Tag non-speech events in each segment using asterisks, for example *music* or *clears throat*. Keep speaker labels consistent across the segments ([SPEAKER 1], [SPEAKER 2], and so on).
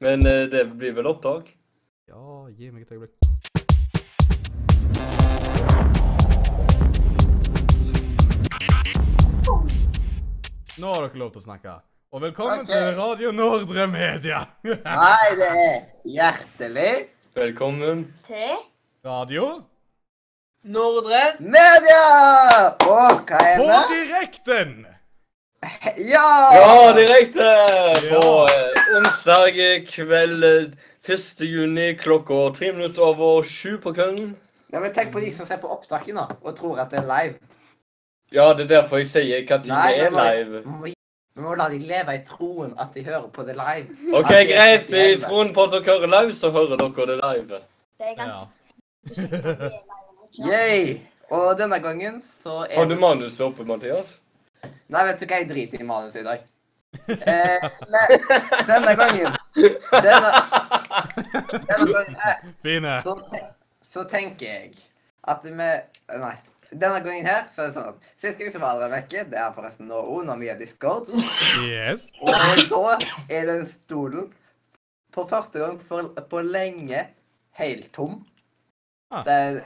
[SPEAKER 1] Men eh, det blir vel opptak?
[SPEAKER 2] Ja, gi meg et øyeblikk. Nå har dere lov til å snakke. Og velkommen
[SPEAKER 3] Ok.
[SPEAKER 2] til Radio Nordre Media. *laughs*
[SPEAKER 3] Nei, det er hjertelig.
[SPEAKER 1] Velkommen.
[SPEAKER 4] til
[SPEAKER 2] Radio
[SPEAKER 5] Nordre.
[SPEAKER 3] Media! Og hva er
[SPEAKER 2] på
[SPEAKER 3] det?
[SPEAKER 2] direkten. *laughs*
[SPEAKER 3] Ja!
[SPEAKER 1] Ja, direkte på
[SPEAKER 2] Ja.
[SPEAKER 1] eh, onsdag kveld eh, 1. juni klokka tre minutter over sju på kvelden.
[SPEAKER 3] Ja, men tenk på de som ser på opptaket nå, og tror at det er live.
[SPEAKER 1] Ja, det er derfor jeg sier hva tid
[SPEAKER 3] Nei,
[SPEAKER 1] det
[SPEAKER 3] det
[SPEAKER 1] er
[SPEAKER 3] var-
[SPEAKER 1] live.
[SPEAKER 3] Vi må, vi må la de leve i troen at de hører på det live.
[SPEAKER 1] OK,
[SPEAKER 3] Mm. At de er
[SPEAKER 1] greit. I
[SPEAKER 3] spesielle.
[SPEAKER 1] troen på at dere hører live, så hører dere det live.
[SPEAKER 4] Det er
[SPEAKER 2] Ja.
[SPEAKER 4] ganske ja. *laughs*
[SPEAKER 3] Yay! Og denne gangen så er
[SPEAKER 1] Har du
[SPEAKER 3] det-
[SPEAKER 1] manuset oppe, Mathias?
[SPEAKER 3] Nei, vet du hva, jeg driter i manus i dag. Eh, men denne gangen
[SPEAKER 1] *laughs*
[SPEAKER 3] Denne, denne gangen her
[SPEAKER 2] Fine.
[SPEAKER 3] så, te- så tenker jeg at vi Nei. Denne gangen her så er det sånn at sist gang så var Adrian vekke. Det er forresten nå òg, når vi er Discord.
[SPEAKER 2] Yes.
[SPEAKER 3] Og da er den stolen på første gang for, på lenge helt tom.
[SPEAKER 2] Ah.
[SPEAKER 3] Det er,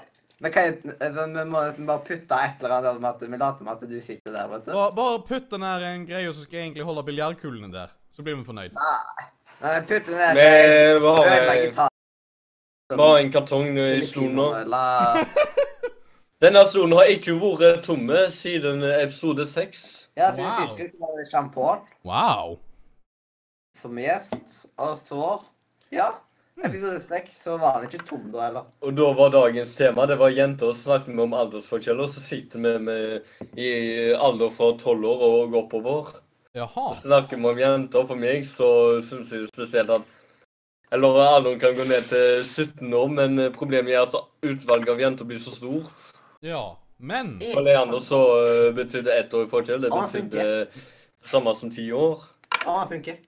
[SPEAKER 3] vi, kan, jo- altså, vi må nesten bare putte et eller annet om at vi later som at du sitter der, vet du.
[SPEAKER 2] Bare, bare putt den her i en greie, så skal jeg egentlig holde biljardkulene der. Så blir vi fornøyd.
[SPEAKER 3] Nei, men putt den der.
[SPEAKER 1] Vi har
[SPEAKER 3] Ødelegge
[SPEAKER 1] eh,
[SPEAKER 3] ta-
[SPEAKER 1] bare en kartong i stolen nå.
[SPEAKER 3] Filippinerne, la-
[SPEAKER 1] Denne stolen har ikke vært tomme siden episode seks.
[SPEAKER 3] Ja, siden
[SPEAKER 2] Wow.
[SPEAKER 3] sist gang så var det sjampon.
[SPEAKER 2] Wow.
[SPEAKER 3] som gjest, og så Ja. Episode seks, så var han ikke tom da heller.
[SPEAKER 1] Og da var dagens tema det var jenter. og Så snakket vi om aldersforskjeller. Så sitter vi med, i alder fra tolv år og oppover.
[SPEAKER 2] Jaha.
[SPEAKER 1] Så snakker vi om jenter. For meg så syns jeg spesielt at Eller alderen kan gå ned til 17 år, men problemet er at utvalget av jenter blir så stort.
[SPEAKER 2] Ja. Men
[SPEAKER 1] For Leander så eh, betydde ett år i forskjell. Det
[SPEAKER 3] Å,
[SPEAKER 1] betydde det samme som ti år.
[SPEAKER 3] Ja, han funker.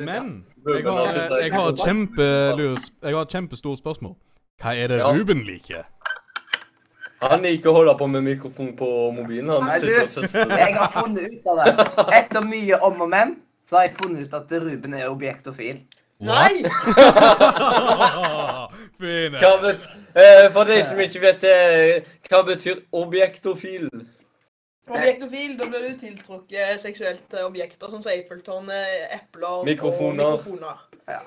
[SPEAKER 2] Men jeg
[SPEAKER 1] Ruben,
[SPEAKER 2] har,
[SPEAKER 1] da synes jeg-
[SPEAKER 2] jeg har et kjempelur Jeg har et kjempestort spørsmål. Hva er det
[SPEAKER 1] Ja.
[SPEAKER 2] Ruben liker?
[SPEAKER 1] Han liker å holde på med mikrofon på mobilen.
[SPEAKER 3] Nei,
[SPEAKER 1] Han
[SPEAKER 3] du,
[SPEAKER 1] sitter og tester.
[SPEAKER 3] *laughs* Jeg har funnet ut av det. Etter mye om og men, så har jeg funnet ut at Ruben er objektofil.
[SPEAKER 5] Nei!
[SPEAKER 2] *laughs*
[SPEAKER 5] *laughs*
[SPEAKER 2] Fine.
[SPEAKER 1] Hva bet eh, for de som ikke vet det, hva betyr objektofil?
[SPEAKER 5] Objektofil, da blir du tiltrukket seksuelt til objekter, sånn som Eiffeltårnet, epler
[SPEAKER 1] Mikrofoner.
[SPEAKER 5] og mikrofoner.
[SPEAKER 3] Ja.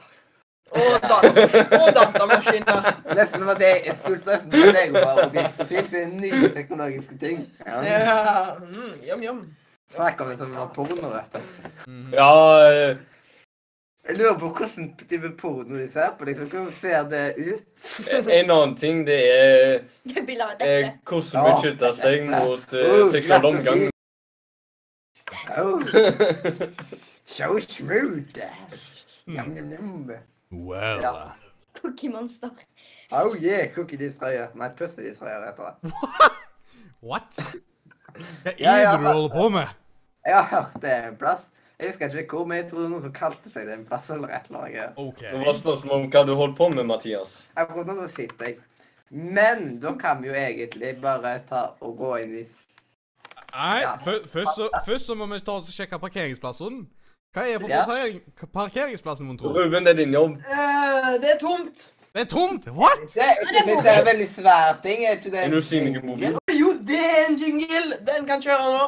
[SPEAKER 5] Og, da og datamaskiner.
[SPEAKER 3] Nesten som at jeg jeg skulle nesten til deg å være objektofil, siden nye teknologiske ting. Ja.
[SPEAKER 5] Ja. Mm, yum, yum.
[SPEAKER 3] Snakker om det som var porno, vet du.
[SPEAKER 2] Mhm.
[SPEAKER 1] Ja, eh,
[SPEAKER 3] Jeg lurer på hvordan type porno de ser på, liksom. Hvordan ser det ut?
[SPEAKER 1] en annen ting det er
[SPEAKER 4] Bilder av
[SPEAKER 1] eh,
[SPEAKER 4] dette.
[SPEAKER 1] hvordan
[SPEAKER 3] Ja.
[SPEAKER 1] beskytte seg mot eh,
[SPEAKER 3] Oh, glatt
[SPEAKER 1] seksuell
[SPEAKER 3] og
[SPEAKER 1] omgang.
[SPEAKER 3] fint. Oh, so smooth. Yum, yum, yum.
[SPEAKER 2] Mm. Well.
[SPEAKER 3] Ja.
[SPEAKER 4] Pokémonster.
[SPEAKER 3] Oh yeah, cookie destroyer. Nei, pussy destroyer heter det.
[SPEAKER 2] What? Hva er
[SPEAKER 3] Ja, ja,
[SPEAKER 2] det du holder på med?
[SPEAKER 3] Jeg har hørt det en plass. Jeg husker ikke hvor, men jeg tror noen som kalte seg det en plass eller et eller annet. greier.
[SPEAKER 2] OK.
[SPEAKER 1] Det var spørsmål om hva du holdt på med, Mathias.
[SPEAKER 3] Akkurat nå så sitter jeg. Men da kan vi jo egentlig bare ta og gå inn i
[SPEAKER 2] Nei,
[SPEAKER 3] Ja.
[SPEAKER 2] fø- først så, først så må vi ta oss og sjekke parkeringsplassen. Hva er det for
[SPEAKER 3] Ja.
[SPEAKER 2] parkering, parkeringsplassen, mon tro?
[SPEAKER 1] Ruben, det er din jobb.
[SPEAKER 5] Eh, det er tomt.
[SPEAKER 2] Det er tomt! What?
[SPEAKER 3] Det er
[SPEAKER 4] det må
[SPEAKER 3] det er en veldig svær ting, er ikke det?
[SPEAKER 1] Er du synlig i mobilen?
[SPEAKER 5] Jo, det er en jingle. Den kan kjøre nå.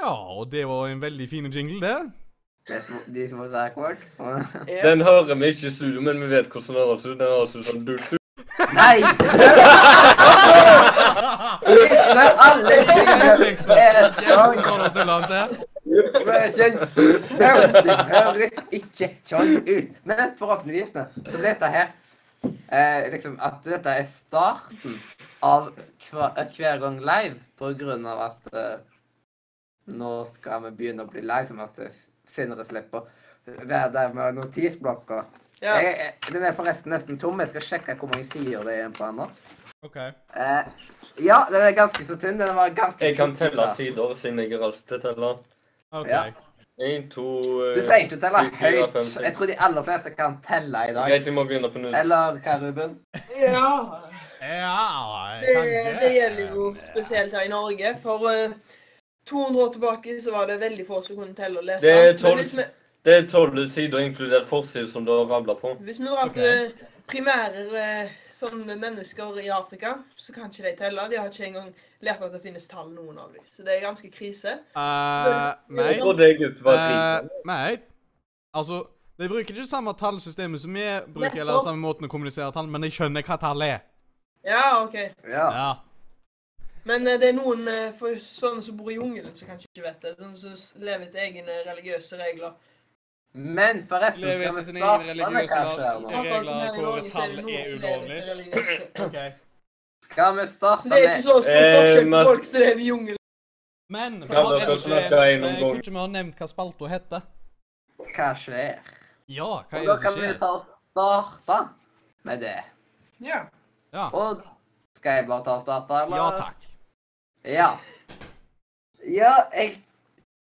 [SPEAKER 2] Ja, og det var en veldig fin jingle, det.
[SPEAKER 3] Det er små- De som har sækkort.
[SPEAKER 5] Ja.
[SPEAKER 1] Den hører vi ikke i studio, men vi vet hvordan den høres ut. Den høres ut som dut-dut.
[SPEAKER 3] *laughs*
[SPEAKER 1] *laughs*
[SPEAKER 3] Nei! Ikke alle
[SPEAKER 2] Liksom.
[SPEAKER 3] tingene er
[SPEAKER 2] Så
[SPEAKER 3] sånn.
[SPEAKER 2] går det til land til.
[SPEAKER 3] Det kjennes- det høres ikke sånn ut. Men forhåpentligvis nå, så blir dette her eh, liksom at dette er starten av hver, eh, hver gang live, på grunn av at eh, nå skal vi begynne å bli live, som at Sindre slipper å være der med notisblokka.
[SPEAKER 5] Ja.
[SPEAKER 3] Jeg- jeg- Den er forresten nesten tom. Jeg skal sjekke hvor mange sider det er igjen på den nå.
[SPEAKER 2] OK.
[SPEAKER 3] Eh, ja, den er ganske så tynn. Den var ganske
[SPEAKER 1] Jeg kan
[SPEAKER 3] tynn
[SPEAKER 1] telle
[SPEAKER 3] sist
[SPEAKER 1] sider,
[SPEAKER 3] da.
[SPEAKER 1] siden jeg er rask til å telle.
[SPEAKER 2] ok.
[SPEAKER 3] Ja.
[SPEAKER 1] Én, to
[SPEAKER 3] Du
[SPEAKER 1] eh,
[SPEAKER 3] trenger ikke å telle
[SPEAKER 1] fire, fire, fem,
[SPEAKER 3] høyt.
[SPEAKER 1] seks.
[SPEAKER 3] Jeg tror de aller fleste kan telle i dag.
[SPEAKER 1] Greit, vi må begynne på nytt.
[SPEAKER 3] Eller hva, Ruben?
[SPEAKER 5] Eh, ja.
[SPEAKER 2] Ja,
[SPEAKER 5] Det,
[SPEAKER 2] kanskje.
[SPEAKER 5] Eh, det gjelder jo spesielt her i Norge, for eh, 200 år tilbake så var det veldig få som kunne telle og lese.
[SPEAKER 1] Det er
[SPEAKER 5] sånn. Men
[SPEAKER 1] tolv-
[SPEAKER 5] hvis vi-
[SPEAKER 1] Det er tolv sider inkludert forside som du har rabla på.
[SPEAKER 5] Hvis vi drar
[SPEAKER 2] Ok.
[SPEAKER 5] til primære eh, sånne mennesker i Afrika, så kan ikke de telle. De har ikke engang lært at det finnes tall, noen av dem. Så det er ganske krise.
[SPEAKER 2] Eh,
[SPEAKER 1] Jeg
[SPEAKER 2] mate,
[SPEAKER 1] trodde Egypt var
[SPEAKER 2] eh,
[SPEAKER 1] et krig.
[SPEAKER 2] mate. Altså, de bruker ikke det samme tallsystemet som vi bruker, eller
[SPEAKER 5] Nettopp.
[SPEAKER 2] samme måten å kommunisere tall, men de skjønner hva tall er.
[SPEAKER 5] Ja, OK.
[SPEAKER 3] Ja.
[SPEAKER 2] Ja.
[SPEAKER 5] Men eh, det er noen eh, for sånne som bor i jungelen, som kanskje ikke vet det. Sånne som s- lever etter egne religiøse regler.
[SPEAKER 3] Men forresten,
[SPEAKER 2] Lever
[SPEAKER 3] skal
[SPEAKER 2] etter
[SPEAKER 3] vi
[SPEAKER 2] sine egne
[SPEAKER 3] starte med
[SPEAKER 2] religiøse
[SPEAKER 3] hva
[SPEAKER 2] lag.
[SPEAKER 3] skjer nå?
[SPEAKER 5] Akkurat som her i
[SPEAKER 2] Regler hvor
[SPEAKER 5] Norge, så er
[SPEAKER 2] tall
[SPEAKER 5] det noen
[SPEAKER 2] er
[SPEAKER 5] som lever
[SPEAKER 2] ulovlig.
[SPEAKER 5] etter
[SPEAKER 2] *laughs*
[SPEAKER 5] religiøse.
[SPEAKER 2] ok.
[SPEAKER 3] Skal vi
[SPEAKER 5] Så
[SPEAKER 3] starte
[SPEAKER 5] det er ikke
[SPEAKER 3] med
[SPEAKER 5] så stor
[SPEAKER 1] Eh,
[SPEAKER 5] forskjell på
[SPEAKER 1] men-
[SPEAKER 5] folk som lever i jungelen.
[SPEAKER 2] Men for
[SPEAKER 1] Kan
[SPEAKER 2] jeg
[SPEAKER 1] dere
[SPEAKER 2] tror ikke-
[SPEAKER 1] snakke en om
[SPEAKER 2] Eh, jeg tror
[SPEAKER 1] gangen?
[SPEAKER 2] ikke vi har nevnt hva spalta heter.
[SPEAKER 3] hva skjer?
[SPEAKER 2] Ja, hva
[SPEAKER 3] Og
[SPEAKER 2] er
[SPEAKER 3] da
[SPEAKER 2] det som
[SPEAKER 3] kan vi
[SPEAKER 2] skjer?
[SPEAKER 3] ta og starte med det.
[SPEAKER 5] Ja.
[SPEAKER 2] Ja,
[SPEAKER 3] Og skal jeg bare ta og starte, eller?
[SPEAKER 2] ja takk.
[SPEAKER 3] Ja. Ja, jeg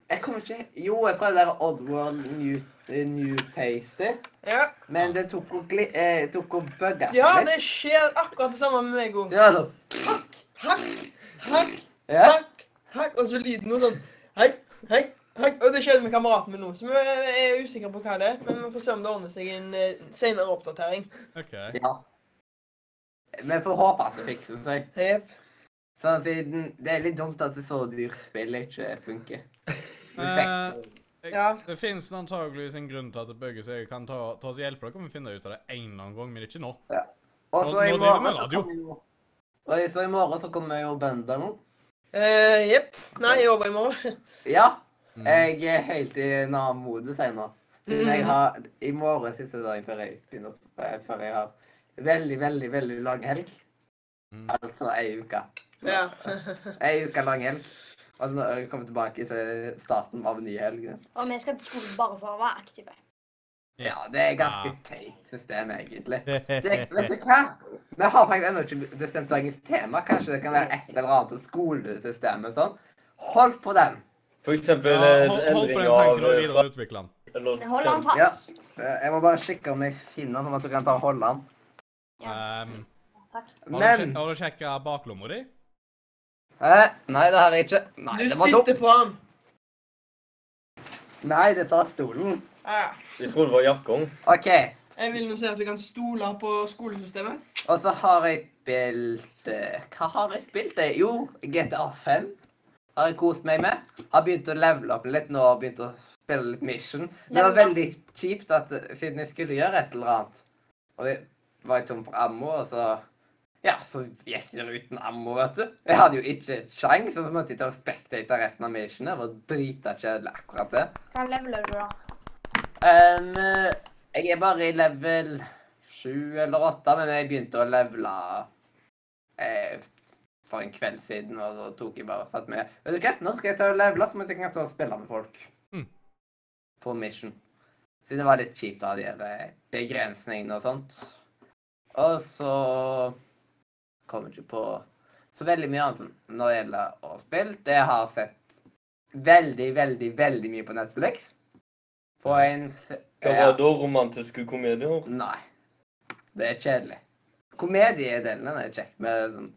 [SPEAKER 3] Jeg kommer ikke Jo, jeg prøvde der Oddworld New, eh, New Tasty,
[SPEAKER 5] ja.
[SPEAKER 3] men det tok og, gli, eh, tok og bugga
[SPEAKER 5] Ja, det skjer akkurat det samme med meg òg.
[SPEAKER 3] Ja, da.
[SPEAKER 5] Hakk, hakk, hakk,
[SPEAKER 3] Ja.
[SPEAKER 5] hakk, hakk. Og så lyden noe sånn hei, hei, hei. Og det skjedde med kameraten min nå, så vi er usikre på hva det er. Men vi får se om det ordner seg i en eh, senere oppdatering.
[SPEAKER 2] OK.
[SPEAKER 3] ja. Vi får håpe at det fikser seg.
[SPEAKER 5] Jep.
[SPEAKER 3] Sånn siden Det er litt dumt at et så dyrt spill ikke funker. Perfekt.
[SPEAKER 5] Ja.
[SPEAKER 2] Det fins antageligvis en grunn til at det bøgger seg. Jeg kan ta, ta oss hjelp, da kan vi finne ut av det en eller annen gang, men ikke nå.
[SPEAKER 3] Og så i
[SPEAKER 2] nå driver vi med
[SPEAKER 3] morgen så
[SPEAKER 2] radio.
[SPEAKER 3] kommer jo Og så i morgen så kommer jo bøndene.
[SPEAKER 5] Eh, Jepp. Nei, jeg jobber i morgen.
[SPEAKER 3] Ja.
[SPEAKER 2] Mm.
[SPEAKER 3] Jeg er helt i en annen modus jeg nå. Siden jeg har I morgen er siste dagen før jeg begynner eh, Før jeg har veldig, veldig veldig lang helg.
[SPEAKER 2] Mm.
[SPEAKER 3] Altså ei uke.
[SPEAKER 5] Ja.
[SPEAKER 3] Ei uke lang helg. Og når jeg kommer tilbake til starten av en ny helg
[SPEAKER 4] Og vi skal til skolen bare for å være aktive.
[SPEAKER 2] Ja.
[SPEAKER 3] Ja, det er ganske teit system, egentlig. Det, vet du hva? Vi har faktisk ennå ikke bestemt dagens tema. Kanskje det kan være et eller annet om skolesystemet og sånn. Hold på den.
[SPEAKER 1] For eksempel
[SPEAKER 2] Ja,
[SPEAKER 1] eh,
[SPEAKER 2] hold, hold på
[SPEAKER 1] endring
[SPEAKER 2] den tanken
[SPEAKER 1] av
[SPEAKER 2] og
[SPEAKER 1] eh,
[SPEAKER 2] videreutvikle den.
[SPEAKER 1] eller,
[SPEAKER 4] Vi holder den
[SPEAKER 3] Ja.
[SPEAKER 4] fast.
[SPEAKER 3] Eh, Jeg må bare sjekke om jeg finner den, sånn at du kan ta og holde den.
[SPEAKER 2] Um,
[SPEAKER 4] Takk.
[SPEAKER 2] har, du,
[SPEAKER 3] Men
[SPEAKER 2] sjek- har du sjekka baklomma di?
[SPEAKER 3] Eh, nei, det har jeg ikke. Nei,
[SPEAKER 5] Du
[SPEAKER 3] det var dumt.
[SPEAKER 5] sitter på den.
[SPEAKER 3] Nei, dette er stolen.
[SPEAKER 5] Ja.
[SPEAKER 1] Jeg trodde det var jakka.
[SPEAKER 3] OK.
[SPEAKER 5] Jeg vil nå si at du kan stole på skolesystemet. *laughs*
[SPEAKER 3] Og så har jeg spilt eh, Hva har jeg spilt? Eh, Jo, GTA5 har jeg kost meg med. Har begynt å levele opp litt nå og begynt å spille litt Mission. Men det var
[SPEAKER 4] Level up.
[SPEAKER 3] veldig kjipt at eh, siden jeg skulle gjøre et eller annet, og jeg var jeg tom for ammo, og så ja, så gikk det uten ammo, vet du. Jeg hadde jo ikke sjans, og så måtte jeg ta og spectate resten av missionet. Det var drita kjedelig, akkurat det.
[SPEAKER 4] Hva leveler du, da?
[SPEAKER 3] Um,
[SPEAKER 4] eh,
[SPEAKER 3] jeg er bare i level 7 eller 8, men jeg begynte å levele eh, for en kveld siden, og så tok jeg bare og satt med. Vet du hva, nå skal jeg ta og levele, så jeg kan ta og spille med folk.
[SPEAKER 2] Mm.
[SPEAKER 3] På mission. Siden det var litt kjipt å ha de her eh, begrensningene og sånt. Og så kom jeg ikke på så veldig mye annet når det gjelder å spille. Det jeg har sett veldig, veldig, veldig mye på Netflix. På en s-
[SPEAKER 1] Hva
[SPEAKER 3] ja.
[SPEAKER 1] var da romantiske komedier?
[SPEAKER 3] Nei. Det er kjedelig. Komediedelen er kjekk med sånn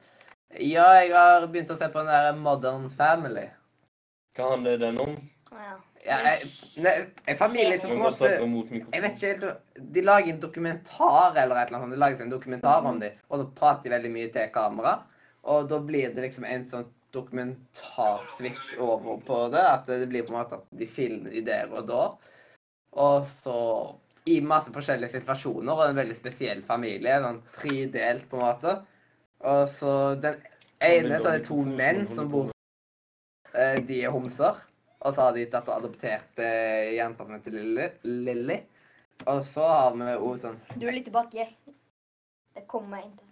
[SPEAKER 3] Ja, jeg har begynt å se på den der Modern Family.
[SPEAKER 1] Hva handler den om?
[SPEAKER 4] Ja.
[SPEAKER 3] Ja, jeg, ne, en familie
[SPEAKER 1] Nå
[SPEAKER 3] som på en
[SPEAKER 1] må jeg
[SPEAKER 3] måte
[SPEAKER 1] snakke mot
[SPEAKER 3] Jeg vet
[SPEAKER 1] mikrofonen.
[SPEAKER 3] ikke helt hva- De lager en dokumentar eller et eller annet. sånt. De lager en dokumentar om dem, og så prater de veldig mye til kamera. Og da blir det liksom en sånn dokumentarsvish over på det. At det blir på en måte at de filmer de der og da. Og så i masse forskjellige situasjoner, og en veldig spesiell familie. Sånn tredelt, på en måte. Og så den ene så er det to menn som bor Eh, De er homser. Og så har de tatt og adoptert eh, jenta som heter Lilly. Lilly. Og så har vi jo sånn
[SPEAKER 4] Du er litt tilbake. Det kommer jeg inn til.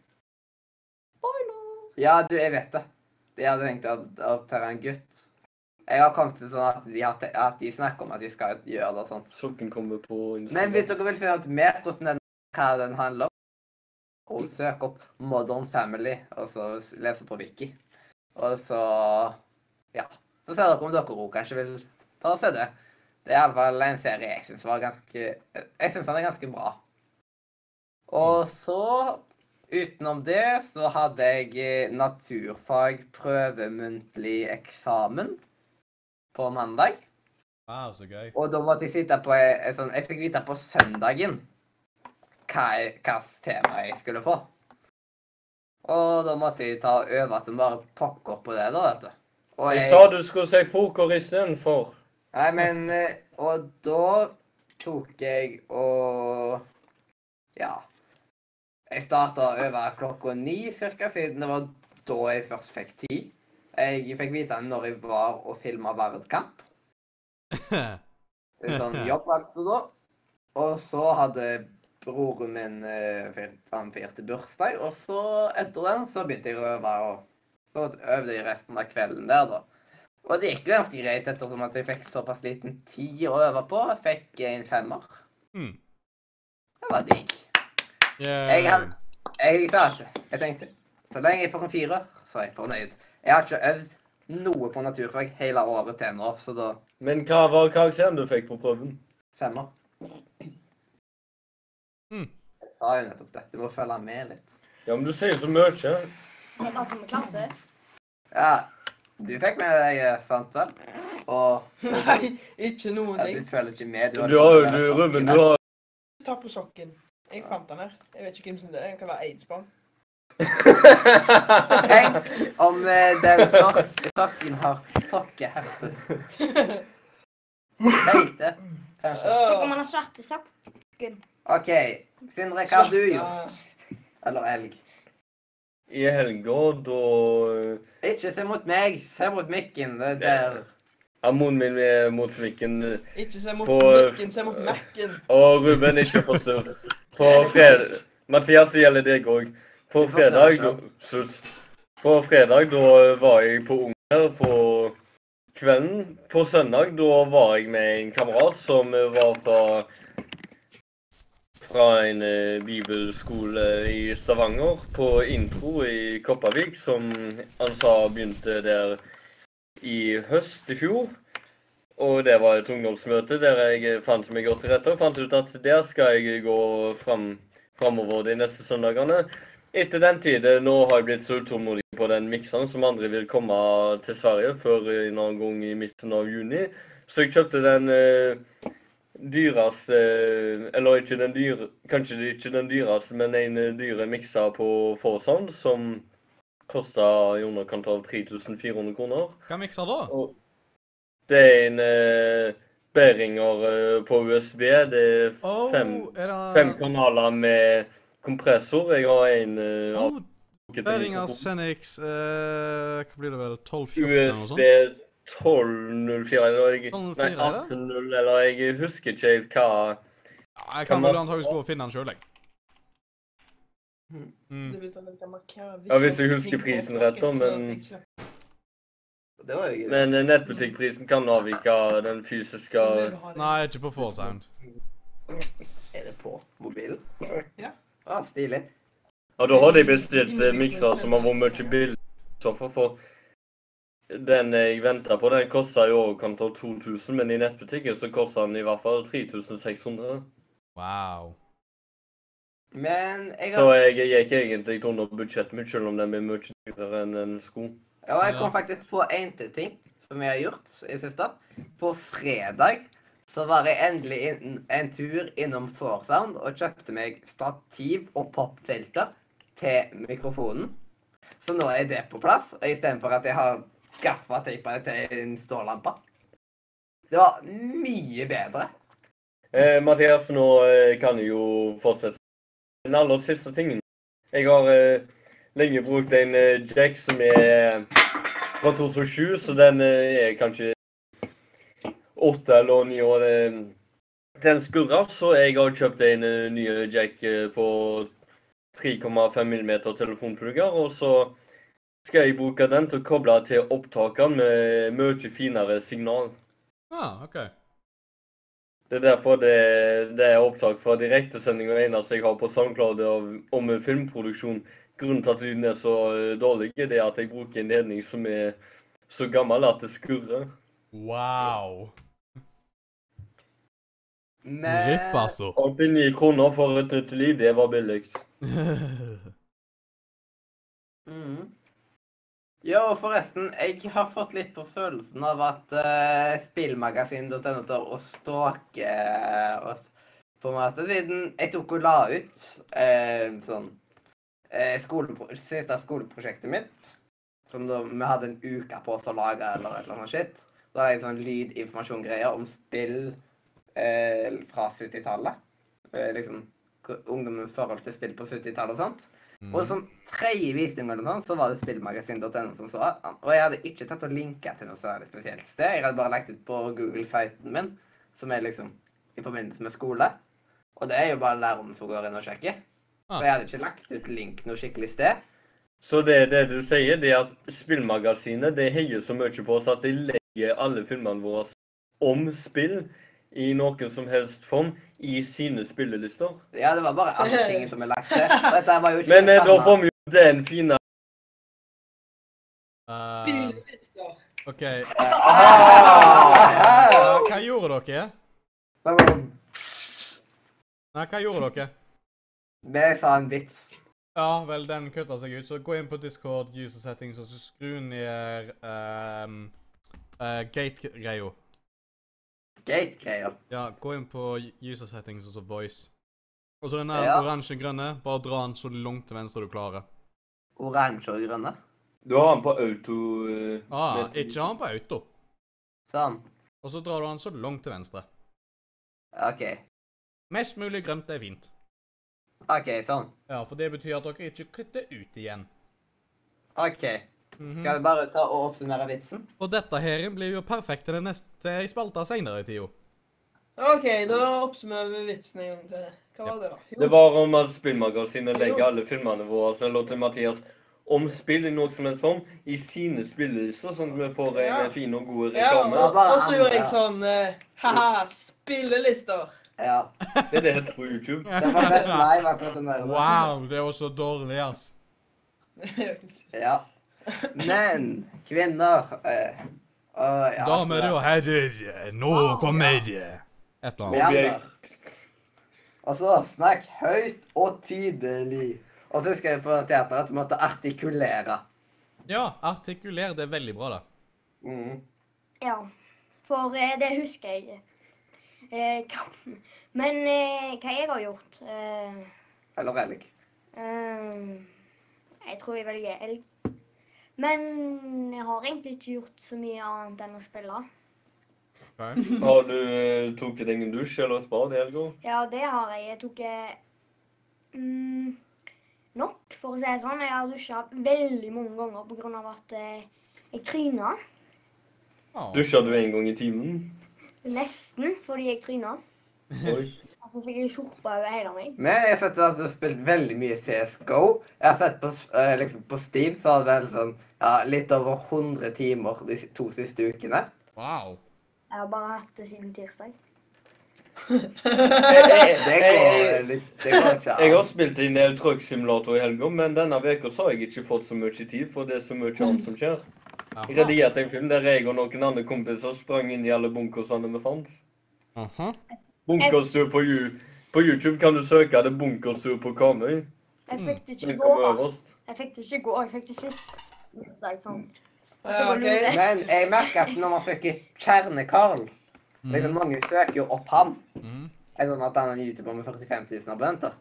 [SPEAKER 4] Spoiler!
[SPEAKER 3] Ja, du, jeg vet det. De hadde tenkt å ad- adoptere en gutt. Jeg har kommet til sånn at de, har te at de snakker om at de skal gjøre det og sånn. sånt.
[SPEAKER 1] Sukken kommer på
[SPEAKER 3] Men hvis
[SPEAKER 1] Instagram.
[SPEAKER 3] dere vil finne ut mer hvordan den, hva den handler om, og søk opp Modern Family, og så s- lese på Wiki. Og så Ja. Så ser dere om dere òg kanskje vil ta og se det. Det er iallfall en serie jeg syns var ganske Jeg syns den er ganske bra. Og så Utenom det så hadde jeg eh, naturfag prøvemuntlig eksamen på mandag.
[SPEAKER 2] Wow, så *laughs* gøy.
[SPEAKER 3] Og da måtte jeg sitte på eh, en sånn Jeg fikk vite på søndagen hva jeg- hva slags tema jeg skulle få. Og da måtte jeg ta og øve som bare pokker på det, da, vet du. Og
[SPEAKER 1] Jeg sa du skulle si poker istedenfor.
[SPEAKER 3] Nei, men eh, Og da tok jeg og Ja. Jeg starta å øve klokka ni cirka, siden det var da jeg først fikk tid. Jeg fikk vite når jeg var og filma verdenskamp. En Sånn jobb, altså, da. Og så hadde broren min eh, fyr- han feirte bursdag, og så, etter den, så begynte jeg å øve. Og så øvde jeg resten av kvelden der, da. Og det gikk jo ganske greit, ettersom at jeg fikk såpass liten tid å øve på. Jeg fikk en femmer.
[SPEAKER 2] Hmm.
[SPEAKER 3] Det var digg. Jeg
[SPEAKER 2] Yeah.
[SPEAKER 3] hadde Jeg klarte det. Jeg tenkte så lenge jeg får en firer, så er jeg fornøyd. Jeg har ikke øvd noe på naturfag hele året til nå, så da
[SPEAKER 1] Men hva var karakteren du fikk på prøven?
[SPEAKER 3] femmer.
[SPEAKER 1] Hmm.
[SPEAKER 2] Mm.
[SPEAKER 3] Jeg sa jo nettopp det. Du må følge med litt.
[SPEAKER 1] Ja, men du sier så mye.
[SPEAKER 4] Jeg kan ikke klare det.
[SPEAKER 3] Ja, du fikk med deg eh, sant vel? Og
[SPEAKER 5] Nei, ikke noen
[SPEAKER 3] ja, du
[SPEAKER 5] ting.
[SPEAKER 3] føler ikke med.
[SPEAKER 1] Du har jo, du, Ruben, du har
[SPEAKER 5] Ta på sokken. Jeg fant den her. Jeg vet ikke hvem som det er. Det kan være aids-barn.
[SPEAKER 3] *laughs* Tenk om eh, den sok sokken har sokkeherpes. Tenk det. Kanskje.
[SPEAKER 4] Tenk om han har svarte sokken.
[SPEAKER 3] OK. Sindre, hva har du gjort? Eller elg?
[SPEAKER 1] i helga, da eh,
[SPEAKER 3] Ikke se mot meg, se mot mikken. Det der.
[SPEAKER 1] er moren min med mot smikken.
[SPEAKER 5] Ikke se mot
[SPEAKER 1] På-
[SPEAKER 5] Mac-en, se mot Mac-en.
[SPEAKER 1] Og Ruben, ikke forstyrr. På fred... Mathias, det gjelder deg òg. På fredag da, Slutt. På fredag, da var jeg på Unger på kvelden. På søndag, da var jeg med en kamerat som var fra fra en eh, bibelskole i Stavanger, på intro i Kopervik, som han sa begynte der i høst i fjor. Og det var et ungdomsmøte der jeg fant meg godt til rette og fant ut at der skal jeg gå fram, framover de neste søndagene. Etter den tid eh, Nå har jeg blitt så utålmodig på den mikseren som aldri vil komme til Sverige før en annen gang i midten av juni. Så jeg kjøpte den eh, dyreste eh, Eller ikke den dyre Kanskje det ikke den dyreste, men en eh, dyre mikser på Forsound som kosta i underkant av 3400 kroner.
[SPEAKER 2] Hva mikser da?
[SPEAKER 1] Det er en eh, Behringer eh, på USB. Det er
[SPEAKER 2] Oh,
[SPEAKER 1] fem,
[SPEAKER 2] er det
[SPEAKER 1] fem kanaler med kompressor. Jeg har en eh,
[SPEAKER 2] Oh,
[SPEAKER 1] avtrukket til
[SPEAKER 2] Beringer
[SPEAKER 1] mikrofon.
[SPEAKER 2] Senix eh, Hva blir det vel? 12-14 eller noe
[SPEAKER 1] USB
[SPEAKER 2] sånt?
[SPEAKER 1] 1204 eller jeg, nei,
[SPEAKER 2] 1204, er det?
[SPEAKER 1] 18.0, eller jeg husker ikke helt hva
[SPEAKER 2] Ja,
[SPEAKER 1] Kan
[SPEAKER 2] jeg kan vel
[SPEAKER 1] man-
[SPEAKER 2] antakeligvis gå og finne den sjøl, jeg. Mm.
[SPEAKER 5] Det betyr at jeg kan markere
[SPEAKER 1] Ja, hvis jeg
[SPEAKER 5] visse
[SPEAKER 1] husker
[SPEAKER 5] ting på
[SPEAKER 1] prisen
[SPEAKER 5] pakken,
[SPEAKER 1] rett da,
[SPEAKER 5] sånn at
[SPEAKER 1] men-
[SPEAKER 5] jeg slipper-
[SPEAKER 3] Det var jo gøy.
[SPEAKER 1] Men eh, nettbutikkprisen kan avvike den fysiske
[SPEAKER 5] Men jeg vil ha det.
[SPEAKER 2] Nei, ikke på Forsound.
[SPEAKER 3] Er det på mobilen?
[SPEAKER 5] Ja.
[SPEAKER 3] Ah, stilig.
[SPEAKER 1] Ja, da hadde jeg bestilt eh, mikser som har vært mye billigere. Så for, for den jeg venta på, den kosta i overkant av 2000, men i nettbutikken så kosta den i hvert fall 3600.
[SPEAKER 2] Wow.
[SPEAKER 3] Men jeg
[SPEAKER 1] Så
[SPEAKER 3] har
[SPEAKER 1] jeg gikk egentlig under budsjettet mitt, selv om den blir mye dyrere enn en sko.
[SPEAKER 3] Ja, jeg kom
[SPEAKER 2] Ja.
[SPEAKER 3] faktisk på en til ting som jeg har gjort i siste. På fredag så var jeg endelig inn, en tur innom Forsound og kjøpte meg stativ og popfilter til mikrofonen. Så nå er det på plass, og istedenfor at jeg har gaffateip til en stålampe. Det var mye bedre.
[SPEAKER 1] Eh, Mathias, nå eh, kan jeg jo fortsette. Den aller siste tingen. Jeg har eh, lenge brukt en eh, jack som er eh, fra 2007, så den eh, er kanskje åtte eller ni år. eh, Den skurrer, så jeg har kjøpt en eh, ny jack eh, på 3,5 mm telefonplugger, og så skal jeg bruke den til å koble til opptakeren med mye finere signal.
[SPEAKER 2] Ah, OK.
[SPEAKER 1] Det er derfor det, det er opptak fra direktesending og eneste jeg har på SoundCloud av, om filmproduksjon. Grunnen til at lyden er så eh, dårlig, det er at jeg bruker en ledning som er så gammel at det skurrer.
[SPEAKER 2] Wow.
[SPEAKER 3] Men
[SPEAKER 2] Ripp, altså. *laughs*
[SPEAKER 1] Alt inni kroner for et nytt liv, det var billig.
[SPEAKER 3] Mhm. Ja, og forresten, jeg har fått litt på følelsen av at uh, spillmagasin.no tar og stalker oss på en måte, siden jeg tok og la ut eh, sånn eh, skolepro siste skoleprosjektet mitt, som da vi hadde en uke på oss å lage eller et eller annet shit. Da hadde jeg sånn lydinformasjongreier om spill eh, fra 70-tallet. Eh, liksom hvor- ungdommens forhold til spill på 70-tallet og sånt.
[SPEAKER 2] Mm.
[SPEAKER 3] Og
[SPEAKER 1] Mm.
[SPEAKER 3] som tredje visning eller noe sånt, så var det spillmagasin.no som så an. Og jeg hadde ikke tatt og linka til noe særlig spesielt sted. Jeg hadde bare lagt ut på Google Fighten min, som er liksom i forbindelse med skole. Og det er jo bare læreren som går inn og sjekker.
[SPEAKER 2] Ah.
[SPEAKER 3] Så jeg hadde ikke lagt ut link noe skikkelig sted.
[SPEAKER 1] Så det, det du sier, det er at spillmagasinet det heier så mye på oss at de legger alle filmene våre om spill i noen som helst form i sine spillelister.
[SPEAKER 3] Ja, det var bare alle tingene som er lagt
[SPEAKER 1] *laughs*
[SPEAKER 3] til. Og dette var jo ikke
[SPEAKER 1] Men eh, da
[SPEAKER 3] samme-
[SPEAKER 1] får vi jo den fine
[SPEAKER 2] Eh,
[SPEAKER 5] Spillelister.
[SPEAKER 2] OK.
[SPEAKER 3] Ah!
[SPEAKER 2] Ja, hva gjorde dere?
[SPEAKER 3] *laughs* Da var det-
[SPEAKER 2] Nei, hva gjorde dere?
[SPEAKER 3] Det sa en vits.
[SPEAKER 2] Ja, vel, den kutta seg ut, så gå inn på Discord, user settings, og så skru ned um, gate-greia.
[SPEAKER 3] Gate-greier.
[SPEAKER 2] Ja, gå inn på user settings, og så voice. Og så den der
[SPEAKER 3] Ja.
[SPEAKER 2] oransje-grønne, bare dra den så langt til venstre du klarer.
[SPEAKER 3] Oransje og grønne.
[SPEAKER 1] Du har den på auto... eh,
[SPEAKER 2] Ah,
[SPEAKER 1] vet-
[SPEAKER 2] ikke ha den på auto.
[SPEAKER 3] Sånn.
[SPEAKER 2] Og så drar du den så langt til venstre.
[SPEAKER 3] OK.
[SPEAKER 2] Mest mulig grønt er fint.
[SPEAKER 3] OK, sånn.
[SPEAKER 2] Ja, for det betyr at dere ikke kutter ut igjen.
[SPEAKER 3] OK.
[SPEAKER 2] Mhm.
[SPEAKER 3] Skal vi bare ta og oppsummere vitsen?
[SPEAKER 2] Og dette her blir jo perfekt til den neste ei spalte seinere i tida.
[SPEAKER 5] OK, da oppsummerer vi vitsen en gang til. Hva var det, da? Jo,
[SPEAKER 1] Det var om at spillmagasinet legger alle filmene våre eller til Mathias om spill i noe som helst form i sine spillelister, sånn at vi får en
[SPEAKER 5] Ja.
[SPEAKER 1] fin og god
[SPEAKER 5] ja,
[SPEAKER 1] reklame.
[SPEAKER 5] og, og så gjorde jeg sånn eh, Ha-ha,
[SPEAKER 2] *laughs*
[SPEAKER 5] spillelister.
[SPEAKER 3] Ja.
[SPEAKER 1] Det er det heter på YouTube.
[SPEAKER 3] Det var best live akkurat den der.
[SPEAKER 2] Wow, det var så dårlig, ass.
[SPEAKER 3] Ja. Men kvinner eh, og, ja,
[SPEAKER 2] Damer og herrer, nå kommer Et eller annet.
[SPEAKER 3] Ja, da. Og så snakk høyt og tydelig. Og så husker jeg på teateret at du måtte artikulere.
[SPEAKER 2] Ja, artikuler. Det er veldig bra, da.
[SPEAKER 3] Mm.
[SPEAKER 4] Ja, for eh, det husker jeg. Eh, hva- men eh, hva jeg har gjort eh,
[SPEAKER 3] Eller elg.
[SPEAKER 4] eh, Jeg tror jeg velger elg. Men jeg har egentlig ikke gjort så mye annet enn å spille.
[SPEAKER 1] Har du eh, tok deg en dusj eller et bad i helga?
[SPEAKER 4] Ja, det har jeg. Jeg tok eh, mm, nok, for å si det sånn. Jeg har dusja veldig mange ganger pga. at eh, jeg tryna.
[SPEAKER 2] Ja.
[SPEAKER 1] Dusja du en gang i timen?
[SPEAKER 4] Nesten fordi jeg tryna.
[SPEAKER 1] Oi.
[SPEAKER 4] Altså fikk jeg sorpa over hele meg.
[SPEAKER 3] Men jeg har sett at du har spilt veldig mye CSGO. Jeg har sett på, eh, liksom på Steam så har du vel sånn ja, litt over 100 timer de to siste ukene.
[SPEAKER 2] Wow.
[SPEAKER 4] Jeg har bare hatt det siden tirsdag.
[SPEAKER 1] Jeg, jeg,
[SPEAKER 3] Det
[SPEAKER 1] jeg, jeg,
[SPEAKER 3] går litt Det går ikke
[SPEAKER 1] jeg har spilt en del trucksimulator i helga, men denne veka så har jeg ikke fått så mye tid, for det er så mye annet som skjer. Jeg
[SPEAKER 2] Aha.
[SPEAKER 1] redigerte en film der jeg og noen andre kompiser sprang inn i alle bunkersene vi fant.
[SPEAKER 2] Aha.
[SPEAKER 1] Bunkerstur på, Ju- på YouTube kan du søke det bunkerstur på Karmøy.
[SPEAKER 4] Jeg fikk det ikke i
[SPEAKER 1] Den
[SPEAKER 4] går.
[SPEAKER 1] kommer øverst.
[SPEAKER 4] Jeg fikk det ikke i går. Jeg fikk det sist. tirsdag, Sånn.
[SPEAKER 5] Ja, ok.
[SPEAKER 3] Men jeg merker at når man søker Kjerne-Karl liksom Mange søker jo opp han.
[SPEAKER 2] Mhm.
[SPEAKER 3] Jeg sånn at han er en YouTuber med 45 000 abonnenter.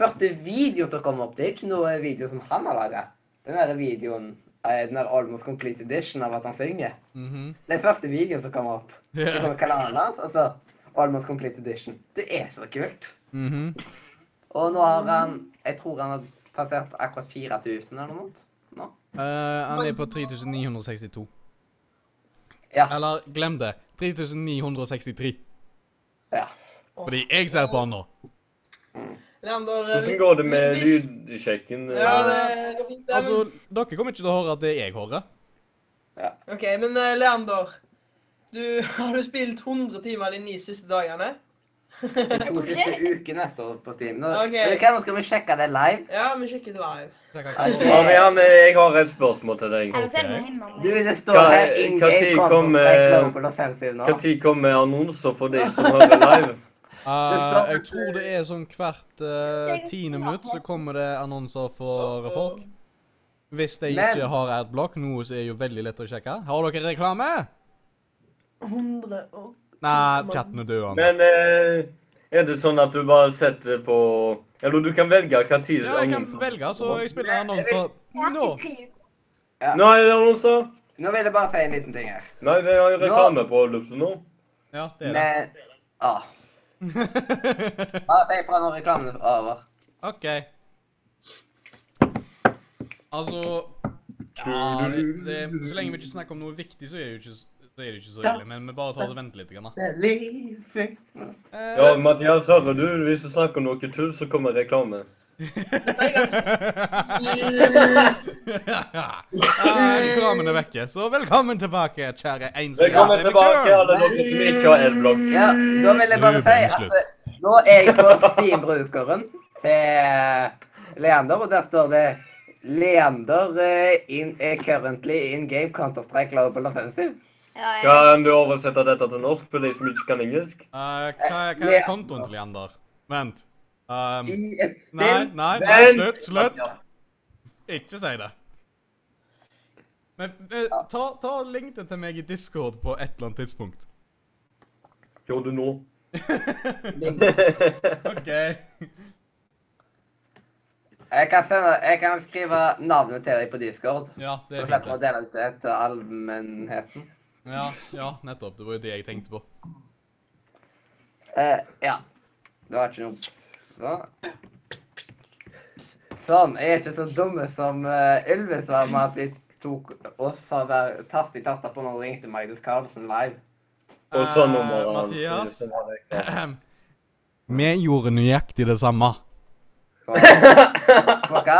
[SPEAKER 3] Første video som kom opp, det er ikke noe video som han har laga. Den der videoen eh, den der Almost Complete Edition av at han synger.
[SPEAKER 2] Mhm.
[SPEAKER 3] Det er første videoen som kommer opp. Så
[SPEAKER 2] Ja.
[SPEAKER 3] kommer kanalen hans, altså Almost Complete Edition. Det er så kult.
[SPEAKER 2] Mhm.
[SPEAKER 3] Og nå har han Jeg tror han har passert akkurat 4000 eller noe sånt. nå.
[SPEAKER 2] Eh, han er på 3962.
[SPEAKER 3] Ja.
[SPEAKER 2] Eller glem det. 3963.
[SPEAKER 3] Ja.
[SPEAKER 2] Fordi jeg ser på han nå.
[SPEAKER 5] Leander, eh,
[SPEAKER 1] Hvordan går det med
[SPEAKER 5] hvis-
[SPEAKER 1] lydsjekken?
[SPEAKER 5] Ja, det går fint. det,
[SPEAKER 2] Altså,
[SPEAKER 5] men-
[SPEAKER 2] dere kommer ikke til å høre at det er jeg hører.
[SPEAKER 5] OK, men eh, Leander. Du, *laughs* har du spilt 100 timer de ni siste dagene?
[SPEAKER 3] De *laughs* to siste ukene står på Steam. Nå,
[SPEAKER 5] Ok.
[SPEAKER 3] Vet du hva, nå skal vi sjekke det live.
[SPEAKER 5] Ja, vi sjekket live.
[SPEAKER 1] Marianne, jeg har et spørsmål til deg.
[SPEAKER 4] Eller så er det noe hjemme.
[SPEAKER 3] Du, det står
[SPEAKER 1] Hva-
[SPEAKER 3] her in
[SPEAKER 1] hva
[SPEAKER 3] game
[SPEAKER 1] tid
[SPEAKER 3] content
[SPEAKER 1] kom,
[SPEAKER 3] like
[SPEAKER 1] eh,
[SPEAKER 3] global offensive nå.
[SPEAKER 1] Når kommer annonser for de som hører
[SPEAKER 2] *laughs*
[SPEAKER 1] live?
[SPEAKER 2] Eh, jeg tror det er sånn hvert eh, tiende minutt så kommer det annonser for eh, folk. Hvis de
[SPEAKER 3] Men-
[SPEAKER 2] ikke har adblock, noe som er jo veldig lett å sjekke. Har dere reklame?
[SPEAKER 5] 100 og
[SPEAKER 2] Nei, chatten er død.
[SPEAKER 1] Men eh, er det sånn at du bare setter på Eller du kan velge hva tid
[SPEAKER 2] Ja, jeg kan
[SPEAKER 1] annonsen-
[SPEAKER 2] velge, så jeg spiller annonser nå.
[SPEAKER 1] Nå er det annonser.
[SPEAKER 3] Nå vil jeg bare si en liten ting her.
[SPEAKER 1] Nei, vi har jo reklame på luften nå.
[SPEAKER 2] Ja, det er det.
[SPEAKER 3] Men ah, Bare si fra når reklamen er over.
[SPEAKER 2] OK. Altså ja, det, det, Så lenge vi ikke snakker om noe viktig, så er det jo ikke, så er det ikke så ille. Men vi bare tar det og venter litt. Grann, da. Eh.
[SPEAKER 1] Ja, Mathias, hører du? Hvis du snakker om noe tull, så kommer reklame.
[SPEAKER 2] *laughs* Eh, Reklamen er vekke, så velkommen tilbake, kjære ensomme
[SPEAKER 1] Velkommen tilbake,
[SPEAKER 2] redaktør.
[SPEAKER 1] alle dere som ikke har adblock.
[SPEAKER 3] Ja, da vil jeg bare
[SPEAKER 2] Nå
[SPEAKER 3] si
[SPEAKER 2] ble det
[SPEAKER 3] at
[SPEAKER 2] slutt.
[SPEAKER 3] eh, nå er jeg på Steam-brukeren til Leander, og der står det Leander eh, in, er currently in game Counter-Strike Global Offensive.
[SPEAKER 4] Ja, jeg,
[SPEAKER 1] Kan du oversette dette til norsk for de som ikke kan engelsk?
[SPEAKER 2] Eh, hva, hva er kontoen til Leander? Vent. Um,
[SPEAKER 3] I et
[SPEAKER 2] nei,
[SPEAKER 3] spill
[SPEAKER 2] nei, nei,
[SPEAKER 1] Vent!
[SPEAKER 2] slutt, slutt. Ikke si det. Men eh, ta, ta og link det til meg i Discord på et eller annet tidspunkt.
[SPEAKER 1] Gjorde du nå?
[SPEAKER 2] OK.
[SPEAKER 3] Jeg kan, sende, jeg kan skrive navnet til deg på Discord.
[SPEAKER 2] Ja,
[SPEAKER 3] Så
[SPEAKER 2] det er
[SPEAKER 3] slipper vi å
[SPEAKER 2] fint. det.
[SPEAKER 3] dele ut det til allmennheten.
[SPEAKER 2] Ja, ja, nettopp. Det var jo det jeg tenkte på. *clears throat*
[SPEAKER 3] Eh, ja. Det var ikke noe Så. Sånn. Jeg er ikke så dumme som eh, Ylvis var med at de tok oss og var tatt i tasta på når de ringte Magnus Carlsen live.
[SPEAKER 1] Og så nummeret
[SPEAKER 2] Eh,
[SPEAKER 1] hans.
[SPEAKER 2] Mathias?
[SPEAKER 1] Det var det ikke.
[SPEAKER 2] Vi gjorde nøyaktig det samme.
[SPEAKER 3] Så så hva?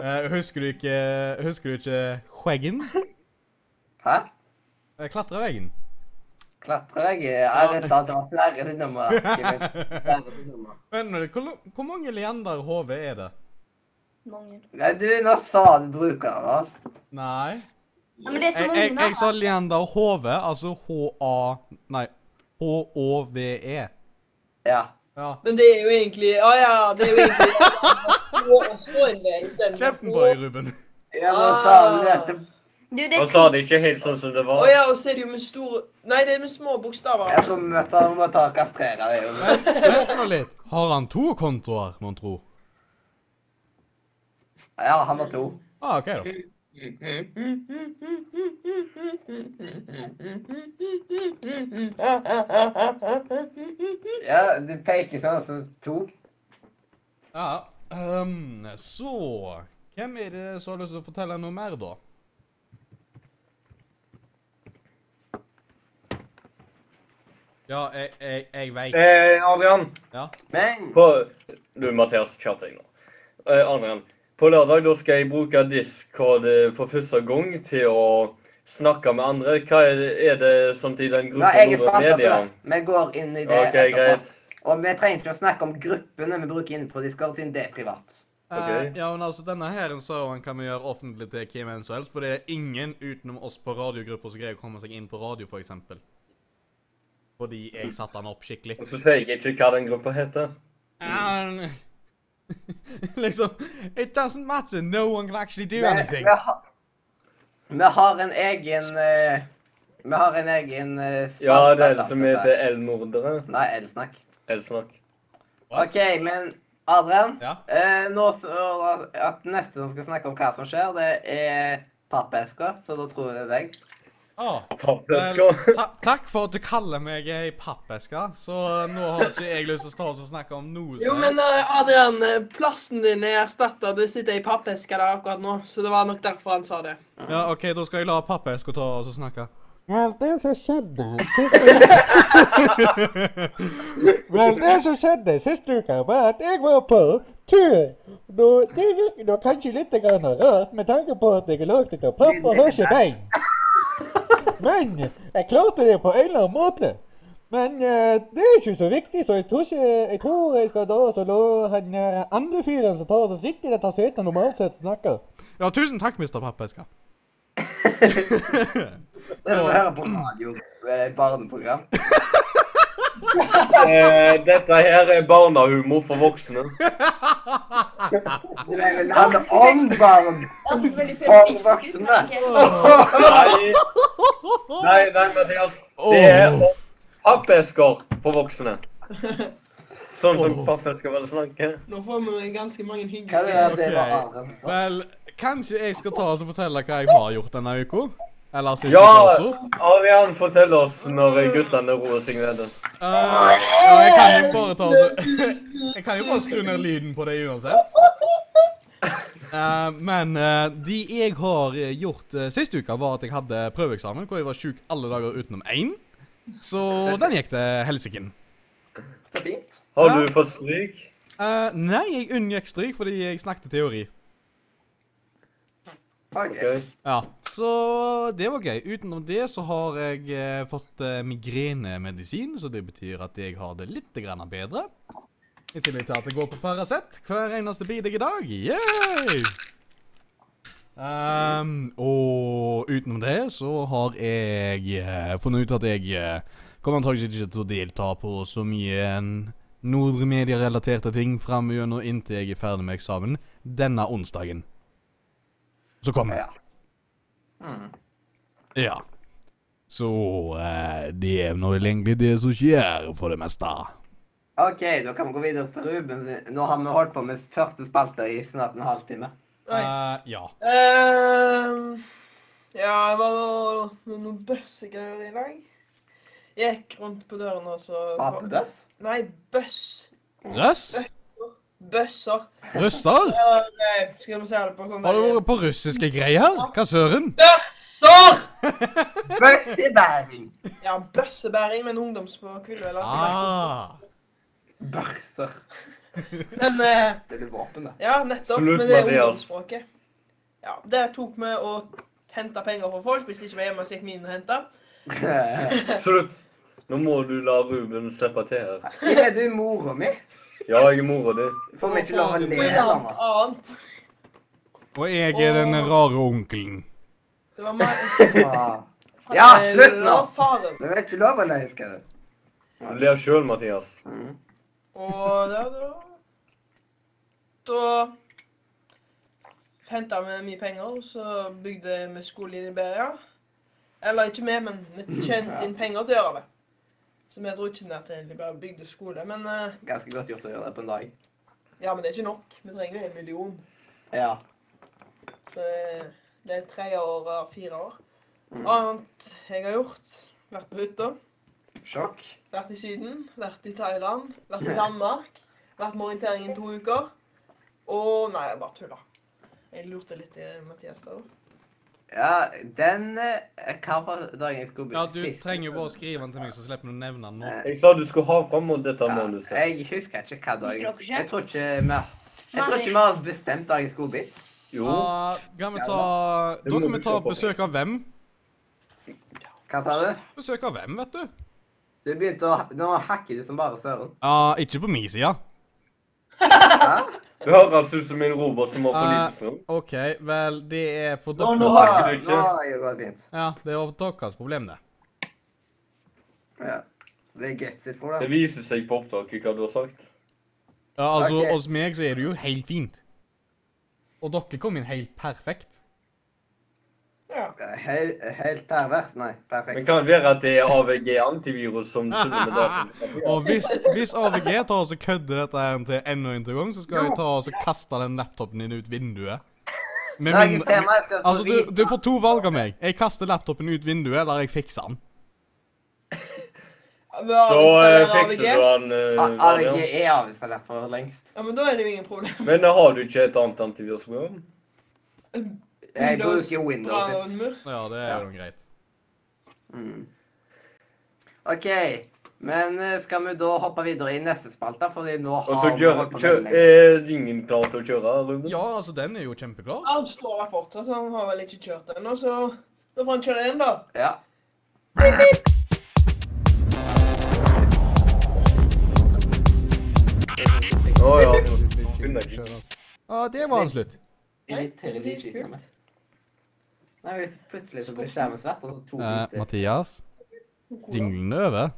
[SPEAKER 2] Eh, husker du ikke Husker du ikke skjeggen?
[SPEAKER 3] Hæ?
[SPEAKER 2] Eh, Klatreveggen?
[SPEAKER 3] Klatrer jeg? Ja, det er sant. Det var Sverre sitt nummer. Kevin.
[SPEAKER 2] *laughs*
[SPEAKER 3] Sverre sitt nummer.
[SPEAKER 2] Men hvor, lo- hvor mange leander HV er det?
[SPEAKER 4] mange.
[SPEAKER 3] Nei, du, nå sa du brukeren altså. hans.
[SPEAKER 2] Nei.
[SPEAKER 4] Ja, men det er så
[SPEAKER 2] Jeg,
[SPEAKER 4] mange
[SPEAKER 2] jeg, jeg sa
[SPEAKER 4] nå.
[SPEAKER 2] leander HV, altså H-A... Nei, H-Å-V-E.
[SPEAKER 3] Ja.
[SPEAKER 2] E. Ja.
[SPEAKER 5] Men det er jo egentlig Ja, ja, det er jo egentlig Stå inn det istedenfor
[SPEAKER 2] Kjeften på
[SPEAKER 4] E.
[SPEAKER 2] deg, Ruben.
[SPEAKER 3] Ja, nå sa du det. til-
[SPEAKER 4] Du, det
[SPEAKER 1] Han sa det ikke helt sånn som det
[SPEAKER 5] Å
[SPEAKER 1] var.
[SPEAKER 5] ja, og så er det jo med stor Nei, det er med små bokstaver.
[SPEAKER 3] Jeg tror vi møtte han om å ta og kastrere deg.
[SPEAKER 2] Vent nå litt. Har han to kontoer, mon tro?
[SPEAKER 3] Ja, han var to.
[SPEAKER 2] Ah, OK, da.
[SPEAKER 3] Ja, du peker sånn, så to.
[SPEAKER 2] Ja. ehm, så Hvem er det som har lyst til å fortelle noe mer, da? Ja, jeg, jeg, jeg veit.
[SPEAKER 1] Eh, Adrian,
[SPEAKER 2] Ja.
[SPEAKER 3] Men
[SPEAKER 1] på Du, Mathias, kjapp deg nå. Eh, Adrian, på lørdag da skal jeg bruke Discord eh, for første gang til å snakke med andre. Hva er det, er det sånt i den
[SPEAKER 3] Nå
[SPEAKER 1] gruppa
[SPEAKER 3] er jeg
[SPEAKER 1] hvor
[SPEAKER 3] spent
[SPEAKER 1] det er
[SPEAKER 3] på det.
[SPEAKER 1] media?
[SPEAKER 3] Vi går inn i det
[SPEAKER 1] OK,
[SPEAKER 3] etterpå.
[SPEAKER 1] greit.
[SPEAKER 3] Og vi trenger ikke å snakke om gruppene vi bruker inne på Discord, siden det er privat.
[SPEAKER 1] Ok.
[SPEAKER 2] Eh, ja, men altså, denne her serveren kan vi gjøre offentlig til hvem enn som helst, for det er ingen utenom oss på radiogrupper som greier å komme seg inn på radio, for eksempel. Fordi jeg satte den opp skikkelig.
[SPEAKER 1] Og så sier jeg ikke hva den gruppa heter.
[SPEAKER 2] Um, *laughs* liksom, it doesn't matter, no one can actually do
[SPEAKER 3] Men
[SPEAKER 2] anything.
[SPEAKER 3] Vi, har, vi har en egen eh, Vi har en egen eh, spalte
[SPEAKER 1] Ja, det er liksom det som
[SPEAKER 3] der.
[SPEAKER 1] heter El-mordere.
[SPEAKER 3] Nei, elsnakk.
[SPEAKER 1] El-snakk.
[SPEAKER 3] OK, men Adrian.
[SPEAKER 2] Ja.
[SPEAKER 3] eh, nå så at neste som skal snakke om hva som skjer, det er pappeska, så da tror jeg det er deg.
[SPEAKER 2] Å, vel,
[SPEAKER 1] Pappesker.
[SPEAKER 2] Ah, eh, *laughs* ta takk for at du kaller meg ei pappeske, så eh, nå har ikke jeg lyst til å stå og snakke om noe
[SPEAKER 5] Jo, men eh, Adrian, eh, plassen din er erstatta. Det sitter ei pappeske der akkurat nå, så det var nok derfor han sa det.
[SPEAKER 2] Ja, OK, da skal jeg la pappeska ta og så snakke.
[SPEAKER 6] Well, det som skjedde sist uke *laughs* Vel, det som skjedde sist uke, var at jeg var på tur. Nå, det virker nå kanskje litt grann rart med tanke på at jeg er lagd av papp og har ikke bein. Men jeg klarte det på en eller annen måte. Men eh, det er ikke så viktig, så jeg tror, ikke, jeg, tror jeg skal da også la han eh, andre fyren som tar og sitter i dette setet normalt sett, snakke.
[SPEAKER 2] Ja, tusen takk, mister pappeska.
[SPEAKER 3] *laughs* Det er som å høre på radio. eh, Barneprogram.
[SPEAKER 1] Eh, dette her er barnehumor for voksne.
[SPEAKER 3] Det er vel han om barn.
[SPEAKER 4] Hørtes veldig
[SPEAKER 3] For
[SPEAKER 4] feministisk ut, men ok.
[SPEAKER 1] Nei, nei, nei Mathias. Det er om pappesker for voksne. Sånn som pappesker vel snakker.
[SPEAKER 5] Nå får vi ganske mange
[SPEAKER 3] Hva er det
[SPEAKER 5] hyggelige
[SPEAKER 3] det var
[SPEAKER 2] Ok.
[SPEAKER 3] Aren? for?
[SPEAKER 2] Vel, kanskje jeg skal ta oss og fortelle hva jeg har gjort denne uka? Eller siste
[SPEAKER 1] Ja!
[SPEAKER 2] også?
[SPEAKER 1] Arian, fortell oss når guttene roer seg ned.
[SPEAKER 2] Eh, ja, jeg kan jo bare ta så- *laughs* Jeg kan jo bare skru ned lyden på det uansett. Eh, men eh, de jeg har eh, gjort uh, sist uke, var at jeg hadde prøveeksamen hvor jeg var sjuk alle dager utenom én. Så den gikk til helsiken.
[SPEAKER 3] Så fint.
[SPEAKER 1] Har du fått stryk?
[SPEAKER 2] Eh, nei, jeg unngikk stryk fordi jeg snakket teori.
[SPEAKER 3] Ok.
[SPEAKER 1] Ok.
[SPEAKER 2] Ja, Så det var gøy. Utenom det så har jeg eh, fått eh, migrenemedisin, så det betyr at jeg har det litt grann bedre. I tillegg til at jeg går på Paracet hver eneste bidige dag. Yay! Ehm, og utenom det så har jeg eh, funnet ut at jeg eh, kommer antakeligvis ikke til å delta på så mye eh, nordre medierelaterte ting framover inntil jeg er ferdig med eksamen denne onsdagen. Så kommer jeg.
[SPEAKER 3] Ja. Mm.
[SPEAKER 2] Ja. Så eh, det er nå vel egentlig det som skjer, for det meste.
[SPEAKER 3] OK, da kan vi gå videre til Ruben. Nå har vi holdt på med første spalte i snart en halvtime.
[SPEAKER 5] Oi.
[SPEAKER 2] Eh, ja.
[SPEAKER 5] Ehm, ja, jeg var med noen bøssegreier i dag. Gikk rundt på døren og så
[SPEAKER 3] Apebøss?
[SPEAKER 5] Nei, bøss.
[SPEAKER 2] Russ?
[SPEAKER 5] Bøsser.
[SPEAKER 2] Russer?
[SPEAKER 5] Eller, eh, skal vi se det på sånn
[SPEAKER 2] Har du vært på russiske greier? Hva søren?
[SPEAKER 5] Bøsser!
[SPEAKER 3] Børsebæring!
[SPEAKER 5] Ja, bøssebæring med en altså, ungdoms på Kvilløy.
[SPEAKER 2] Ah.
[SPEAKER 3] Børser.
[SPEAKER 5] Men eh,
[SPEAKER 3] Det blir våpen, *laughs* det.
[SPEAKER 5] Ja, nettopp.
[SPEAKER 1] Slutt,
[SPEAKER 5] men det er
[SPEAKER 1] Mathias.
[SPEAKER 5] ungdomsspråket. Ja, det tok vi å hente penger fra folk. Hvis de ikke var hjemme, så gikk vi inn og henta.
[SPEAKER 1] Slutt. Nå må du la Ruben slippe til her.
[SPEAKER 3] Hvem er du, mora mi?
[SPEAKER 1] Ja, jeg er mora di.
[SPEAKER 3] Får vi ikke lov å le eller noe?
[SPEAKER 5] Annet.
[SPEAKER 2] Og jeg er den rare onkelen.
[SPEAKER 5] Det var meg.
[SPEAKER 3] Ah. *laughs* Ja, slutt nå!
[SPEAKER 5] Og faren.
[SPEAKER 3] Det er ikke lov å le, skal du.
[SPEAKER 1] Du ler sjøl, Mathias.
[SPEAKER 3] Mm.
[SPEAKER 5] Og ja, da Da henta vi mye penger, og så bygde vi skole i Liberia. Eller ikke vi, men vi tjente inn penger til å gjøre det. Så vi dro ikke ned til Liberia og bygde skole. Men eh,
[SPEAKER 3] Ganske godt gjort å gjøre det på en dag.
[SPEAKER 5] ja, men det er ikke nok. Vi trenger jo en million.
[SPEAKER 3] Ja.
[SPEAKER 5] Så eh, det er tre år av fire år.
[SPEAKER 3] Mm.
[SPEAKER 5] Annet jeg har gjort. Vært på hytta,
[SPEAKER 3] Sjokk.
[SPEAKER 5] vært i Syden, vært i Thailand, vært i Danmark. Vært med orientering i to uker. Og nei, jeg bare tulla. Jeg lurte litt i Mathias der. da.
[SPEAKER 3] Ja, den eh, Hva var dagen jeg skulle
[SPEAKER 2] Ja, du trenger jo bare å skrive den til meg, så slipper du å nevne den nå.
[SPEAKER 3] Eh,
[SPEAKER 1] Jeg sa du skulle ha fram mot dette
[SPEAKER 3] Ja,
[SPEAKER 1] manuset.
[SPEAKER 3] jeg husker ikke hva dag
[SPEAKER 4] Husker dere ikke?
[SPEAKER 3] Jeg tror ikke vi Jeg tror ikke vi har bestemt dag jeg skulle bli.
[SPEAKER 1] Jo.
[SPEAKER 2] Ah, kan vi ta
[SPEAKER 1] Det må
[SPEAKER 2] Da kan
[SPEAKER 1] du
[SPEAKER 2] vi ta
[SPEAKER 1] se på.
[SPEAKER 2] besøk av hvem?
[SPEAKER 3] Hva sa du?
[SPEAKER 2] Besøk av hvem, vet du?
[SPEAKER 3] Du begynte å Nå hakker du som bare søren.
[SPEAKER 2] Ja, ikke på min side.
[SPEAKER 3] Hæ?
[SPEAKER 1] Du høres ut som en robot som har for lite strøm.
[SPEAKER 2] Eh, OK, vel, det er for
[SPEAKER 1] Nå, nå
[SPEAKER 3] Nå
[SPEAKER 1] har-
[SPEAKER 2] deres
[SPEAKER 1] hakker du ikke.
[SPEAKER 3] nå har jeg gått fint.
[SPEAKER 2] Ja, det var deres problem, det.
[SPEAKER 3] Ja. Det er greit sitt
[SPEAKER 1] Det
[SPEAKER 3] problem.
[SPEAKER 1] viser seg på opptaket hva du har sagt.
[SPEAKER 2] Ja, altså,
[SPEAKER 3] Ok.
[SPEAKER 2] hos meg så er det jo helt fint. Og dere kom inn helt perfekt.
[SPEAKER 5] Ja.
[SPEAKER 3] Helt, helt pervers. Nei,
[SPEAKER 1] Men
[SPEAKER 3] perfekt.
[SPEAKER 1] kan det være at det er AVG-antivirus som tuller med dataen?
[SPEAKER 2] Og hvis, hvis AVG tar oss og kødder dette her til enda en gang, så skal jeg ta oss og kaste den laptopen din ut vinduet. Med
[SPEAKER 3] Dagens
[SPEAKER 2] mindre,
[SPEAKER 3] tema jeg skal få
[SPEAKER 2] altså, du,
[SPEAKER 3] vite.
[SPEAKER 2] du får to valg av meg. Jeg kaster laptopen ut vinduet, eller jeg fikser den.
[SPEAKER 5] Vi har
[SPEAKER 1] Da eh,
[SPEAKER 5] installert AVG.
[SPEAKER 1] fikser du han. eh,
[SPEAKER 3] A- AVG
[SPEAKER 1] Adrian.
[SPEAKER 3] er avinstallert for lengst.
[SPEAKER 5] Ja, men da er det jo ingen problem.
[SPEAKER 1] Men eh, har du ikke et annet antivirusprogram?
[SPEAKER 3] Jeg bruker Windows.
[SPEAKER 5] bra
[SPEAKER 3] sitt.
[SPEAKER 5] mur.
[SPEAKER 2] Ja, det er jo greit.
[SPEAKER 3] Mm. OK. Men eh, skal vi da hoppe videre i neste spalte? Fordi nå
[SPEAKER 1] Og så
[SPEAKER 3] har vi
[SPEAKER 1] kjører
[SPEAKER 3] holdt på
[SPEAKER 1] kjø-
[SPEAKER 3] veldig lenge.
[SPEAKER 1] Er ingen klar til å kjøre, Ruben?
[SPEAKER 2] Ja, altså, den er jo kjempeklar.
[SPEAKER 5] Han står der fortsatt, så han har vel ikke kjørt ennå, så da får han kjøre igjen, da.
[SPEAKER 1] eh,
[SPEAKER 3] Ja.
[SPEAKER 1] Å ja. Begynner ikke.
[SPEAKER 2] Ja, det var den slutt.
[SPEAKER 3] Irriterende
[SPEAKER 5] Nei, det er
[SPEAKER 3] skyter
[SPEAKER 5] kult.
[SPEAKER 3] meg. Nei, hvis plutselig så blir skjermen svart, og så to
[SPEAKER 2] Eh,
[SPEAKER 3] biter.
[SPEAKER 2] Mathias,
[SPEAKER 5] Cola.
[SPEAKER 2] jinglen er over.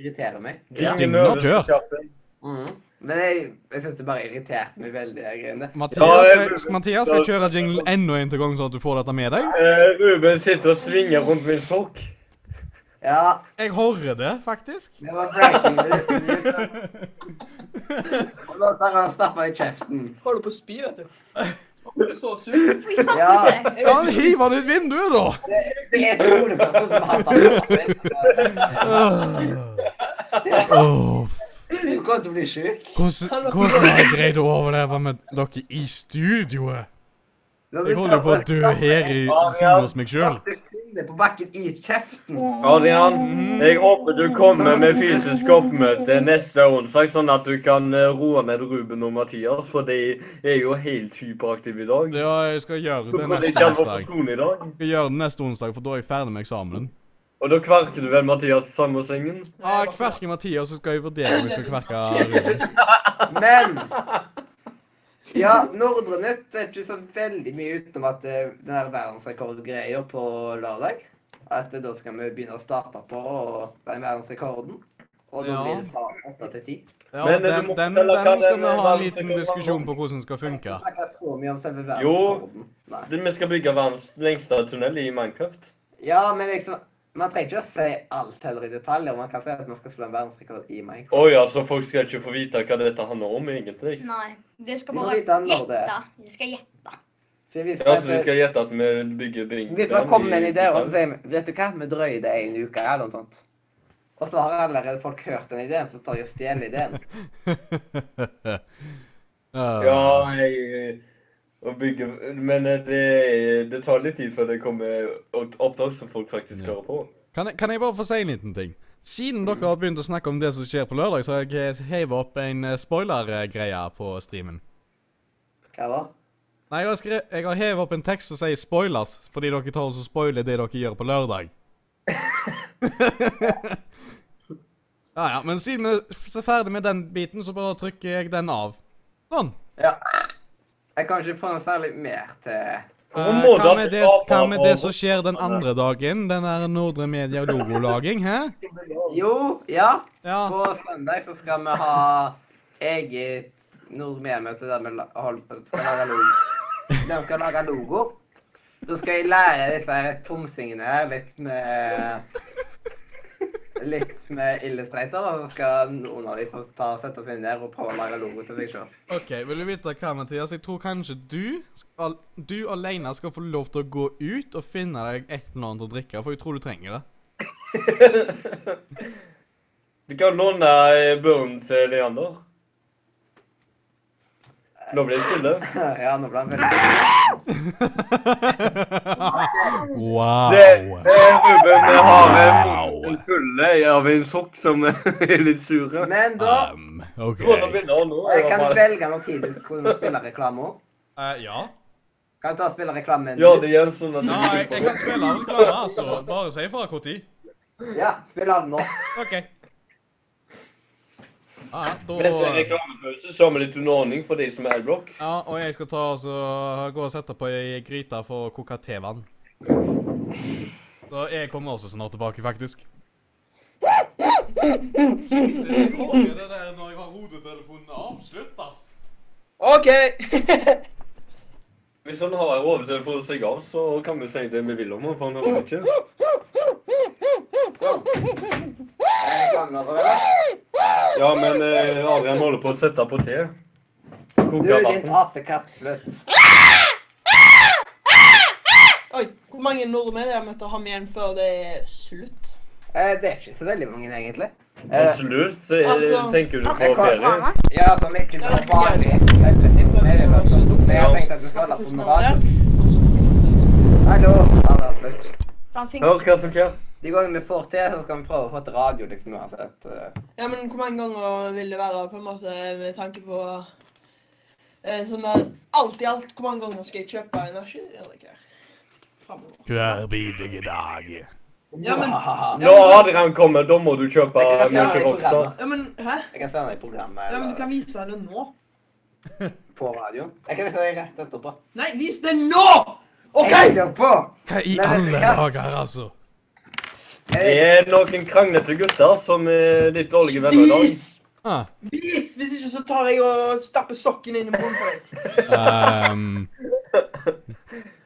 [SPEAKER 3] irriterer meg.
[SPEAKER 2] Ja.
[SPEAKER 1] Tingene høres
[SPEAKER 2] Dør.
[SPEAKER 1] kjappe.
[SPEAKER 3] Mhm. Men jeg, jeg syns det bare irriterte meg veldig, de greiene.
[SPEAKER 1] Ja,
[SPEAKER 2] Mathias,
[SPEAKER 1] jeg-
[SPEAKER 2] skal, Mathias, skal jeg kjøre jinglen enda en til gang, sånn at du får dette med deg?
[SPEAKER 1] Eh, Ruben sitter og svinger rundt min sokk.
[SPEAKER 3] Ja,
[SPEAKER 2] Jeg hører det, faktisk.
[SPEAKER 3] det var breaking news. Og nå tar han og stapper i kjeften.
[SPEAKER 5] Holder på å spy, vet du. Smaker *laughs* Så sur.
[SPEAKER 3] Ja.
[SPEAKER 5] Jeg
[SPEAKER 2] Ta den
[SPEAKER 5] vet
[SPEAKER 2] hiver den ut vinduet,
[SPEAKER 5] *laughs*
[SPEAKER 2] da!
[SPEAKER 3] Det er skoleperson som har tatt
[SPEAKER 2] Åh.
[SPEAKER 3] det.
[SPEAKER 2] Åh,
[SPEAKER 3] Du kommer til å bli sjuk.
[SPEAKER 2] Hvordan, hvordan har jeg greid å overleve med dere i studioet? Jeg holder jo på å dø her i huset hos meg sjøl.
[SPEAKER 3] Du finner på bakken i kjeften.
[SPEAKER 1] Adrian, jeg håper du kommer med fysisk oppmøte neste onsdag, sånn at du kan eh, roe ned Ruben og Mathias, for de er jo helt hyperaktive i dag.
[SPEAKER 2] Ja, jeg skal gjøre det
[SPEAKER 1] Hvorfor de
[SPEAKER 2] neste
[SPEAKER 1] ikke var på
[SPEAKER 2] onsdag.
[SPEAKER 1] skolen i dag?
[SPEAKER 2] Jeg skal gjøre det neste onsdag, for da er jeg ferdig med eksamen.
[SPEAKER 1] Og da kverker du vel Mathias i samme slengen?
[SPEAKER 2] Ja, jeg kverker Mathias, så skal jeg vurdere om jeg skal
[SPEAKER 5] *laughs*
[SPEAKER 2] kverke Ruben.
[SPEAKER 3] Men Ja, Nordre Nytt er ikke så veldig mye utenom at det den der verdensrekordgreia på lørdag. At eh, da skal vi begynne å starte på og den verdensrekorden. Og da
[SPEAKER 2] Ja.
[SPEAKER 3] blir det fra åtte til ti.
[SPEAKER 2] Ja,
[SPEAKER 1] Men, eh,
[SPEAKER 2] den,
[SPEAKER 1] du må
[SPEAKER 2] den,
[SPEAKER 1] fortelle hva
[SPEAKER 2] den skal
[SPEAKER 1] den
[SPEAKER 2] vi ha en
[SPEAKER 1] verdensrekorden
[SPEAKER 2] liten
[SPEAKER 1] var.
[SPEAKER 2] diskusjon på hvordan den skal funke. *laughs*
[SPEAKER 3] Vi snakker så mye om selve
[SPEAKER 1] Jo.
[SPEAKER 3] verdensrekorden. Nei.
[SPEAKER 1] Det- Vi skal bygge verdens lengste tunnel i Minecraft.
[SPEAKER 3] Ja, men liksom Man trenger ikke å si alt heller i detaljer. Man kan si at man skal slå en verdensrekord i Minecraft.
[SPEAKER 1] Å ja, så folk skal ikke få vite hva dette handler om, egentlig.
[SPEAKER 4] Nei, det skal
[SPEAKER 3] Vi må
[SPEAKER 4] bare
[SPEAKER 3] vite han når det er.
[SPEAKER 4] gjette. Det skal gjette.
[SPEAKER 3] Så hvis,
[SPEAKER 1] Ja, så de skal gjette at vi bygger bing.
[SPEAKER 3] hvis man kommer med en idé og så sier vi, Vet du hva, vi drøyer det en uke eller noe sånt. Og så har allerede folk hørt den ideen, så tar de og stjeler ideen.
[SPEAKER 2] Ah.
[SPEAKER 1] Ja, jeg og bygge, Men eh, det, det tar litt tid før det kommer opp- opptak som folk faktisk hører på.
[SPEAKER 2] Kan jeg, kan jeg bare få si en liten ting? Siden dere har begynt å snakke om det som skjer på lørdag, så har jeg hevet opp en eh, spoiler-greie på streamen.
[SPEAKER 3] Hva da?
[SPEAKER 2] Nei, jeg har, skre- jeg har hevet opp en tekst som sier spoilers, fordi dere tar og så spoiler det dere gjør på
[SPEAKER 1] *laughs*
[SPEAKER 2] lørdag. ja, ja, men siden vi f- er ferdig med den biten, så bare trykker jeg den av. Sånn.
[SPEAKER 3] Ja. Jeg kan ikke få noe særlig mer til
[SPEAKER 1] Hvorfor
[SPEAKER 2] Eh,
[SPEAKER 1] må
[SPEAKER 2] hva
[SPEAKER 1] da
[SPEAKER 2] med
[SPEAKER 1] bli
[SPEAKER 2] det,
[SPEAKER 1] av-
[SPEAKER 2] hva med
[SPEAKER 1] av-
[SPEAKER 2] det som skjer den andre dagen? Den der Nordre Media logolaging, hæ?
[SPEAKER 3] Jo, ja.
[SPEAKER 2] Ja.
[SPEAKER 3] På søndag så skal vi ha eget Nordmea-møte der vi la- hold- skal lage logo. Der vi skal lage logo. Så skal jeg lære disse her tomsingene her litt med Litt med illustrator, og så skal noen av de få ta og sette seg ned og prøve å lage logo til seg sjøl.
[SPEAKER 2] OK, vil du vite hva, Mathias? Jeg tror kanskje du skal, du alene skal få lov til å gå ut og finne deg et eller annet å drikke, for jeg tror du trenger det.
[SPEAKER 1] Vi kan låne eh, børen til Leander. Nå ble det stille.
[SPEAKER 3] *laughs* Ja, nå ble han veldig
[SPEAKER 2] Wow.
[SPEAKER 1] Det, eh, Ruben har en- en fulle av en sokk som *laughs* er litt sur. her.
[SPEAKER 3] Men da
[SPEAKER 2] Um, OK.
[SPEAKER 1] Du må ta bilde av nå.
[SPEAKER 3] Jeg kan
[SPEAKER 1] bare-
[SPEAKER 3] velge når tid du kan spille reklame òg.
[SPEAKER 2] Eh, ja.
[SPEAKER 3] Kan du ta og spille reklame?
[SPEAKER 1] Gjør det igjen, sånn at
[SPEAKER 2] ja jeg, jeg kan spille av reklame, altså. Bare si ifra når.
[SPEAKER 3] Ja, spill av nå.
[SPEAKER 2] OK. Ah, Ja, ja,
[SPEAKER 1] Men etter en
[SPEAKER 2] da
[SPEAKER 1] reklamepause så har vi litt underordning for de som er adblock.
[SPEAKER 2] Ja, og jeg skal ta og så gå og sette på ei gryte for å koke tevann. Så jeg kommer også snart tilbake, faktisk. Jesus, jeg håper det der når jeg har hodetelefonen avslutt, ass.
[SPEAKER 5] OK! *laughs*
[SPEAKER 1] Hvis han har en hodetelefon som seg av, så kan vi si det vi vil om han, for han hører ikke.
[SPEAKER 3] Reklame over, eller?
[SPEAKER 1] Ja, men eh, Adrian holder på å sette på te.
[SPEAKER 3] Du,
[SPEAKER 1] Koke
[SPEAKER 3] din
[SPEAKER 1] vatten.
[SPEAKER 3] apekatt. Slutt.
[SPEAKER 5] Oi, hvor mange nordmenn jeg møtte ham igjen før det er slutt?
[SPEAKER 3] Eh, det er ikke så veldig mange, egentlig.
[SPEAKER 1] Og
[SPEAKER 3] Eh,
[SPEAKER 1] slutt, så, eh,
[SPEAKER 5] Altså-
[SPEAKER 1] tenker du på
[SPEAKER 3] Jeg kan-
[SPEAKER 1] ferie?
[SPEAKER 3] ja, som ikke noe vanlig. veldig simpel, det er jo sånn. Men jeg tenkte at du skal holde på med radio. Hallo. Ja, det er slutt.
[SPEAKER 4] Så han fikk
[SPEAKER 1] Hør hva som skjer.
[SPEAKER 3] De gangene vi får til, så skal vi prøve å få til radio, liksom, uansett. eh.
[SPEAKER 5] Ja, men hvor mange ganger vil det være på en måte med tanke på eh, sånn der, Alt i alt, hvor mange ganger skal jeg kjøpe energi? Eller ikke? Fremover.
[SPEAKER 2] Hver bidige dag.
[SPEAKER 5] Ja, men-
[SPEAKER 3] Jeg
[SPEAKER 1] Når Adrian kommer, da må du kjøpe
[SPEAKER 3] kan se den i
[SPEAKER 1] mye Rockstar.
[SPEAKER 3] programmet.
[SPEAKER 5] Ja, men hæ?
[SPEAKER 3] Jeg kan se den i programmet
[SPEAKER 5] Ja, men Du kan
[SPEAKER 3] eller
[SPEAKER 5] vise det nå.
[SPEAKER 3] *laughs* på radioen. Jeg kan vise den rett etterpå.
[SPEAKER 5] Nei, vis det nå! OK?
[SPEAKER 3] Jeg er på!
[SPEAKER 2] Hva i
[SPEAKER 3] Nei, vet du
[SPEAKER 2] alle
[SPEAKER 3] hva?
[SPEAKER 2] dager, altså?
[SPEAKER 1] Det er noen kranglete gutter som er litt dårlige venner i dag.
[SPEAKER 5] Vis!
[SPEAKER 2] Ah,
[SPEAKER 5] Vis! Hvis ikke så tar jeg og stapper sokken inn i munnen på deg.
[SPEAKER 2] ehm,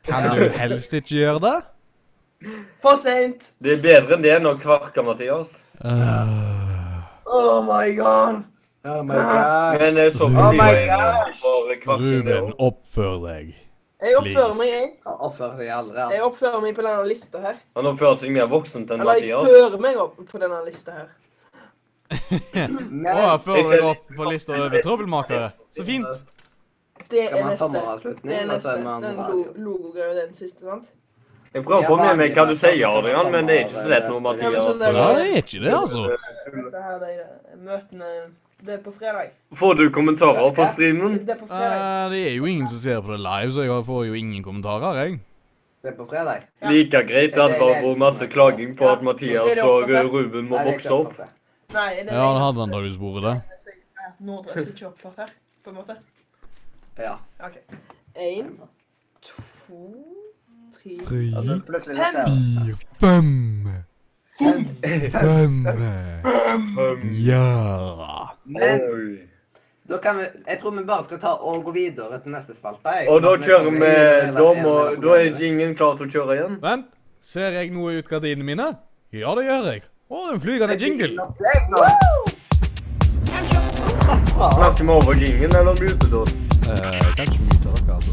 [SPEAKER 2] kan du helst ikke gjøre det?
[SPEAKER 5] For sent.
[SPEAKER 1] Det er bedre enn det enn å kvarke, Mathias.
[SPEAKER 2] Ah,
[SPEAKER 5] Oh my god.
[SPEAKER 3] Oh my god.
[SPEAKER 1] Men eh, så
[SPEAKER 2] Oh
[SPEAKER 1] blir
[SPEAKER 2] my
[SPEAKER 1] jeg
[SPEAKER 5] gosh.
[SPEAKER 1] for kvarken. det
[SPEAKER 2] Ruben,
[SPEAKER 1] også.
[SPEAKER 2] oppfør deg.
[SPEAKER 5] Jeg oppfører
[SPEAKER 2] Please.
[SPEAKER 5] meg, jeg.
[SPEAKER 3] Han oppfører seg aldri.
[SPEAKER 5] Jeg
[SPEAKER 3] han.
[SPEAKER 5] oppfører meg på denne lista her.
[SPEAKER 1] Han oppfører seg mer voksent enn
[SPEAKER 5] Eller jeg
[SPEAKER 1] Mathias.
[SPEAKER 5] fører meg opp på denne lista her.
[SPEAKER 2] Å,
[SPEAKER 3] Men
[SPEAKER 2] før du går opp på lista over trøbbelmakere. Så fint.
[SPEAKER 5] Det
[SPEAKER 3] skal
[SPEAKER 5] er
[SPEAKER 3] vi ha
[SPEAKER 5] neste. Det er
[SPEAKER 3] sommeravslutning, og så
[SPEAKER 5] neste.
[SPEAKER 3] er vi andre
[SPEAKER 5] Den
[SPEAKER 3] radio?
[SPEAKER 5] lo- logogreia, den siste, sant?
[SPEAKER 1] Jeg prøver å få med meg hva du sier, Adrian, men det er ikke så lett når Mathias
[SPEAKER 2] Nei, det sånn er ikke det, altså.
[SPEAKER 5] Det her de eh, møtene Det er på fredag.
[SPEAKER 1] Får du kommentarer på
[SPEAKER 3] Mm.
[SPEAKER 1] streamen?
[SPEAKER 5] Det er på fredag.
[SPEAKER 2] Eh, det er jo ingen som ser på det live, så jeg får jo ingen kommentarer, jeg.
[SPEAKER 3] Det er på fredag.
[SPEAKER 1] Like greit at det var masse klaging på at Mathias og Ruben må
[SPEAKER 3] Nei, det er
[SPEAKER 1] vokse
[SPEAKER 3] ikke
[SPEAKER 1] opp.
[SPEAKER 3] opptatt, det.
[SPEAKER 5] Nei, det
[SPEAKER 2] Ja, det hadde antakeligvis vært det.
[SPEAKER 5] Nordre er ikke oppført her, på en måte.
[SPEAKER 3] Ja.
[SPEAKER 5] OK. Én, to, tre
[SPEAKER 3] Og så plutselig
[SPEAKER 5] Fem.
[SPEAKER 3] neste år.
[SPEAKER 2] fire, fem,
[SPEAKER 3] Mm. Fem.
[SPEAKER 2] fem, ja.
[SPEAKER 3] Men
[SPEAKER 1] Um, Oi.
[SPEAKER 3] da kan vi Jeg tror vi bare skal ta og gå videre til neste spalte. jeg. Sånn
[SPEAKER 1] Og da kjører vi Da, må, da er
[SPEAKER 3] Jing
[SPEAKER 1] jingen klar til å kjøre igjen.
[SPEAKER 2] Vent, ser jeg noe ut gardinene mine? Ja, det gjør jeg. Å, det er en flygende jingle.
[SPEAKER 1] Snakker vi over jingen, eller blir det utedås?
[SPEAKER 2] Eh, kanskje mye til dere, altså.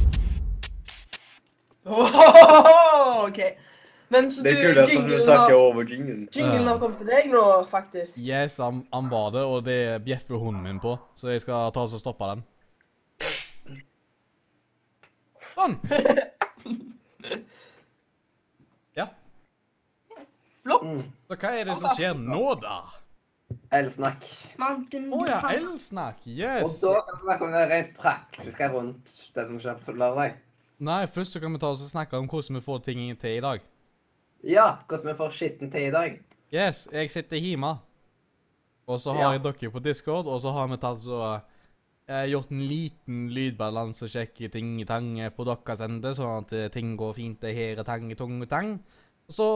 [SPEAKER 5] Ohohoho, *laughs* OK. Men så du
[SPEAKER 1] Det er kult at du
[SPEAKER 5] jinglen
[SPEAKER 1] snakker
[SPEAKER 5] har-
[SPEAKER 1] over jingen.
[SPEAKER 5] Jinglen har kommet til deg nå, faktisk.
[SPEAKER 2] Yes, han, han var det, og det bjeffer hunden min på, så jeg skal ta oss og stoppe den. Sånn. Ja,
[SPEAKER 5] Flott.
[SPEAKER 2] så hva er det som skjer nå, da?
[SPEAKER 3] Elsnakk.
[SPEAKER 4] Mountain
[SPEAKER 2] Å ja,
[SPEAKER 4] Dew.
[SPEAKER 2] elsnakk.
[SPEAKER 3] Og
[SPEAKER 2] Yes.
[SPEAKER 3] da kan vi snakke om det rent praktiske rundt det som skjer på lørdag.
[SPEAKER 2] Nei, først så kan vi ta oss og snakke om hvordan vi får ting til i dag.
[SPEAKER 3] Ja, hvordan vi får skitten til i dag.
[SPEAKER 2] Yes, jeg sitter hjemme. Og så
[SPEAKER 3] Ja.
[SPEAKER 2] har jeg dere på Discord, og så har vi tatt så eh, gjort en liten lydbalansesjekk i ting i tang eh, på deres ende, sånn at eh, ting går fint det her i tang i tung i tang. Og så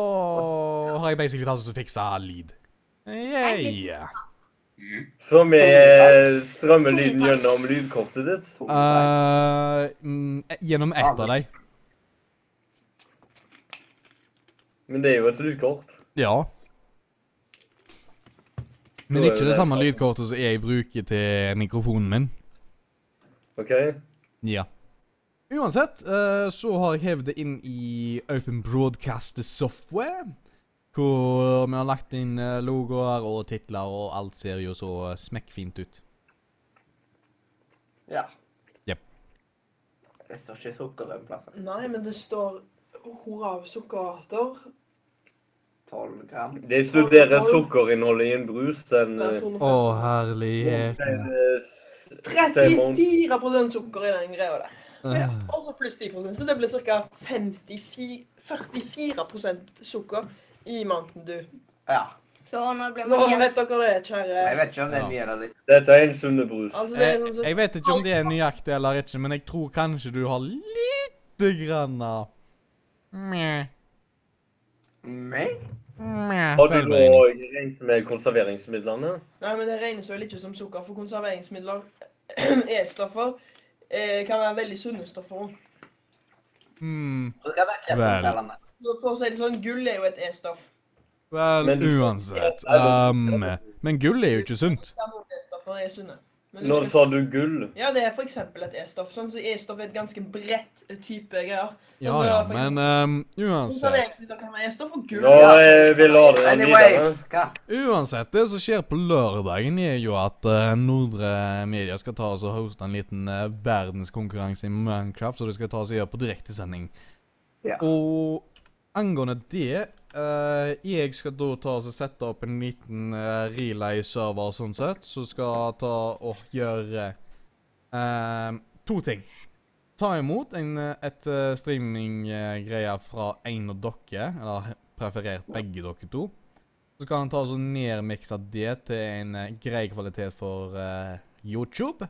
[SPEAKER 2] har jeg basically tatt oss og fiksa lyd. Yeah.
[SPEAKER 1] Så vi eh, strømmer lyden gjennom lydkortet ditt.
[SPEAKER 3] To dager.
[SPEAKER 2] Eh, mm, gjennom ett av dem.
[SPEAKER 1] Men det er jo et lydkort.
[SPEAKER 2] Ja. Men
[SPEAKER 1] Da er
[SPEAKER 2] ikke
[SPEAKER 1] jo
[SPEAKER 2] det
[SPEAKER 1] det
[SPEAKER 2] samme
[SPEAKER 1] sant.
[SPEAKER 2] lydkortet som jeg bruker til mikrofonen min.
[SPEAKER 1] OK?
[SPEAKER 2] Ja. Uansett, eh, så har jeg hevet det inn i Open Broadcaster Software. Hvor vi har lagt inn eh, logoer og titler, og alt ser jo så eh, smekkfint ut.
[SPEAKER 3] Ja.
[SPEAKER 2] Jep.
[SPEAKER 3] Det står ikke sukker en plass.
[SPEAKER 5] Nei, men det står Hurra sukkerarter.
[SPEAKER 3] Tolv gram.
[SPEAKER 1] De studerer sukkerinnholdet i en brus. Den eh,
[SPEAKER 2] Å, herlighet.
[SPEAKER 1] den, eh, s- Simon-
[SPEAKER 5] 34 sukker i den greia der.
[SPEAKER 2] Eh,
[SPEAKER 5] Og så pluss 10 så det blir ca. 44 sukker i Mountain Dew.
[SPEAKER 3] Ja.
[SPEAKER 4] Så nå
[SPEAKER 5] Så
[SPEAKER 4] blir
[SPEAKER 5] nå vet
[SPEAKER 4] Mathias
[SPEAKER 5] dere det, kjære.
[SPEAKER 3] Jeg vet ikke om det er
[SPEAKER 2] Ja.
[SPEAKER 3] mye eller litt.
[SPEAKER 1] Dette er en sunnebrus.
[SPEAKER 5] Altså, det er
[SPEAKER 2] Jeg,
[SPEAKER 5] sånn som
[SPEAKER 2] eh, jeg vet ikke om det er nøyaktig eller ikke, men jeg tror kanskje du har lite grann av Meh.
[SPEAKER 3] Meg?
[SPEAKER 2] Meh.
[SPEAKER 1] Har
[SPEAKER 2] feil
[SPEAKER 1] du
[SPEAKER 2] vei.
[SPEAKER 1] òg regnet med konserveringsmidlene?
[SPEAKER 5] Nei, men det regnes vel ikke som sukker, for konserveringsmidler, *clears throat* E-stoffer, eh, kan være veldig sunne stoffer. også.
[SPEAKER 2] Hmm.
[SPEAKER 3] Og det kan være kreftfremkallende.
[SPEAKER 5] Så For å si det sånn, gull er jo et E-stoff.
[SPEAKER 2] Vel,
[SPEAKER 1] Men du-
[SPEAKER 2] uansett. Um, men gull er jo ikke sunt.
[SPEAKER 5] Ja, noen E-stoffer er sunne. Men du
[SPEAKER 1] Når
[SPEAKER 5] skal-
[SPEAKER 1] sa du gull?
[SPEAKER 5] Ja, det er for eksempel et E-stoff. Sånn så E-stoff er et ganske bredt eh, type greier. Sånn
[SPEAKER 2] Ja ja, men um, uansett.
[SPEAKER 5] Konserveringsmidler kan være E-stoff og gull.
[SPEAKER 1] Nå eh, vil Adrian videre.
[SPEAKER 3] Anyways, hva?
[SPEAKER 2] Uansett, det som skjer på lørdagen, er jo at eh, Nordre Media skal ta oss og hoste en liten eh, verdenskonkurranse i Minecraft, så det skal ta oss og gjøre på direktesending.
[SPEAKER 3] Ja.
[SPEAKER 2] Og angående det eh, Jeg skal da ta oss og sette opp en liten eh, relay-server, sånn sett, som skal ta og gjøre eh, to ting. Ta imot en, eh, et eh, streaminggreie fra en av dere, eller preferert begge dere to. Så skal han ta og så nedmikse det til en eh, grei kvalitet for eh, YouTube.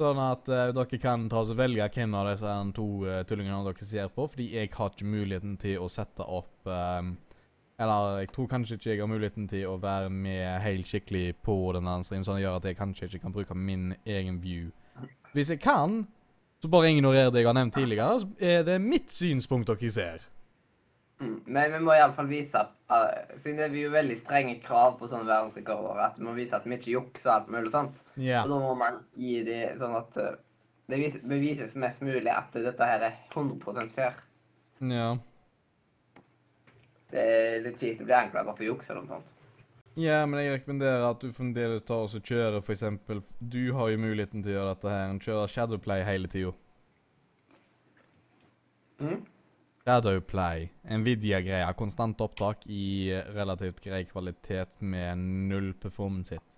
[SPEAKER 2] Sånn at eh, dere kan ta og så velge hvem av disse her to eh, tullingene dere ser på, fordi jeg har ikke muligheten til å sette opp eh, Eller jeg tror kanskje ikke jeg har muligheten til å være med helt skikkelig på den andre streamen, så det gjør at jeg kanskje ikke kan bruke min egen view. Hvis jeg kan, så bare ignorer det jeg har nevnt tidligere, så er det mitt synspunkt dere ser.
[SPEAKER 3] Mm, Men vi må iallfall vise at, eh, siden det er jo veldig strenge krav på sånne verdensrekorder, at vi må vise at vi ikke jukser og alt mulig sånt.
[SPEAKER 2] Ja.
[SPEAKER 3] Og da må man gi de sånn at eh, det vis- bevises mest mulig at dette her er 100 fair.
[SPEAKER 2] Ja.
[SPEAKER 3] Det er litt kjipt å bli anklaget for juks eller noe sånt.
[SPEAKER 2] Ja, men jeg rekommenderer at du fremdeles tar oss og kjører, for eksempel. Du har jo muligheten til å gjøre dette her. Kjøre Shadowplay hele tida.
[SPEAKER 3] Mhm.
[SPEAKER 2] Shadowplay. Nvidia-greia. Konstant opptak i eh, relativt grei kvalitet med null performance hit.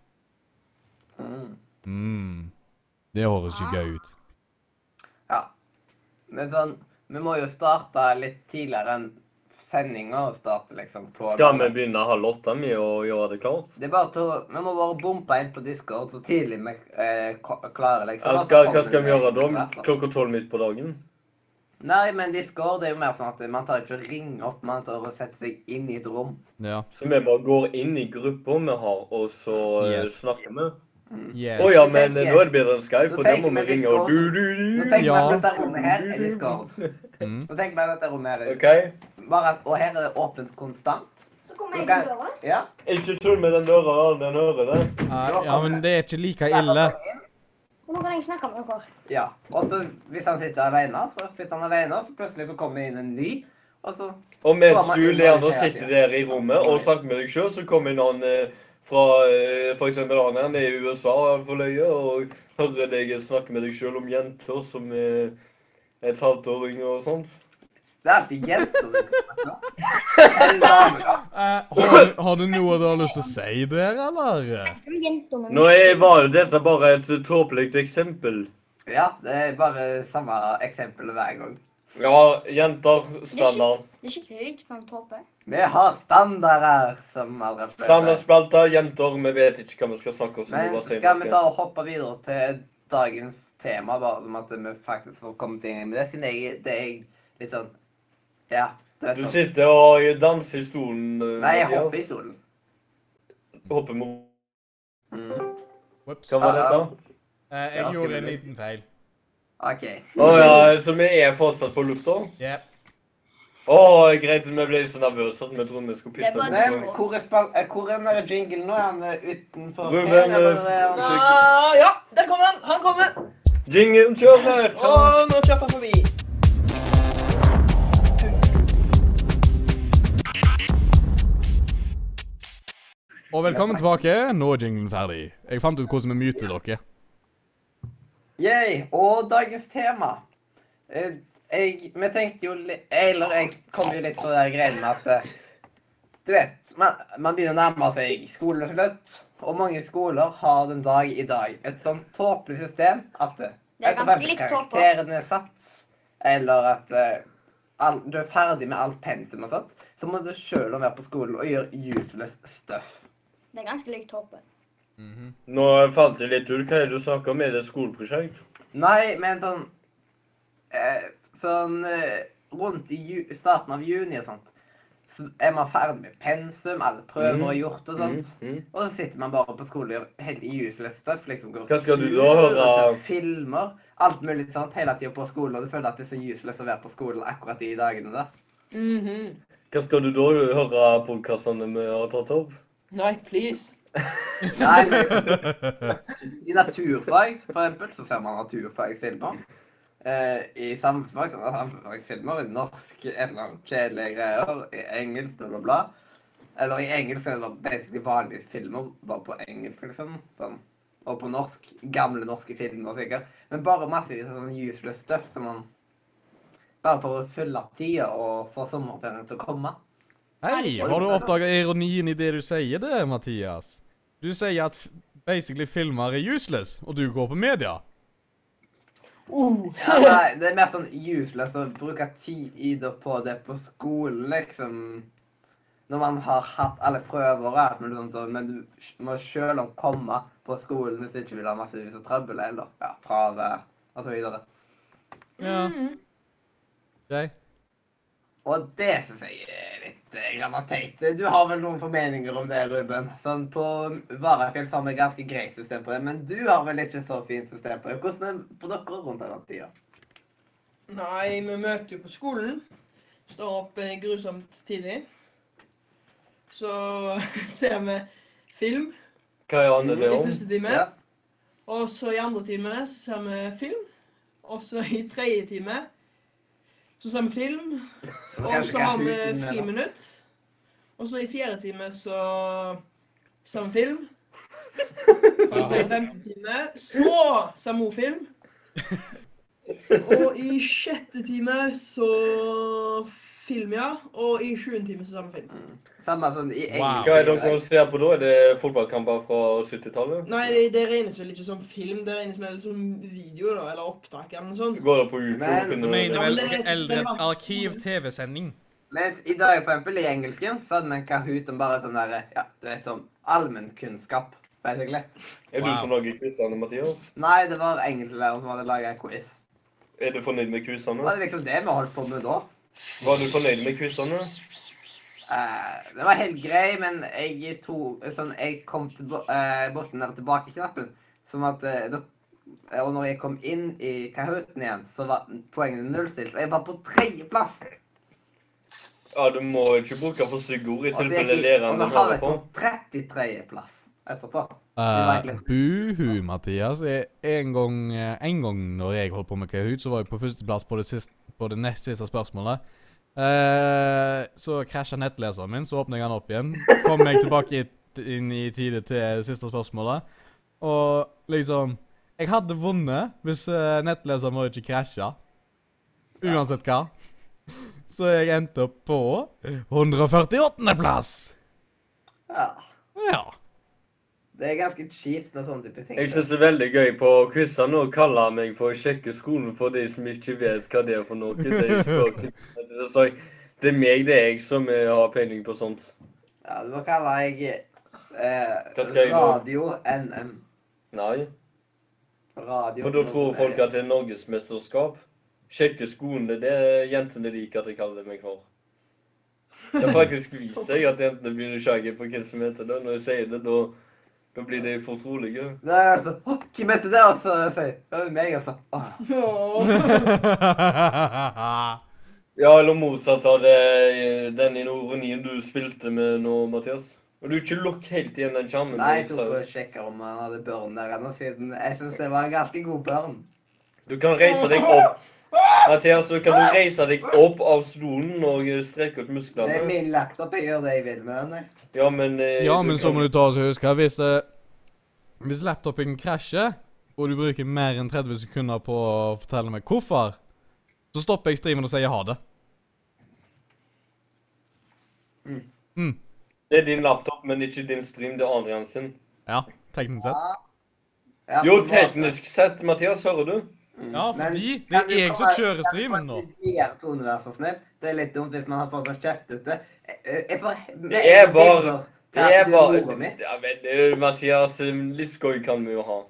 [SPEAKER 3] Mm.
[SPEAKER 2] Mm. Det høres jo gøy ut.
[SPEAKER 3] Ja. Men sånn, vi må jo starte litt tidligere enn sendinga og starte liksom på
[SPEAKER 1] Skal vi begynne halv åtte med å gjøre det klart?
[SPEAKER 3] Det er bare to, Vi må bare bompe inn på Discord så tidlig vi eh, ko- klarer, liksom.
[SPEAKER 1] Eller
[SPEAKER 3] og så
[SPEAKER 1] skal, hva
[SPEAKER 3] kommer
[SPEAKER 1] skal vi
[SPEAKER 3] med
[SPEAKER 1] gjøre da?
[SPEAKER 3] etterpå.
[SPEAKER 1] Klokka tolv midt på dagen?
[SPEAKER 3] Nei, men Discord er jo mer sånn at man tar ikke og ringer opp, man tar og setter seg inn i et rom.
[SPEAKER 2] Ja.
[SPEAKER 1] Så vi bare går inn i gruppa vi har, og så eh,
[SPEAKER 2] Yes.
[SPEAKER 1] snakker vi. Å
[SPEAKER 2] Yes.
[SPEAKER 1] ja,
[SPEAKER 3] Så
[SPEAKER 1] men
[SPEAKER 3] tenker
[SPEAKER 1] eh,
[SPEAKER 3] jeg-
[SPEAKER 1] nå er det bedre enn Skype,
[SPEAKER 3] Nå
[SPEAKER 1] for der må
[SPEAKER 3] tenker
[SPEAKER 1] vi
[SPEAKER 3] vi
[SPEAKER 1] ringe og
[SPEAKER 3] Discord. Nå tenker
[SPEAKER 1] du-du-du.
[SPEAKER 3] vi
[SPEAKER 2] Ja.
[SPEAKER 3] at dette rommet her er Discord.
[SPEAKER 2] Mm.
[SPEAKER 3] Nå tenker vi at dette rommet her er
[SPEAKER 1] OK?
[SPEAKER 3] Bare at, Og her er det åpent konstant.
[SPEAKER 4] Så kommer jeg
[SPEAKER 3] Ok.
[SPEAKER 4] i døra.
[SPEAKER 3] Ja.
[SPEAKER 1] Ikke tull med den døra her, den hører det.
[SPEAKER 2] Ja, Ah, ja, men det er ikke like ille.
[SPEAKER 4] Og nå kan jeg snakke med dere.
[SPEAKER 3] Ja. Og så hvis han sitter alene, så sitter han alene, og så plutselig så kommer det inn en ny, og så
[SPEAKER 1] Og mens
[SPEAKER 3] Kommer
[SPEAKER 1] du,
[SPEAKER 3] inn
[SPEAKER 1] Leander,
[SPEAKER 3] hele
[SPEAKER 1] sitter
[SPEAKER 3] tiden.
[SPEAKER 1] der i rommet og snakker med deg sjøl, så kommer en annen eh, fra eh, for eksempel han her nede i USA for løye og hører deg snakke med deg sjøl om jenter som er et halvt år yngre og sånt.
[SPEAKER 3] Det er alltid jenter du snakker om. Eller damer, da.
[SPEAKER 2] Eh, har, har du noe du har lyst til å si der, eller?
[SPEAKER 4] De jentene
[SPEAKER 1] Nå er, var jo dette bare et tåpelig eksempel.
[SPEAKER 3] Ja, det er bare samme eksempel hver gang.
[SPEAKER 1] Ja, jenter, standard.
[SPEAKER 4] Det er skikkelig likt sånn tåpe.
[SPEAKER 3] Vi har standarder som aldri før.
[SPEAKER 1] Standardspalta, jenter, vi vet ikke hva vi skal snakke om. så vi
[SPEAKER 3] Men
[SPEAKER 1] bare sier
[SPEAKER 3] skal vi
[SPEAKER 1] noe.
[SPEAKER 3] ta og hoppe videre til dagens tema, bare som at vi faktisk får kommet inn med det, siden jeg, det er litt sånn Ja. Det er
[SPEAKER 1] Du
[SPEAKER 3] sånn.
[SPEAKER 1] sitter og danser i stolen, eh,
[SPEAKER 3] Nei, jeg
[SPEAKER 1] Mathias.
[SPEAKER 3] hopper i stolen.
[SPEAKER 1] Hopper mot
[SPEAKER 3] Mm.
[SPEAKER 2] Whoops.
[SPEAKER 1] Hva var dette?
[SPEAKER 2] Eh,
[SPEAKER 3] Ja,
[SPEAKER 2] jeg gjorde en
[SPEAKER 3] skulle du-
[SPEAKER 2] liten feil.
[SPEAKER 3] OK.
[SPEAKER 1] Å ja, så vi er fortsatt på lufta?
[SPEAKER 2] Yep.
[SPEAKER 1] Å, greit, vi ble så nervøse at vi trodde vi skulle
[SPEAKER 4] Det er
[SPEAKER 1] pisse.
[SPEAKER 4] bare
[SPEAKER 3] Men
[SPEAKER 1] på-
[SPEAKER 4] disco.
[SPEAKER 3] hvor er, span eh, hvor er den der jinglen nå? Er han eh, utenfor
[SPEAKER 1] Ruben, eh,
[SPEAKER 3] her, eller er han-
[SPEAKER 5] Ah, ja, der kommer han! Han kommer!
[SPEAKER 1] Jingle, kjør snart!
[SPEAKER 5] Og nå kjørte han forbi.
[SPEAKER 2] Og velkommen tilbake. Nå er jinglen ferdig. Jeg fant ut hvordan vi myter dere.
[SPEAKER 3] Yay, og dagens tema. Eh, Jeg, vi tenkte jo litt Eller jeg kom jo litt på de greiene med at eh, Du vet, man, man begynner å nærme seg skolens slutt, og mange skoler har den dag i dag et sånt tåpelig system at eh,
[SPEAKER 4] Det er
[SPEAKER 3] etter
[SPEAKER 4] ganske
[SPEAKER 3] hvert
[SPEAKER 4] likt tåpe.
[SPEAKER 3] karakteren er satt, eller at eh, all, du er ferdig med alt pensum og sånt, så må du sjøl være på skolen og gjøre useless stuff.
[SPEAKER 4] Det er ganske likt tåpe.
[SPEAKER 1] Nå falt det litt ut. Hva er det du snakker om? Er det et skoleprosjekt?
[SPEAKER 3] Nei, men sånn eh, Sånn eh, rundt i ju starten av juni og sånt, så er man ferdig med pensum, alle prøver
[SPEAKER 1] Mhm.
[SPEAKER 3] og gjort og sånt.
[SPEAKER 1] Mhm, mhm.
[SPEAKER 3] Og så sitter man bare på skolen og gjør helt useless stuff. liksom går
[SPEAKER 1] Hva skal du
[SPEAKER 3] tur,
[SPEAKER 1] da høre?
[SPEAKER 3] og ser Filmer. Alt mulig sånt hele tida på skolen, og du føler at det er så useless å være på skolen akkurat de dagene der.
[SPEAKER 5] Mhm.
[SPEAKER 1] Hva skal du da høre podkastene vi har tatt opp?
[SPEAKER 5] Nei, please.
[SPEAKER 3] Nei, *laughs* men- I naturfag, for eksempel, så ser man naturfagfilmer. Eh, I samfunnsfag så er det samfunnsfagfilmer. I norsk et eller annet kjedelige greier. I engelsk bla, bla, bla. Eller i engelsk er det bare basically vanlige filmer, bare på engelsk, liksom. Sånn. Og på norsk. Gamle norske filmer, sikkert. Men bare massevis av sånn useless stuff som man Bare for å fylle tida og få sommerferien til å komme.
[SPEAKER 2] Hei, har du oppdaga ironien i det du sier det, Mathias? Du sier at f- basically filmer er useless, og du går på media.
[SPEAKER 5] Uh.
[SPEAKER 3] Ja, nei, det er mer sånn useless å bruke tid på det på skolen, liksom. Når man har hatt alle prøver og alt mulig sånt, og- men du må sjøl om komme på skolen hvis du ikke vil ha massevis av trøbbel eller ja, fravær og så videre.
[SPEAKER 2] Ja. Ok.
[SPEAKER 3] Og det syns jeg er litt eh, grann teit. Du har vel noen formeninger om det, Ruben? Sånn på Varafjell så har vi ganske greit system på det, men du har vel ikke så fint system på det. Hvordan er det på dere rundt denne tida?
[SPEAKER 5] Nei, vi møter jo på skolen. Står opp eh, grusomt tidlig. Så *laughs* ser vi film
[SPEAKER 1] Hva
[SPEAKER 3] Mm,
[SPEAKER 1] handler
[SPEAKER 5] i
[SPEAKER 1] det om?
[SPEAKER 5] første time.
[SPEAKER 3] Ja.
[SPEAKER 5] Og så i andre time så ser vi film. Og så i tredje time så ser vi film. Og så har vi friminutt. Og så i fjerde time så ser vi
[SPEAKER 3] *laughs*
[SPEAKER 5] film. Og så i femte time så ser vi også film. Og i sjette time så film, ja. Og i sjuende time så ser vi film.
[SPEAKER 3] Samme sånn i
[SPEAKER 2] Wow.
[SPEAKER 1] Hva er det dere ser på da? Er det fotballkamper fra 70-tallet?
[SPEAKER 5] Nei, det, det regnes vel ikke som film, det regnes vel som video, da. Eller opptak eller noe sånt.
[SPEAKER 1] Går det på YouTube?
[SPEAKER 3] Men-
[SPEAKER 1] finner
[SPEAKER 7] Du
[SPEAKER 1] du-
[SPEAKER 7] mener
[SPEAKER 5] Ja, men
[SPEAKER 7] vel
[SPEAKER 5] det-
[SPEAKER 7] noe eldre
[SPEAKER 5] det var-
[SPEAKER 7] arkiv-TV-sending?
[SPEAKER 3] Mens i dag, for eksempel, i engelsken, så hadde vi en Kahoot om bare sånn derre Ja, du vet sånn allmennkunnskap, basically.
[SPEAKER 1] Er du
[SPEAKER 7] Wow.
[SPEAKER 1] som lager quizene, Mathias?
[SPEAKER 3] Nei, det var engelsklæreren som hadde laga en quiz.
[SPEAKER 1] Er du fornøyd med
[SPEAKER 3] Det
[SPEAKER 1] quizene?
[SPEAKER 3] var liksom det vi holdt på med da.
[SPEAKER 1] Var du fornøyd med quizene?
[SPEAKER 3] Eh, det var helt grei, men jeg, to, sånn, jeg kom til bo- eh, borten der tilbake i knappen. Som at, eh, da, og når jeg kom inn i Kahooten igjen, så var poengene nullstilt. Og jeg var på tredjeplass!
[SPEAKER 1] Ja, du må ikke bruke for stygge ord i
[SPEAKER 3] Og så gikk
[SPEAKER 1] tilfelle
[SPEAKER 3] Altså, jeg- og
[SPEAKER 1] læreren
[SPEAKER 3] så havnet
[SPEAKER 1] hører
[SPEAKER 3] jeg
[SPEAKER 1] på.
[SPEAKER 3] på 33.-plass etterpå.
[SPEAKER 2] Eh,
[SPEAKER 3] Det var egentlig-
[SPEAKER 2] buhu, Mathias. Jeg, en, gang, eh, en gang når jeg holdt på med Kahoot, så var jeg på førsteplass på det, sist, på det nest siste spørsmålet. Eh, så krasja nettleseren min, så åpna jeg den opp igjen. Kom jeg tilbake i- inn i tide til det siste spørsmålet. Og liksom Jeg hadde vunnet hvis eh, nettleseren vår ikke krasja. Uansett hva. Så jeg endte opp på 148.-plass.
[SPEAKER 3] Ja,
[SPEAKER 2] Ja.
[SPEAKER 3] det er ganske kjipt når sånne type ting
[SPEAKER 1] Jeg syns det er veldig gøy på quizene å kalle meg for å sjekke skolen for de som ikke vet hva det er for noe. De spør ikke. Det er sånn, det er meg, det er jeg som eh, har peiling på sånt.
[SPEAKER 3] Ja, du må kalle jeg
[SPEAKER 1] Hva skal
[SPEAKER 3] eh,
[SPEAKER 1] jeg nå?
[SPEAKER 3] Radio NM.
[SPEAKER 1] Nei.
[SPEAKER 3] Radio
[SPEAKER 1] For da tror folk at det er norgesmesterskap. Sjekke skolen, det er det jentene liker at jeg kaller meg for. Det har faktisk vist seg at jentene begynner å sjange på hvem som heter det. Når jeg sier det, da, da blir de for trolige.
[SPEAKER 3] Da er det sånn Å, hvem heter det? Og så sier jeg Det var meg, altså. Åh. *laughs*
[SPEAKER 5] Åh.
[SPEAKER 1] Ja, eller motsatt av det, den ironien du spilte med nå, Mathias. Og du er ikke lukk helt igjen den skjermen.
[SPEAKER 3] Nei, jeg
[SPEAKER 1] du,
[SPEAKER 3] tok og
[SPEAKER 1] sa.
[SPEAKER 3] sjekka om han hadde børn der ennå, siden jeg syns det var en ganske god børn.
[SPEAKER 1] du kan reise deg opp. Mathias, så kan du reise deg opp av stolen og strekke ut
[SPEAKER 3] Det er
[SPEAKER 1] musklene.
[SPEAKER 3] min laptop, jeg gjør det jeg vil med den. jeg.
[SPEAKER 1] Ja, men eh,
[SPEAKER 2] Ja, men så
[SPEAKER 1] kan-
[SPEAKER 2] må du ta oss og huske at hvis, eh, hvis laptopen krasjer, og du bruker mer enn 30 sekunder på å fortelle meg hvorfor, så stopper jeg streamen og sier ha det.
[SPEAKER 1] Det er din laptop, men ikke din stream. Det er Adrian sin.
[SPEAKER 2] Ja, teknisk sett.
[SPEAKER 3] Ja,
[SPEAKER 1] Jo,
[SPEAKER 3] på en måte. Mm.
[SPEAKER 1] teknisk sett, Mathias, hører du?
[SPEAKER 2] Ja,
[SPEAKER 3] Men
[SPEAKER 2] fordi det
[SPEAKER 3] kan
[SPEAKER 2] er
[SPEAKER 3] vi
[SPEAKER 2] jeg
[SPEAKER 3] få
[SPEAKER 2] som
[SPEAKER 3] være-
[SPEAKER 2] kjører
[SPEAKER 3] kan vi
[SPEAKER 2] streamen nå.
[SPEAKER 3] få være Tone, vær så snill. Det er litt dumt hvis man har fått noe kjeftete. Jeg, jeg får
[SPEAKER 1] Det er bare-
[SPEAKER 3] Ja,
[SPEAKER 1] Det er
[SPEAKER 3] du
[SPEAKER 1] bare
[SPEAKER 3] moren min.
[SPEAKER 1] Ja, men eh, Mathias, eh, litt skøy kan vi jo ha.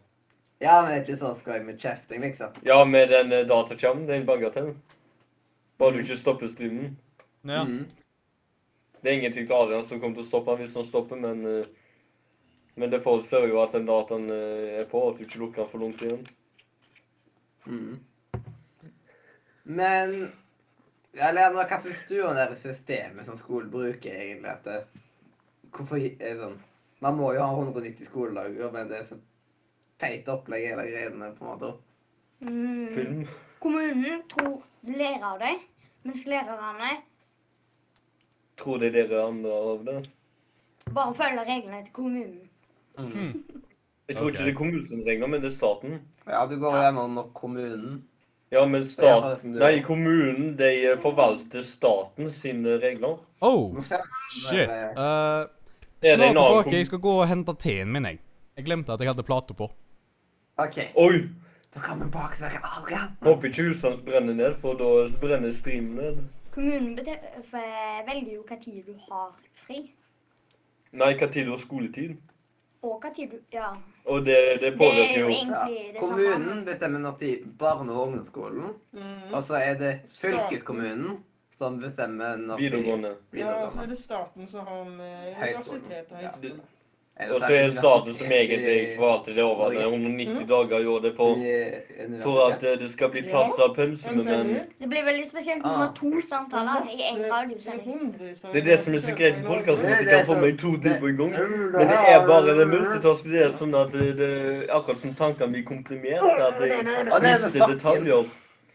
[SPEAKER 3] Ja, men det er ikke så skøy med kjefting, liksom.
[SPEAKER 1] Ja, med den eh, dataskjermen. Det er en bagatell. Bare du ikke stopper streamen.
[SPEAKER 2] Ja.
[SPEAKER 3] Mm.
[SPEAKER 1] Det er ingenting til Adrian som kommer til å stoppe han hvis han stopper, men eh, Men det forutser jo at den dataen eh, er på, at du ikke lukker den for langt igjen.
[SPEAKER 3] Mm. Men ja, Leander, hva syns du om det her systemet som skolen bruker, egentlig? At det, hvorfor gi- er det sånn Man må jo ha 190 skoledager, men det er så teit opplegg hele greiene, på en måte.
[SPEAKER 4] Mm.
[SPEAKER 1] Film.
[SPEAKER 4] Kommunen tror lærer av deg, mens lærerne
[SPEAKER 1] Tror det er dere andre av det?
[SPEAKER 4] bare følger reglene til kommunen.
[SPEAKER 1] Jeg tror
[SPEAKER 2] Ok.
[SPEAKER 1] ikke det er kommunen som ringer, men det er staten.
[SPEAKER 3] Ja, du går gjennom kommunen.
[SPEAKER 1] Ja, men
[SPEAKER 3] Ja, det er
[SPEAKER 1] staten
[SPEAKER 3] som det er.
[SPEAKER 1] Nei, kommunen, de eh, forvalter staten sine regler.
[SPEAKER 2] Oh,
[SPEAKER 3] Nå ser
[SPEAKER 2] shit. Uh,
[SPEAKER 1] Er det en
[SPEAKER 2] snart
[SPEAKER 1] annen
[SPEAKER 2] tilbake. Jeg
[SPEAKER 1] kommune?
[SPEAKER 2] skal gå og hente teen min, jeg. Jeg glemte at jeg hadde plate på.
[SPEAKER 3] OK,
[SPEAKER 1] Oi!
[SPEAKER 3] da kan vi baksnakke Adrian.
[SPEAKER 1] Håper ikke husene brenner ned, for da brenner streamen ned.
[SPEAKER 4] Kommunen bete- f- velger jo hva tid du har fri,
[SPEAKER 1] Nei, hva tid var skoletid?
[SPEAKER 4] og hva tid du Ja.
[SPEAKER 1] Og det, det
[SPEAKER 4] Det er
[SPEAKER 1] påvirker
[SPEAKER 4] jo
[SPEAKER 1] jo
[SPEAKER 3] Ja.
[SPEAKER 4] egentlig det sånn. samme.
[SPEAKER 3] Kommunen bestemmer når til barne- og ungdomsskolen.
[SPEAKER 5] Mm.
[SPEAKER 3] Og så er det
[SPEAKER 5] Staten.
[SPEAKER 3] fylkeskommunen som bestemmer når vi-
[SPEAKER 1] Videregående.
[SPEAKER 5] Ja, så
[SPEAKER 3] videregående.
[SPEAKER 5] er det staten som har med
[SPEAKER 3] Høyskolen.
[SPEAKER 5] universitet og høyskole.
[SPEAKER 1] Og
[SPEAKER 3] sånn
[SPEAKER 1] så er det staten som egentlig forvalter det over at det er 190
[SPEAKER 5] Mm.
[SPEAKER 1] dager i år det er for, for at eh, det skal bli plass til pensum,
[SPEAKER 5] Men
[SPEAKER 1] men
[SPEAKER 5] penger?
[SPEAKER 4] Det blir veldig spesielt når
[SPEAKER 3] Ah.
[SPEAKER 4] man har to samtaler i en
[SPEAKER 5] altså,
[SPEAKER 4] radiosending.
[SPEAKER 1] det er det som er så greit med podkasten, at
[SPEAKER 3] Det-
[SPEAKER 1] du
[SPEAKER 3] det er
[SPEAKER 1] kan få
[SPEAKER 3] så-
[SPEAKER 1] med to ting på en gang. Men
[SPEAKER 3] Men
[SPEAKER 1] det er bare det multitasking, det er sånn at det, det akkurat som tankene blir komprimert, at jeg
[SPEAKER 3] Og det er så
[SPEAKER 1] mister
[SPEAKER 3] fucking-
[SPEAKER 1] detaljer.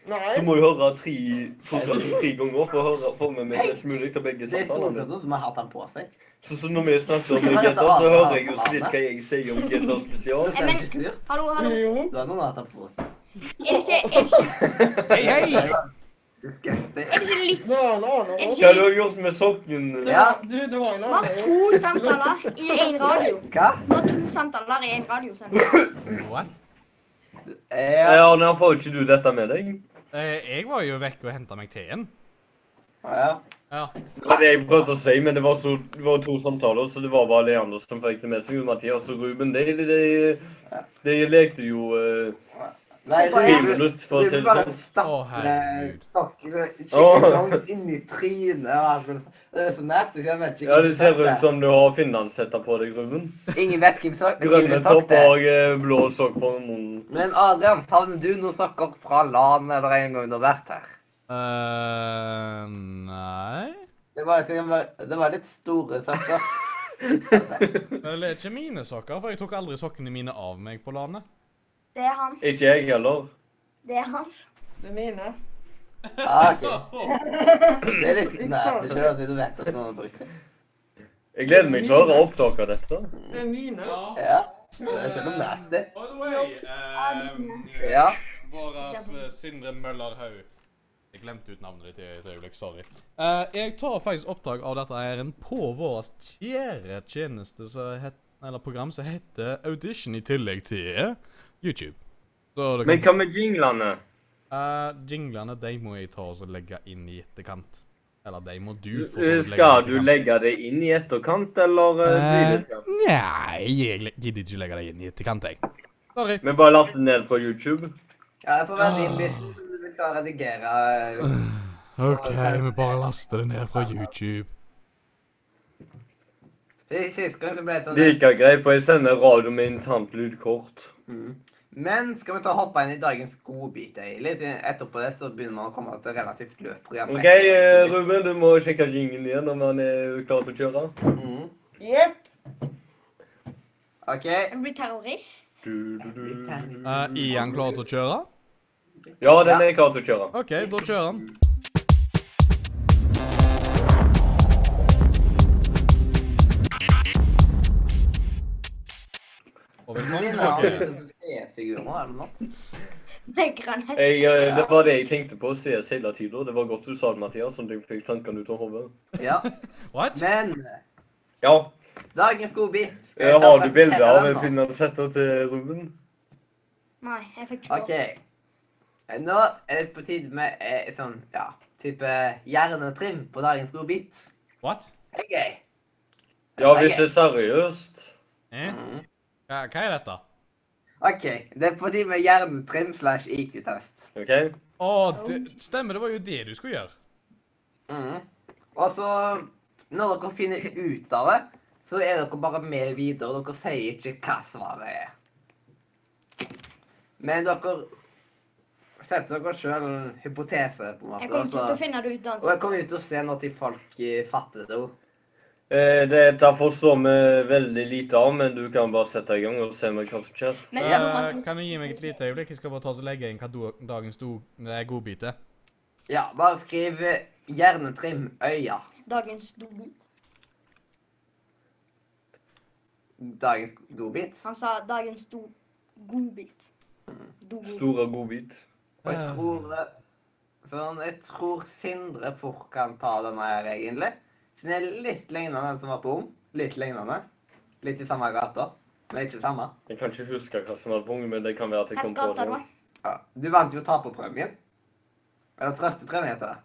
[SPEAKER 5] Nei,
[SPEAKER 1] Så må du høre tre podkasten tre ganger for å høre få med meg mest mulig av begge
[SPEAKER 3] Det er
[SPEAKER 1] samtalene.
[SPEAKER 3] storbrødre som har hatt den på seg.
[SPEAKER 1] Så, så når vi snakker om GTA, så hører jeg jo så vidt hva jeg sier om GTA spesial.
[SPEAKER 3] Det er ikke surt.
[SPEAKER 4] Hallo, hallo.
[SPEAKER 5] jo.
[SPEAKER 3] Du har noen hatt den på seg.
[SPEAKER 4] Er det ikke, er det ikke,
[SPEAKER 2] Hei, hei!
[SPEAKER 4] er det
[SPEAKER 3] Disgusting.
[SPEAKER 4] ikke litt
[SPEAKER 5] Nå, nå, nå.
[SPEAKER 4] Er det
[SPEAKER 1] Hva har
[SPEAKER 4] ikke
[SPEAKER 1] du gjort med sokken?
[SPEAKER 3] Ja.
[SPEAKER 5] Du, det var en
[SPEAKER 4] Man har
[SPEAKER 5] annen.
[SPEAKER 4] to samtaler i en radio.
[SPEAKER 3] Hva?
[SPEAKER 4] Man har to samtaler i en radiosending.
[SPEAKER 2] *laughs* What?
[SPEAKER 3] Ja.
[SPEAKER 1] Ja, nå får ikke du dette med deg.
[SPEAKER 2] Eh, jeg var jo vekke og henta meg teen.
[SPEAKER 3] ja.
[SPEAKER 2] Ja.
[SPEAKER 1] Det var det jeg prøvde å si, men det var, så, det var to samtaler, så det var bare Leander som fikk det med seg. Mathias og Ruben, de, de, de, de lekte jo eh,
[SPEAKER 3] Nei,
[SPEAKER 4] Det er
[SPEAKER 1] fem
[SPEAKER 3] du,
[SPEAKER 1] minutter, for å
[SPEAKER 3] du
[SPEAKER 1] si
[SPEAKER 3] vil
[SPEAKER 1] det
[SPEAKER 3] bare
[SPEAKER 1] sånn.
[SPEAKER 3] stappe
[SPEAKER 2] Å, herregud.
[SPEAKER 3] stokkene
[SPEAKER 1] Åh.
[SPEAKER 3] skikkelig langt inn i trynet. og alt mulig. Det er så nasty. så Jeg vet ikke
[SPEAKER 1] Ja, det ser ut
[SPEAKER 3] hvordan
[SPEAKER 1] som du har finlandshetter på deg, Ruben.
[SPEAKER 3] det er. Ingen vet hvem sokk
[SPEAKER 1] Grønne
[SPEAKER 3] ingen sokk
[SPEAKER 1] topp
[SPEAKER 3] det er.
[SPEAKER 1] og eh, blå sokk på munnen.
[SPEAKER 3] Men Adrian, savner du noen sokker fra LAN eller en gang du har vært her?
[SPEAKER 2] Eh, nei
[SPEAKER 3] Det var, det var, det var litt store
[SPEAKER 1] *laughs*
[SPEAKER 3] sokker.
[SPEAKER 2] Vel, det er ikke mine sokker, for jeg tok aldri sokkene mine av meg på landet.
[SPEAKER 4] Det er hans.
[SPEAKER 1] Ikke jeg heller.
[SPEAKER 4] Det er hans.
[SPEAKER 5] Det er mine.
[SPEAKER 3] Ja, Ah, ok. Det er litt nasty selv at du vet at noen har brukt det.
[SPEAKER 1] Jeg gleder meg til å høre opptak av dette.
[SPEAKER 5] Det er mine.
[SPEAKER 3] Ja, det er selv om nasty.
[SPEAKER 2] By the way, eh,
[SPEAKER 3] Ja.
[SPEAKER 2] Våras eh, Sindre Møllerhaug Jeg glemte ut navnet ditt i et øyeblikk, sorry. Eh, jeg tar faktisk opptak av dette her en på våras kjære tjeneste som het, eller program som heter Audition, i tillegg til eh, YouTube. Så det
[SPEAKER 1] Men
[SPEAKER 2] kan,
[SPEAKER 1] hva med jinglene?
[SPEAKER 2] Eh, jinglene de må jeg ta og så legge inn i etterkant. Eller de må du for så
[SPEAKER 1] Eh,
[SPEAKER 2] vidt legge
[SPEAKER 1] Skal
[SPEAKER 2] inn i
[SPEAKER 1] du
[SPEAKER 2] etterkant.
[SPEAKER 1] legge det inn i etterkant, eller eh, blir det til?
[SPEAKER 2] Nei, jeg le- gidder ikke legge deg inn i etterkant, jeg. Sorry.
[SPEAKER 1] Vi bare laster det ned fra YouTube.
[SPEAKER 3] Ja, jeg får være din hvis du vil klare å redigere.
[SPEAKER 1] Ah.
[SPEAKER 2] OK, vi bare laster det ned fra YouTube.
[SPEAKER 3] Sist sist gang så ble det sånn.
[SPEAKER 1] Like greit, for jeg sender radio med internt lydkort.
[SPEAKER 3] Mm. Men skal vi ta og hoppe inn i dagens godbit, egentlig? siden Etterpå det så begynner man å komme til relativt løst program.
[SPEAKER 1] OK, eh, Ruben, du må sjekke jinglen igjen om han er klar til å kjøre.
[SPEAKER 3] Mm.
[SPEAKER 5] Jepp.
[SPEAKER 3] OK.
[SPEAKER 4] Han blir terrorist.
[SPEAKER 1] Du, du, du, du.
[SPEAKER 2] Er Eh, Ian klar til å kjøre?
[SPEAKER 1] Ja, den er klar til å kjøre.
[SPEAKER 2] OK, da kjører han. Og velkommen
[SPEAKER 3] Begynner han
[SPEAKER 2] tilbake.
[SPEAKER 3] litt sånn som CS-figur nå, eller noe?
[SPEAKER 4] Med granett.
[SPEAKER 1] Jeg, eh, det var det jeg tenkte på CS hele tida. Det var godt du sa det, Mathias. Sånn at jeg fikk tankene ut av hodet.
[SPEAKER 3] Ja.
[SPEAKER 2] What?
[SPEAKER 3] Men
[SPEAKER 1] Ja,
[SPEAKER 3] dagens godbit skal
[SPEAKER 1] eh,
[SPEAKER 3] jeg ta
[SPEAKER 1] har
[SPEAKER 3] og
[SPEAKER 1] du bilde
[SPEAKER 3] presentere
[SPEAKER 1] av
[SPEAKER 3] den
[SPEAKER 1] en
[SPEAKER 3] nå.
[SPEAKER 1] finlandshetter til Ruben?
[SPEAKER 4] Nei, jeg fikk ikke
[SPEAKER 3] OK. Eh,
[SPEAKER 4] lov.
[SPEAKER 3] Nå er det på tide med eh, sånn, ja, type hjernetrim på dagens godbit.
[SPEAKER 2] What?
[SPEAKER 3] Det er gøy.
[SPEAKER 1] Ja, hvis det er seriøst.
[SPEAKER 2] Eh?
[SPEAKER 3] Mm.
[SPEAKER 2] Hva hva er dette?
[SPEAKER 3] OK. Det er på tide med hjernetrim slash IQ-test.
[SPEAKER 1] OK?
[SPEAKER 2] Å, det, stemmer, det var jo det du skulle gjøre.
[SPEAKER 3] Mhm. Og så, når dere finner ut av det, så er dere bare med videre. Dere sier ikke hva svaret er. Men dere setter dere sjøl en hypotese, på en måte.
[SPEAKER 4] Jeg kommer
[SPEAKER 3] og
[SPEAKER 4] ikke til
[SPEAKER 3] så-
[SPEAKER 4] å finne det ut
[SPEAKER 3] og altså- jeg
[SPEAKER 4] uansett.
[SPEAKER 3] kommer ut og ser når til folk eh, fatter det. jo.
[SPEAKER 1] Eh, Dette forstår vi veldig lite av, men du kan bare sette i gang og se med hva som skjer.
[SPEAKER 4] Men ser du
[SPEAKER 2] Eh,
[SPEAKER 4] at-
[SPEAKER 2] kan du gi meg et lite øyeblikk? Jeg skal bare ta og legge inn hva do- dagens do- eh, godbit er.
[SPEAKER 3] Ja, bare skriv eh, 'hjernetrim øya'.
[SPEAKER 4] dagens dobit?
[SPEAKER 3] Dagens godbit.
[SPEAKER 4] Han sa dagens do... godbit.
[SPEAKER 3] Mm.
[SPEAKER 4] Dobit.
[SPEAKER 1] Stor og god bit.
[SPEAKER 3] Og jeg
[SPEAKER 2] Eh.
[SPEAKER 3] tror, eh, sånn, jeg tror Sindre fort kan ta denne her, egentlig. Siden det er litt lignende den som var på Om. Litt lignende. Litt i samme gata, men ikke samme.
[SPEAKER 1] Jeg kan ikke huske hva som var på men det kan være at jeg
[SPEAKER 4] Hva
[SPEAKER 1] kom på
[SPEAKER 4] skal jeg ta
[SPEAKER 1] det.
[SPEAKER 4] da?
[SPEAKER 3] Ja. Du vant jo taperpremien. Eller trøstepremie, heter det.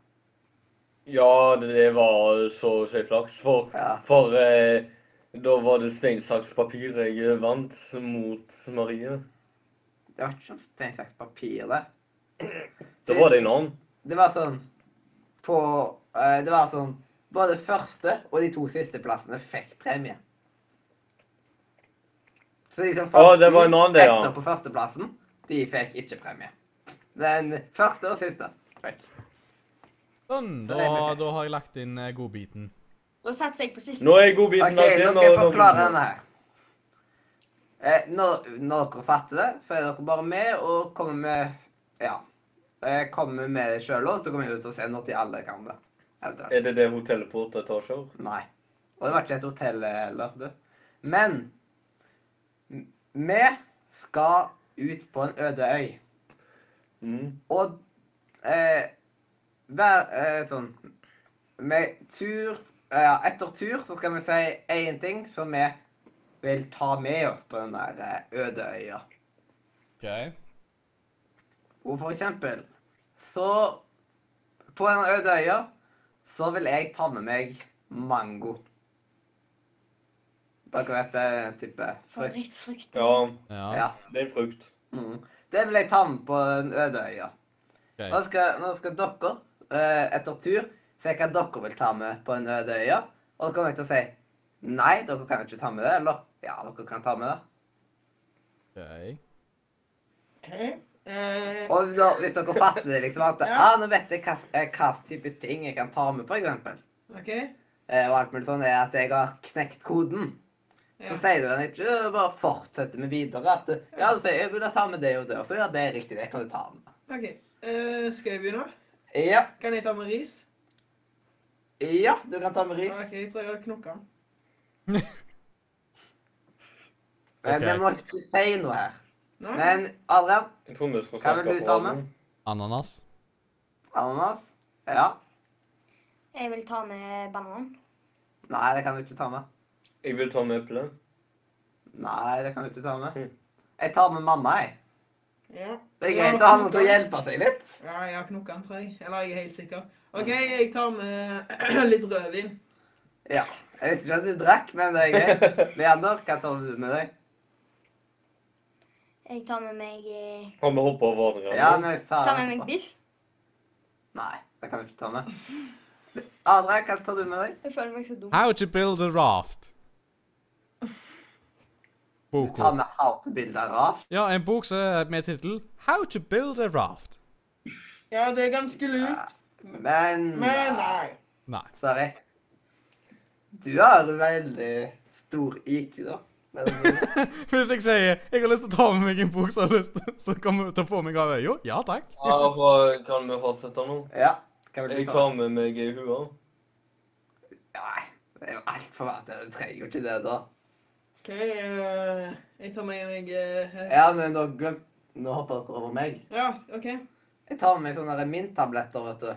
[SPEAKER 1] Ja, det var så å si flaks, for,
[SPEAKER 3] Ja.
[SPEAKER 1] for eh, da var det stein, saks, papir jeg vant mot Marie.
[SPEAKER 3] Det var ikke sånn stein, saks, papir, det.
[SPEAKER 1] Da var det en annen.
[SPEAKER 3] Det var sånn på eh, Det var sånn Både første og de to siste plassene fikk premie. Så de som
[SPEAKER 1] Å, det var en annen det, ja.
[SPEAKER 3] etter på førsteplassen, de fikk ikke premie. Den første og siste fikk.
[SPEAKER 2] Sånn,
[SPEAKER 3] Så det er
[SPEAKER 2] da,
[SPEAKER 3] perfekt.
[SPEAKER 2] da har jeg lagt inn eh, godbiten.
[SPEAKER 4] Da satser jeg på siste.
[SPEAKER 1] Nå er godbiten
[SPEAKER 3] OK, nå skal jeg forklare denne her. Eh, når, når dere fatter det, så er dere bare med og kommer med Ja. Eh, kommer med det sjøl òg, så kommer vi ut og ser når de alle kan det. Eventuelt.
[SPEAKER 1] Er det det hotellet på åtte etasjer?
[SPEAKER 3] Nei. Og det var ikke et hotell heller. Du. Men m- vi skal ut på en øde øy.
[SPEAKER 1] Mm.
[SPEAKER 3] Og eh, hver eh, sånn Med tur eh, Ja, etter tur så skal vi si én ting som vi vil ta med oss på den der eh, øde øya.
[SPEAKER 2] OK.
[SPEAKER 3] Og for eksempel så På den øde øya så vil jeg ta med meg mango. Dere vet det type frukt?
[SPEAKER 4] Favorittfrukt.
[SPEAKER 1] Ja,
[SPEAKER 2] Ja.
[SPEAKER 3] Ja.
[SPEAKER 1] det er en frukt.
[SPEAKER 3] Mm. Det vil jeg ta med på den øde øya. Nå
[SPEAKER 2] ok.
[SPEAKER 3] skal, nå skal dere, eh, etter tur, se hva dere vil ta med på en øde øya. Og dere kommer jeg til å si nei, dere kan ikke ta med det. Eller ja, dere kan ta med det.
[SPEAKER 2] ok.
[SPEAKER 5] Okay. Eh,
[SPEAKER 3] Og da, hvis dere fatter det, liksom at
[SPEAKER 5] Ja.
[SPEAKER 3] ah, nå vet jeg hva, eh, hva type ting jeg kan ta med, f.eks.
[SPEAKER 5] OK.
[SPEAKER 3] Eh, og alt mulig sånn er at jeg har knekt koden. Så
[SPEAKER 5] Ja.
[SPEAKER 3] sier du den ikke, og bare fortsetter vi videre. At eh, ja, du sier jeg vil ta med det og det, og så ja, det er riktig, det kan du ta med.
[SPEAKER 5] ok. Eh, skal jeg begynne?
[SPEAKER 3] Ja,
[SPEAKER 5] Kan jeg ta med ris?
[SPEAKER 3] ja, du kan ta med ris.
[SPEAKER 5] OK, jeg tror jeg har knokket den.
[SPEAKER 3] Men Vi
[SPEAKER 2] Ok.
[SPEAKER 3] må ikke si noe her.
[SPEAKER 5] Nei?
[SPEAKER 3] Men Adrian,
[SPEAKER 1] Jeg tror vi skal
[SPEAKER 3] Hva vil
[SPEAKER 1] snakke
[SPEAKER 3] du
[SPEAKER 1] på
[SPEAKER 3] ta med?
[SPEAKER 1] radioen.
[SPEAKER 2] Ananas.
[SPEAKER 3] ananas Ja.
[SPEAKER 4] Jeg vil ta med banan.
[SPEAKER 3] Nei, det kan du ikke ta med.
[SPEAKER 1] Jeg vil ta med eple.
[SPEAKER 3] Nei, det kan du ikke ta med.
[SPEAKER 1] Mm.
[SPEAKER 3] Jeg tar med mamma, jeg.
[SPEAKER 5] Ja.
[SPEAKER 3] Det er
[SPEAKER 5] Jeg har
[SPEAKER 3] greit å ha noen til å
[SPEAKER 5] knokket den.
[SPEAKER 3] hjelpe seg litt.
[SPEAKER 5] Ja, jeg har knokket den, tror jeg. Eller jeg er helt sikker. OK, jeg tar med *clears throat* litt rødvin.
[SPEAKER 3] Ja. Jeg vet ikke om du drakk, men det er greit. Leander, hva tar du med deg?
[SPEAKER 4] Jeg tar med meg eh,
[SPEAKER 1] Har vi hoppet over hverandre?
[SPEAKER 3] Ja, men jeg tar
[SPEAKER 4] tar med meg biff.
[SPEAKER 3] Nei, det kan du ikke ta med. Adrian, hva tar du med deg?
[SPEAKER 4] Jeg føler meg så dum.
[SPEAKER 2] How to build a raft.
[SPEAKER 3] Du tar
[SPEAKER 2] Boka.
[SPEAKER 3] med hatebilder av
[SPEAKER 2] Ja, en bok som er med tittel How to build a raft.
[SPEAKER 5] Ja, det er ganske lurt.
[SPEAKER 3] Men
[SPEAKER 5] Men nei.
[SPEAKER 2] Nei.
[SPEAKER 3] Sorry. Du har veldig stor IQ, da.
[SPEAKER 5] *laughs*
[SPEAKER 3] Men,
[SPEAKER 2] Hvis jeg sier jeg har lyst til å ta med meg en bok som har lyst til så kommer jeg til å få meg av øya, ja takk.
[SPEAKER 1] Ja, hva kan vi fortsette nå?
[SPEAKER 3] ja. Hva vil
[SPEAKER 1] Jeg
[SPEAKER 3] du ta?
[SPEAKER 1] tar med meg hua.
[SPEAKER 3] Nei, det er jo altfor mye. Du trenger jo ikke det, da.
[SPEAKER 5] OK, eh, jeg tar med meg eh,
[SPEAKER 3] Ja, men nå glem... Nå hopper dere over meg.
[SPEAKER 5] Ja, OK.
[SPEAKER 3] Jeg tar med meg sånne der mint-tabletter, vet du.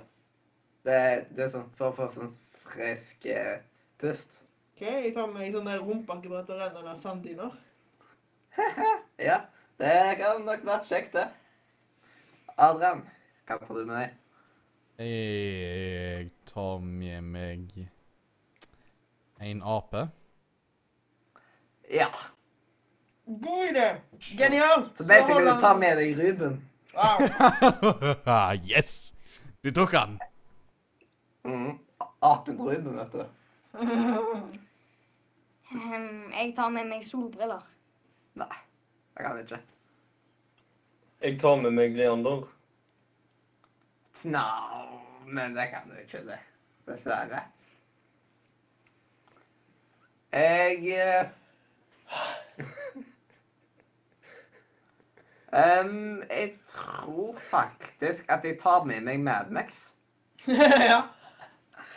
[SPEAKER 3] Det, det er sånn for å få sånn frisk eh, pust.
[SPEAKER 5] Ok, Jeg tar med meg sånn der rumpeakebrett og renner av sanddiner.
[SPEAKER 3] Ja, det kan nok være kjekt, det. Adrian, hva tar du med deg?
[SPEAKER 2] Jeg tar med meg en ape. *laughs*
[SPEAKER 3] Ja.
[SPEAKER 5] God idé! Genialt!
[SPEAKER 3] Så basically,
[SPEAKER 5] holder
[SPEAKER 3] du tar med deg Ruben.
[SPEAKER 5] *laughs* Wow.
[SPEAKER 2] yes! Du tok den.
[SPEAKER 3] Mm. A- Apen Ruben, vet du.
[SPEAKER 4] Ehm, Jeg tar med meg solbriller.
[SPEAKER 3] Nei, det kan du ikke.
[SPEAKER 1] Jeg tar med meg Leander.
[SPEAKER 3] Nå, Nou, men det kan du ikke, det. Dessverre. Jeg eh, *laughs* Em, Jeg tror faktisk at jeg tar med meg Madmax.
[SPEAKER 5] ja.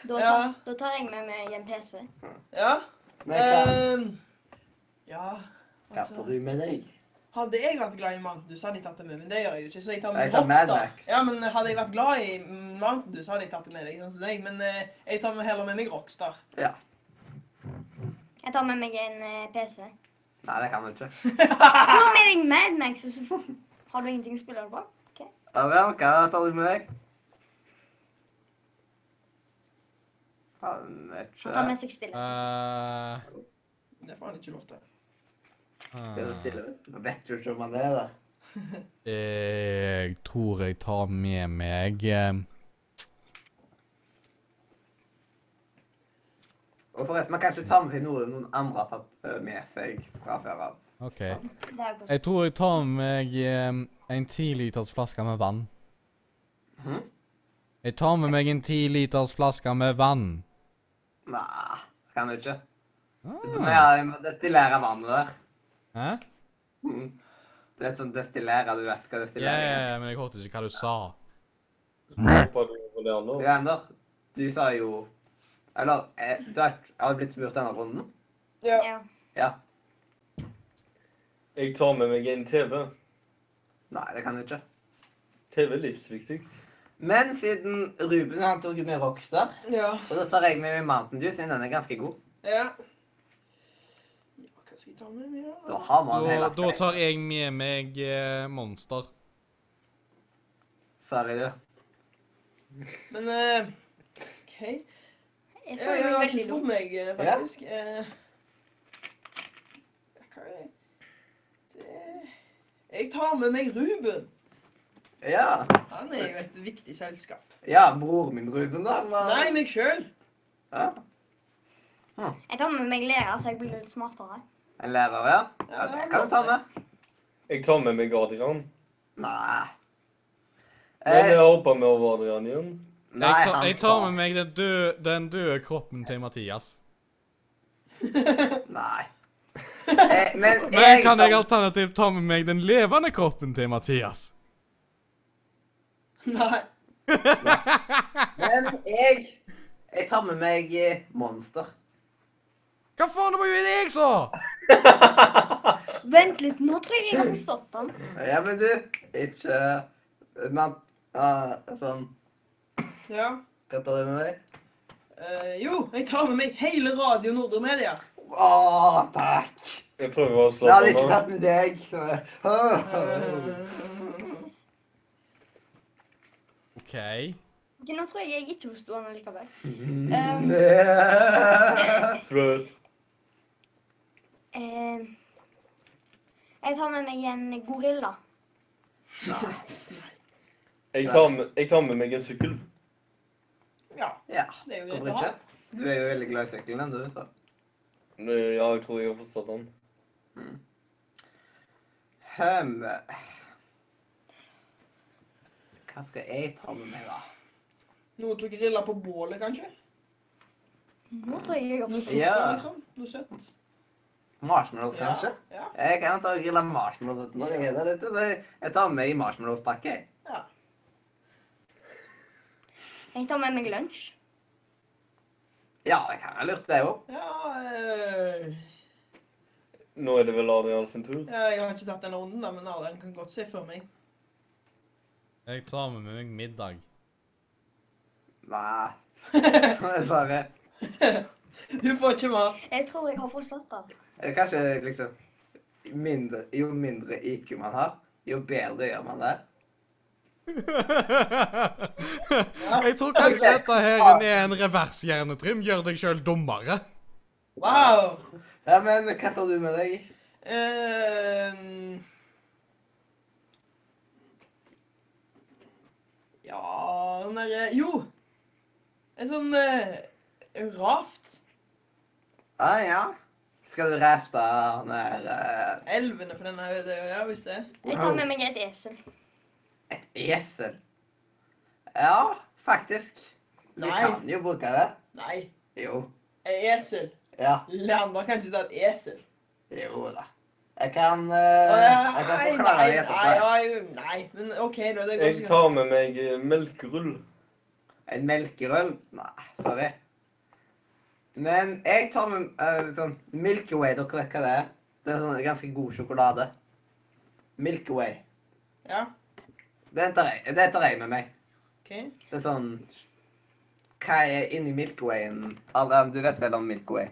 [SPEAKER 4] Da tar,
[SPEAKER 5] Ja.
[SPEAKER 4] da tar jeg med meg en PC.
[SPEAKER 5] Ja.
[SPEAKER 3] Hva
[SPEAKER 5] Ehm, ja. altså.
[SPEAKER 3] hva tar du med deg?
[SPEAKER 5] Hadde jeg vært glad i Mountain Dew, hadde jeg tatt det med, men det gjør jeg jo ikke. Så jeg tar med
[SPEAKER 3] Jeg tar Mad
[SPEAKER 5] Rockstar.
[SPEAKER 3] Max.
[SPEAKER 5] Ja, men hadde jeg vært glad i Mountain Dew, så hadde jeg tatt det med deg, sånn som deg. Men eh, jeg tar med heller med meg Rockstar.
[SPEAKER 3] Ja.
[SPEAKER 4] Jeg tar med meg en eh, PC.
[SPEAKER 3] Nei, det kan du ikke.
[SPEAKER 4] Ta med deg Mad Max, og så får- har du ingenting å spille det på.
[SPEAKER 3] Adrian, hva tar du med deg? Kan
[SPEAKER 4] Han tar
[SPEAKER 3] ikke
[SPEAKER 4] med seg stille.
[SPEAKER 2] Eh,
[SPEAKER 5] Det får han ikke lov til.
[SPEAKER 3] Det er
[SPEAKER 2] eh,
[SPEAKER 3] stille, vet du. Nå vet du ikke om han er der.
[SPEAKER 2] jeg tror jeg tar med meg eh,
[SPEAKER 3] Og forresten, man kan ikke ta med seg noe noen andre har tatt eh, med seg fra før av.
[SPEAKER 2] OK.
[SPEAKER 4] Det er jo
[SPEAKER 2] Jeg tror jeg tar med meg eh, en tiliters flaske med vann.
[SPEAKER 3] Mhm.
[SPEAKER 2] Jeg tar med meg en tiliters flaske med vann.
[SPEAKER 3] Nei, kan du ikke. Du må
[SPEAKER 2] Ah.
[SPEAKER 3] ja, du må destillere vannet der.
[SPEAKER 2] Hæ?
[SPEAKER 3] Mm. Det er sånn destillere, du vet hva
[SPEAKER 2] Ja,
[SPEAKER 3] destillering
[SPEAKER 2] ja,
[SPEAKER 3] er.
[SPEAKER 2] ja, men jeg hørte ikke hva du sa.
[SPEAKER 1] Hoppa du på det andre?
[SPEAKER 3] Ja, Ender, du sa jo Eller eh, du har, har du blitt spurt denne runden?
[SPEAKER 5] Ja.
[SPEAKER 4] Ja.
[SPEAKER 3] Ja.
[SPEAKER 1] Jeg tar med meg en TV.
[SPEAKER 3] Nei, det kan du ikke.
[SPEAKER 1] TV er livsviktig.
[SPEAKER 3] Men siden Ruben han tok jo med Rockstar,
[SPEAKER 5] Ja.
[SPEAKER 3] og da tar jeg med meg Mountain Dew, siden den er ganske god.
[SPEAKER 5] ja. Hva skal jeg ta med meg,
[SPEAKER 3] Da
[SPEAKER 5] da?
[SPEAKER 3] har man
[SPEAKER 2] Da,
[SPEAKER 3] hele
[SPEAKER 2] da tar jeg med meg eh, Monster.
[SPEAKER 3] Sorry, du.
[SPEAKER 5] Men eh, OK.
[SPEAKER 4] Jeg
[SPEAKER 5] Ja, jeg
[SPEAKER 4] føler
[SPEAKER 5] har
[SPEAKER 4] meg
[SPEAKER 5] ikke
[SPEAKER 4] veldig
[SPEAKER 5] spurt
[SPEAKER 4] dum.
[SPEAKER 5] meg, eh, faktisk. Eh, hva er det? Jeg tar med meg Ruben.
[SPEAKER 3] Ja.
[SPEAKER 5] Han er jo et viktig selskap.
[SPEAKER 3] ja, bror min Ruben, da. var-
[SPEAKER 5] Nei, meg sjøl.
[SPEAKER 3] Ja.
[SPEAKER 4] Jeg tar med meg lærer, så jeg blir litt smartere.
[SPEAKER 3] En lærer, ja. ja. Det kan du ta med.
[SPEAKER 1] Jeg tar med meg Adrian.
[SPEAKER 3] Eh. Nei.
[SPEAKER 1] Men
[SPEAKER 3] Eh,
[SPEAKER 1] jeg hoppa vi over Adrian igjen.
[SPEAKER 3] nei,
[SPEAKER 2] Jeg, tar-
[SPEAKER 3] han
[SPEAKER 2] jeg tar med meg den døde, den døde kroppen til Mathias.
[SPEAKER 3] Nei. Eh, men
[SPEAKER 2] *laughs* Men kan
[SPEAKER 3] tar-
[SPEAKER 2] jeg alternativt ta med meg den levende kroppen til Mathias?
[SPEAKER 5] *laughs* Nei.
[SPEAKER 3] Men jeg Jeg tar med meg eh, Monster.
[SPEAKER 2] Hva faen, det var jo det jeg sa!
[SPEAKER 4] Vent litt, nå tror jeg jeg har forstått den.
[SPEAKER 3] Ja, men du, ikke Men ah, sånn
[SPEAKER 5] Ja.
[SPEAKER 3] Hva tar du med deg?
[SPEAKER 5] Eh, jo, jeg tar med meg hele Radio Nordre Media.
[SPEAKER 3] Å, takk!
[SPEAKER 1] Jeg prøver å
[SPEAKER 3] Jeg
[SPEAKER 1] slappe
[SPEAKER 3] hadde ikke
[SPEAKER 1] av.
[SPEAKER 3] tatt med deg. så- Åh.
[SPEAKER 5] Eh,
[SPEAKER 2] OK.
[SPEAKER 4] Ok, nå tror jeg jeg ikke forsto den likevel.
[SPEAKER 3] Mm.
[SPEAKER 1] Fløt.
[SPEAKER 4] Eh, jeg tar med meg en gorilla.
[SPEAKER 1] Jeg tar med, jeg tar med meg en sykkel.
[SPEAKER 5] ja,
[SPEAKER 3] Ja,
[SPEAKER 5] det er jo greit
[SPEAKER 3] hvorfor
[SPEAKER 5] å ha.
[SPEAKER 3] ikke? Du er jo veldig glad i sykkelen, den, du. Så.
[SPEAKER 1] Eh, Ja, jeg tror jeg har forstått den.
[SPEAKER 3] Hm. Hva skal jeg ta med meg, da?
[SPEAKER 5] Noe til å grille på bålet, kanskje?
[SPEAKER 4] Nå tror jeg jeg har
[SPEAKER 5] Noe
[SPEAKER 4] forstått
[SPEAKER 5] søtt,
[SPEAKER 3] Ja.
[SPEAKER 5] liksom? Noe søtt?
[SPEAKER 3] Marshmallows,
[SPEAKER 5] Ja,
[SPEAKER 3] kanskje?
[SPEAKER 5] Ja.
[SPEAKER 3] Jeg kan ta og grille marshmallows uten når jeg er der ute. så Jeg tar med meg marshmallowspakke. jeg.
[SPEAKER 5] ja.
[SPEAKER 4] Jeg tar med meg lunsj.
[SPEAKER 3] Ja, det kan være lurt, det òg.
[SPEAKER 5] Ja, eh,
[SPEAKER 1] Nå er det vel Adrian sin tur.
[SPEAKER 5] ja, jeg har ikke tatt denne runden, da, men Adrian kan godt se for meg.
[SPEAKER 2] Jeg tar med meg middag.
[SPEAKER 3] Nei. Bare
[SPEAKER 5] Du får ikke mer.
[SPEAKER 4] Jeg tror jeg har forstått den.
[SPEAKER 3] Eller kanskje liksom mindre, Jo mindre IQ man har, jo bedre gjør man det.
[SPEAKER 2] jeg tror kanskje dette her er en revershjernetrim. Gjør deg sjøl dummere.
[SPEAKER 5] Wow!
[SPEAKER 3] Ja, men hva tar du med deg?
[SPEAKER 5] Eh, ja den derre Jo! En sånn eh, raft.
[SPEAKER 3] Ah, ja. Skal du rafte nær eh,
[SPEAKER 5] Elvene på denne øya, hvis det er.
[SPEAKER 4] Jeg tar med meg et esel.
[SPEAKER 3] et esel? Ja, faktisk. Du
[SPEAKER 5] Nei.
[SPEAKER 3] kan jo bruke det.
[SPEAKER 5] Nei,
[SPEAKER 3] Jo.
[SPEAKER 5] et esel.
[SPEAKER 3] Ja.
[SPEAKER 5] Leander kan ikke ta et esel.
[SPEAKER 3] Jo da. Jeg kan eh, Jeg kan
[SPEAKER 5] nei,
[SPEAKER 3] forklare det
[SPEAKER 5] nei,
[SPEAKER 3] etterpå.
[SPEAKER 5] nei, nei, men OK, da. Det går
[SPEAKER 1] Jeg tar med meg eh, melkerull.
[SPEAKER 3] En melkerøl? Nei, sorry. Men jeg tar med eh, sånn Milky Way, dere vet hva det er? Det er sånn ganske god sjokolade. Milky Way.
[SPEAKER 5] Ja,
[SPEAKER 3] Den tar jeg, det tar jeg med meg.
[SPEAKER 5] ok.
[SPEAKER 3] Det er sånn Hva er inni Milky Wayen? Adrian, du vet vel om Milky Way?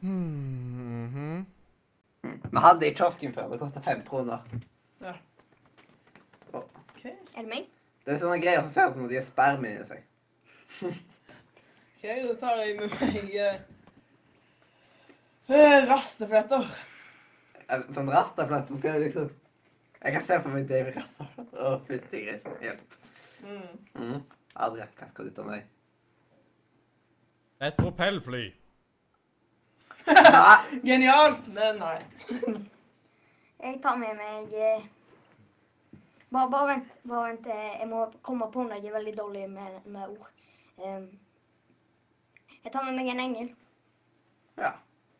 [SPEAKER 2] Mhm.
[SPEAKER 3] Vi hadde det i kiosken før. Det kosta fem kroner.
[SPEAKER 5] ok.
[SPEAKER 4] Er det meg?
[SPEAKER 3] Det er sånne greier som ser ut som at de har sperma inni seg.
[SPEAKER 5] Ok, Da tar jeg med meg eh, eh, rastefletter.
[SPEAKER 3] Eh, Sånn rastaflatt, så skal du liksom Jeg kan se for meg deg med rastaflatt. Å, fytti grisen. Hjelp.
[SPEAKER 5] Mm.
[SPEAKER 3] Mm. Adrian, hva skal du ta med deg?
[SPEAKER 2] Et propellfly.
[SPEAKER 3] Nei,
[SPEAKER 5] Genialt, men *laughs* nei.
[SPEAKER 4] Jeg tar med meg eh, Bare, bare vent. bare vent. eh, Jeg må komme på når jeg er veldig dårlig med, med ord. Em, jeg tar med meg en engel.
[SPEAKER 3] *laughs* ja.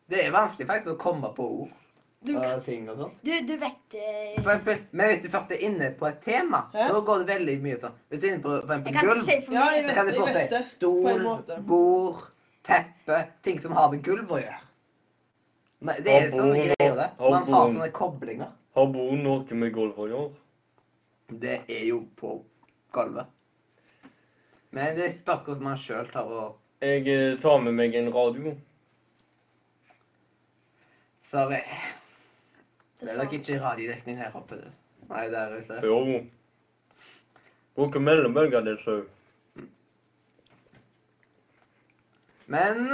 [SPEAKER 3] Det er vanskelig faktisk å komme på ord
[SPEAKER 4] Du,
[SPEAKER 3] og ting og sånt.
[SPEAKER 4] du, du vet eh,
[SPEAKER 3] For eksempel, men hvis du først er inne på et tema,
[SPEAKER 5] Hæ?
[SPEAKER 3] så går det veldig mye sånn. Hvis du er inne på for
[SPEAKER 4] Jeg
[SPEAKER 3] eksempel
[SPEAKER 4] kan ikke
[SPEAKER 3] gulv,
[SPEAKER 4] si for
[SPEAKER 5] Ja,
[SPEAKER 4] mye.
[SPEAKER 5] jeg
[SPEAKER 3] så kan du
[SPEAKER 5] Jeg
[SPEAKER 3] fort
[SPEAKER 5] vet
[SPEAKER 3] si
[SPEAKER 5] det, på en
[SPEAKER 3] stol,
[SPEAKER 5] måte.
[SPEAKER 3] bord, teppe, ting som har med gulv å gjøre. Men det er
[SPEAKER 1] Og
[SPEAKER 3] sånne
[SPEAKER 1] bord,
[SPEAKER 3] greier, det.
[SPEAKER 1] og
[SPEAKER 3] Man har
[SPEAKER 1] bord.
[SPEAKER 3] sånne koblinger.
[SPEAKER 1] Har Boen noe med golf å gjøre?
[SPEAKER 3] Det er jo på gulvet. Men det spørs hvordan man sjøl tar og
[SPEAKER 1] Jeg eh, tar med meg en radio.
[SPEAKER 3] Sorry. Det
[SPEAKER 4] Det
[SPEAKER 3] er nok
[SPEAKER 4] skal-
[SPEAKER 3] ikke radiodekning her oppe. du. Nei, der ute.
[SPEAKER 1] Jo. Bruker mellombølger, det sau.
[SPEAKER 3] Men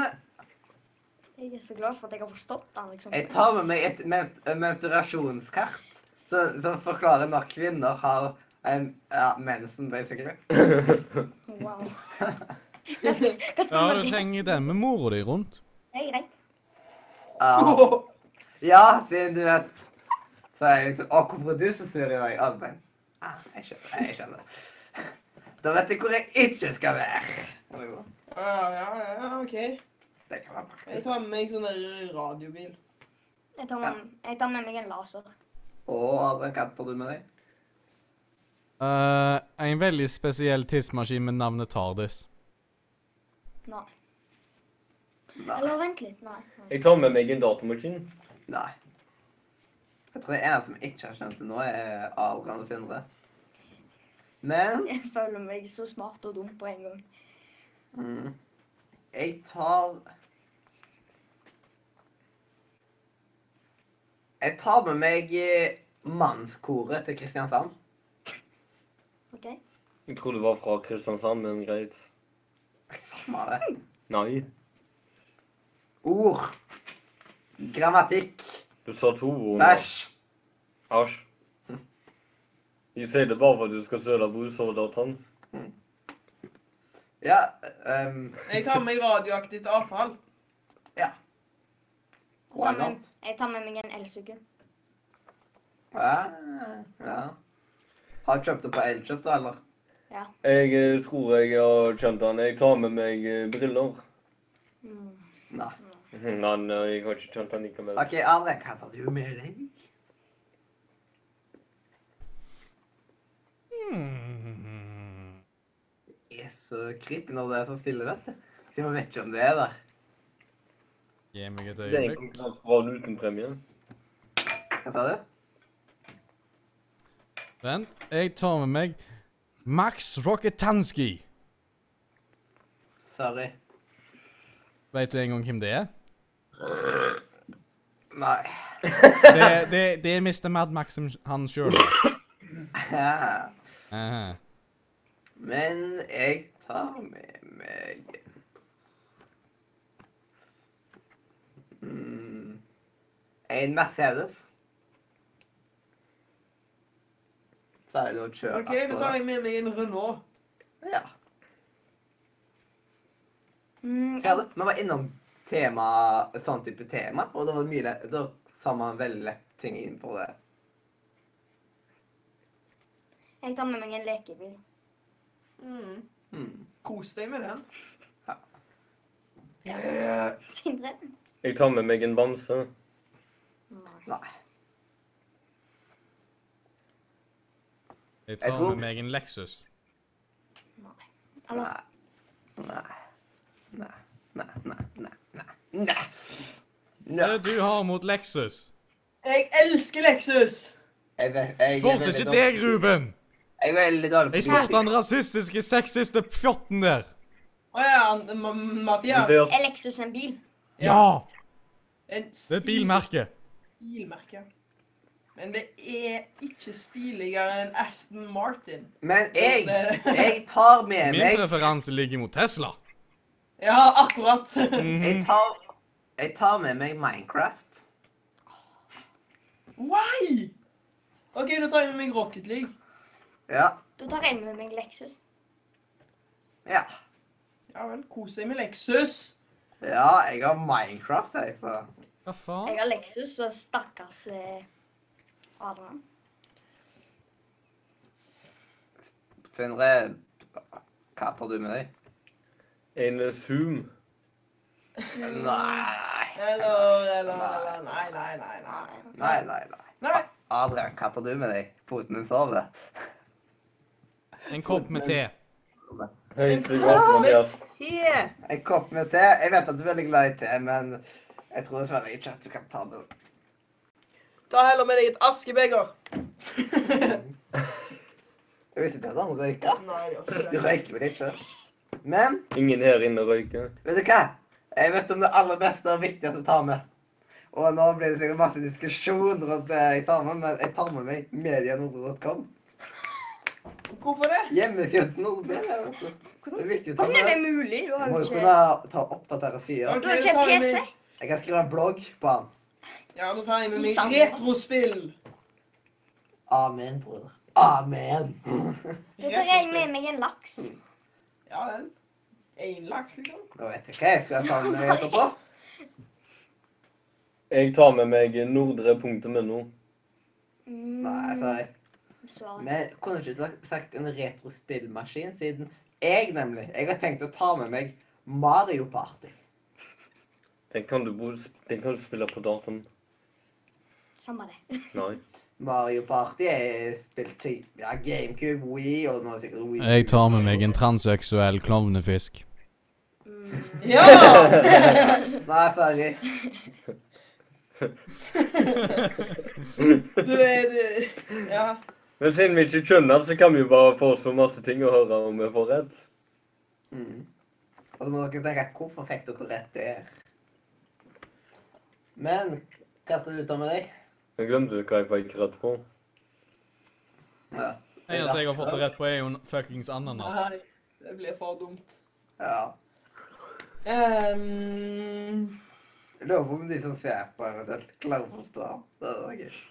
[SPEAKER 4] Jeg er så glad for at jeg har forstått den. liksom.
[SPEAKER 3] jeg tar med meg et men- menstruasjonskart som som forklarer når kvinner har en ja, mensen, basically.
[SPEAKER 4] Wow. Hva skal, hva skal
[SPEAKER 2] Ja,
[SPEAKER 4] man
[SPEAKER 2] du trenger den med mora di rundt.
[SPEAKER 4] Det er greit.
[SPEAKER 3] Ja, ja siden du vet Så er jeg liksom Å, hvorfor er du så sur i dag? Ah, men, ah, jeg skjønner. Jeg skjønner. Da vet jeg hvor jeg ikke skal være.
[SPEAKER 5] Ja, ja, ja, OK.
[SPEAKER 3] Det kan være
[SPEAKER 5] Jeg
[SPEAKER 3] praktisk.
[SPEAKER 5] tar med meg sånn der radiobil.
[SPEAKER 4] Jeg tar, med, jeg tar med meg en laser.
[SPEAKER 3] Og hva katter du med deg?
[SPEAKER 2] Eh, en veldig spesiell tidsmaskin med navnet Tardis.
[SPEAKER 4] Nei.
[SPEAKER 3] Nei.
[SPEAKER 4] Eller vent litt. Nei. nei.
[SPEAKER 1] Jeg tar med meg en datamaskin.
[SPEAKER 3] Nei. Jeg tror det er en som ikke har skjønt det nå, er Abraham Sindre. Men
[SPEAKER 4] Jeg føler meg så smart og dum på en gang.
[SPEAKER 3] mm, jeg tar Jeg tar med meg eh, mannskoret til Kristiansand.
[SPEAKER 4] OK?
[SPEAKER 1] Jeg tror det var fra Kristiansand, men greit.
[SPEAKER 3] Samme det.
[SPEAKER 1] Nei.
[SPEAKER 3] Ord. Grammatikk.
[SPEAKER 1] Du sa to ord. nå.
[SPEAKER 3] Bæsj.
[SPEAKER 1] Æsj. Jeg sier det bare for at du skal søle brus over dataen.
[SPEAKER 3] Ja ehm,
[SPEAKER 5] Jeg tar med meg radioaktivt avfall.
[SPEAKER 4] Jeg tar
[SPEAKER 3] Why
[SPEAKER 4] med,
[SPEAKER 3] not?
[SPEAKER 4] jeg tar med meg en elsykkel.
[SPEAKER 3] ja, ja. Har du kjøpt det på Elkjøp, da, eller?
[SPEAKER 1] Jeg eh, tror jeg har kjent han. Jeg tar med meg eh, briller.
[SPEAKER 4] Mm.
[SPEAKER 3] Nei.
[SPEAKER 1] Men eh, jeg har ikke kjent han likevel.
[SPEAKER 3] OK, Alek, hva tar du med deg?
[SPEAKER 2] Hmm.
[SPEAKER 3] er så creepy når det er så stille, vet du. Så man vet ikke om det er der.
[SPEAKER 2] Gi meg et
[SPEAKER 1] Det er en
[SPEAKER 2] øyeblikk.
[SPEAKER 1] konkurranse på radio uten premie.
[SPEAKER 3] Hva sa du?
[SPEAKER 2] Vent, jeg tar med meg Max Rocketansky.
[SPEAKER 3] Sorry.
[SPEAKER 2] Vet du en gang hvem det er?
[SPEAKER 3] Nei. *laughs*
[SPEAKER 2] Det, det, det er Mr. Mad Max som- han sjøl.
[SPEAKER 3] Men jeg tar med meg mm, En Mercedes. Så er det å kjøre
[SPEAKER 5] OK, da tar jeg med meg en Renault.
[SPEAKER 3] Ja.
[SPEAKER 4] Mm,
[SPEAKER 3] Ferdig. Vi var innom tema, sånn type tema, og det var mye lett. Da sa man veldig lett ting inn på det.
[SPEAKER 4] jeg tar med meg en lekebil.
[SPEAKER 5] Mm.
[SPEAKER 3] Mm.
[SPEAKER 5] Kos deg med den.
[SPEAKER 4] Sindre?
[SPEAKER 1] Jeg tar med meg en bamse.
[SPEAKER 4] Nei.
[SPEAKER 3] Nei.
[SPEAKER 2] Jeg
[SPEAKER 3] Jeg
[SPEAKER 2] tar
[SPEAKER 3] tror-
[SPEAKER 2] med meg en Lexus.
[SPEAKER 4] Eller
[SPEAKER 3] Nei. Nei. Nei, nei, nei, nei. Nei.
[SPEAKER 2] Hva
[SPEAKER 3] nei.
[SPEAKER 2] er det du har mot Lexus?
[SPEAKER 5] Jeg elsker Lexus!
[SPEAKER 3] Jeg, vet- jeg, er
[SPEAKER 2] Spurte
[SPEAKER 3] veldig
[SPEAKER 2] ikke
[SPEAKER 3] dårlig-
[SPEAKER 2] deg, Ruben!
[SPEAKER 3] Jeg er veldig dårlig
[SPEAKER 2] Jeg spurte han rasistiske, sexistiske fjotten der.
[SPEAKER 5] Å ja, han- M- Mathias.
[SPEAKER 1] Det er
[SPEAKER 4] er Lexus en bil?
[SPEAKER 2] Ja! Det
[SPEAKER 5] En
[SPEAKER 2] er et
[SPEAKER 5] stil-
[SPEAKER 2] bilmerke.
[SPEAKER 5] bilmerke. Men det er ikke stiligere enn Aston Martin.
[SPEAKER 3] Men jeg, jeg tar med
[SPEAKER 2] Min
[SPEAKER 3] meg
[SPEAKER 2] preferanse ligger mot Tesla.
[SPEAKER 5] Ja, akkurat.
[SPEAKER 2] Mm.
[SPEAKER 3] jeg tar, jeg tar med meg Minecraft.
[SPEAKER 5] *laughs* Why? OK, da tar jeg med meg Rocket League.
[SPEAKER 3] Ja.
[SPEAKER 4] Da tar jeg med meg Lexus.
[SPEAKER 3] Ja.
[SPEAKER 5] Ja vel, kos deg med Lexus.
[SPEAKER 3] Ja, jeg har Minecraft, jeg. Så.
[SPEAKER 2] Hva faen?
[SPEAKER 4] Jeg har Lexus og stakkars eh, Adrian.
[SPEAKER 3] Sindre, hva tar du med deg?
[SPEAKER 1] En eh, Zoom.
[SPEAKER 3] Nei,
[SPEAKER 5] Eller, eller, eller Nei, nei, nei. Nei.
[SPEAKER 3] nei, nei. nei.
[SPEAKER 5] nei.
[SPEAKER 3] Adrian, hva tar du med deg? Foten din sover.
[SPEAKER 2] En kopp med te.
[SPEAKER 1] Helt sikkert, Mathias.
[SPEAKER 5] Yeah.
[SPEAKER 3] En kopp med te. Jeg vet at du er veldig glad i te, men jeg tror dessverre ikke at du kan ta den.
[SPEAKER 5] Ta heller med deg et askebeger.
[SPEAKER 3] Jeg visste ikke at han røyka.
[SPEAKER 5] Nei, det gjør ikke
[SPEAKER 3] Du
[SPEAKER 5] det.
[SPEAKER 3] røyker vel ikke? Men
[SPEAKER 1] Ingen her inne røyker.
[SPEAKER 3] vet du hva? Jeg vet om det aller beste og viktigste å ta med. Og nå blir det sikkert masse diskusjon rundt det jeg tar med, men jeg tar med meg medianordre.com.
[SPEAKER 5] Hvorfor det?
[SPEAKER 3] Hjemmesiden til Nordmedia. vet du. Det er viktig å ta
[SPEAKER 4] Hvordan er det
[SPEAKER 3] med.
[SPEAKER 4] mulig? Du
[SPEAKER 3] Du
[SPEAKER 4] har
[SPEAKER 3] må jo
[SPEAKER 4] jo ikke,
[SPEAKER 3] kunne ta oppdatere sider.
[SPEAKER 4] du har ikke
[SPEAKER 5] Ok, da tar vi
[SPEAKER 4] PC.
[SPEAKER 5] med-
[SPEAKER 3] Jeg kan skrive en blogg på han.
[SPEAKER 5] Ja, nå tar jeg med
[SPEAKER 4] Sammen.
[SPEAKER 5] meg retrospill.
[SPEAKER 3] Amen, bror. Amen.
[SPEAKER 4] Da tar jeg med meg en laks.
[SPEAKER 3] Mm.
[SPEAKER 5] Ja vel. Én laks, liksom.
[SPEAKER 3] Nå vet jeg hva jeg skal ta med meg etterpå.
[SPEAKER 1] Jeg tar med meg nordre.no.
[SPEAKER 4] Mm,
[SPEAKER 3] Nei, sorry.
[SPEAKER 4] Svaret.
[SPEAKER 3] Men kunne du ikke sagt- sagt en retrospillmaskin, siden jeg nemlig Jeg har tenkt å ta med meg Mario Party.
[SPEAKER 1] Den kan du, bo- den kan du spille på dataen.
[SPEAKER 4] Samme det.
[SPEAKER 1] Nei.
[SPEAKER 3] Mario Party er spilt til ja, GameCube, Wii og nå sikkert Wii.
[SPEAKER 2] Jeg tar med meg en transseksuell klovnefisk.
[SPEAKER 5] Ja!
[SPEAKER 3] Nei, sorry.
[SPEAKER 5] Du er du Ja.
[SPEAKER 1] Men siden vi ikke skjønner, så kan vi jo bare få så masse ting å høre om vi får rett.
[SPEAKER 3] Mm. Og så må dere tenke hvorfor fikk dere rett det her? Men hva skal du ta med deg?
[SPEAKER 1] Jeg glemte hva jeg fikk rett på.
[SPEAKER 3] Ja.
[SPEAKER 2] Eneste altså, jeg har fått det rett på, er jo en fuckings
[SPEAKER 3] *laughs*
[SPEAKER 2] ananas.
[SPEAKER 5] Nei, det blir for dumt.
[SPEAKER 3] Ja.
[SPEAKER 5] Ehm,
[SPEAKER 3] Jeg Lurer på om de som ser på, eventuelt klarer å forstå. Det er gøy.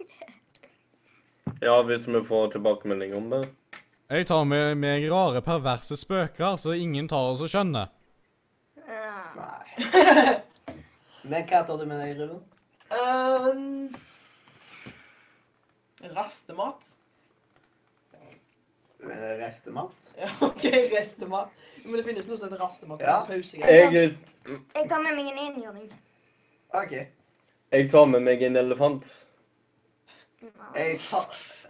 [SPEAKER 1] Ja, hvis vi får tilbakemelding om det.
[SPEAKER 2] Jeg tar med meg rare, perverse spøker, så ingen tar oss og skjønner.
[SPEAKER 4] Ja.
[SPEAKER 3] Nei. *laughs* Men hva tar du med deg, Ruben?
[SPEAKER 5] ehm, Rastemat?
[SPEAKER 3] Eh, Restemat?
[SPEAKER 5] Ja, OK, restemat. Men det finnes noe som heter rastemat.
[SPEAKER 3] Ja.
[SPEAKER 5] Pause.
[SPEAKER 1] Jeg,
[SPEAKER 4] Jeg tar med meg en enhjørning.
[SPEAKER 3] OK.
[SPEAKER 1] jeg tar med meg en elefant.
[SPEAKER 4] Ja.
[SPEAKER 3] Jeg tar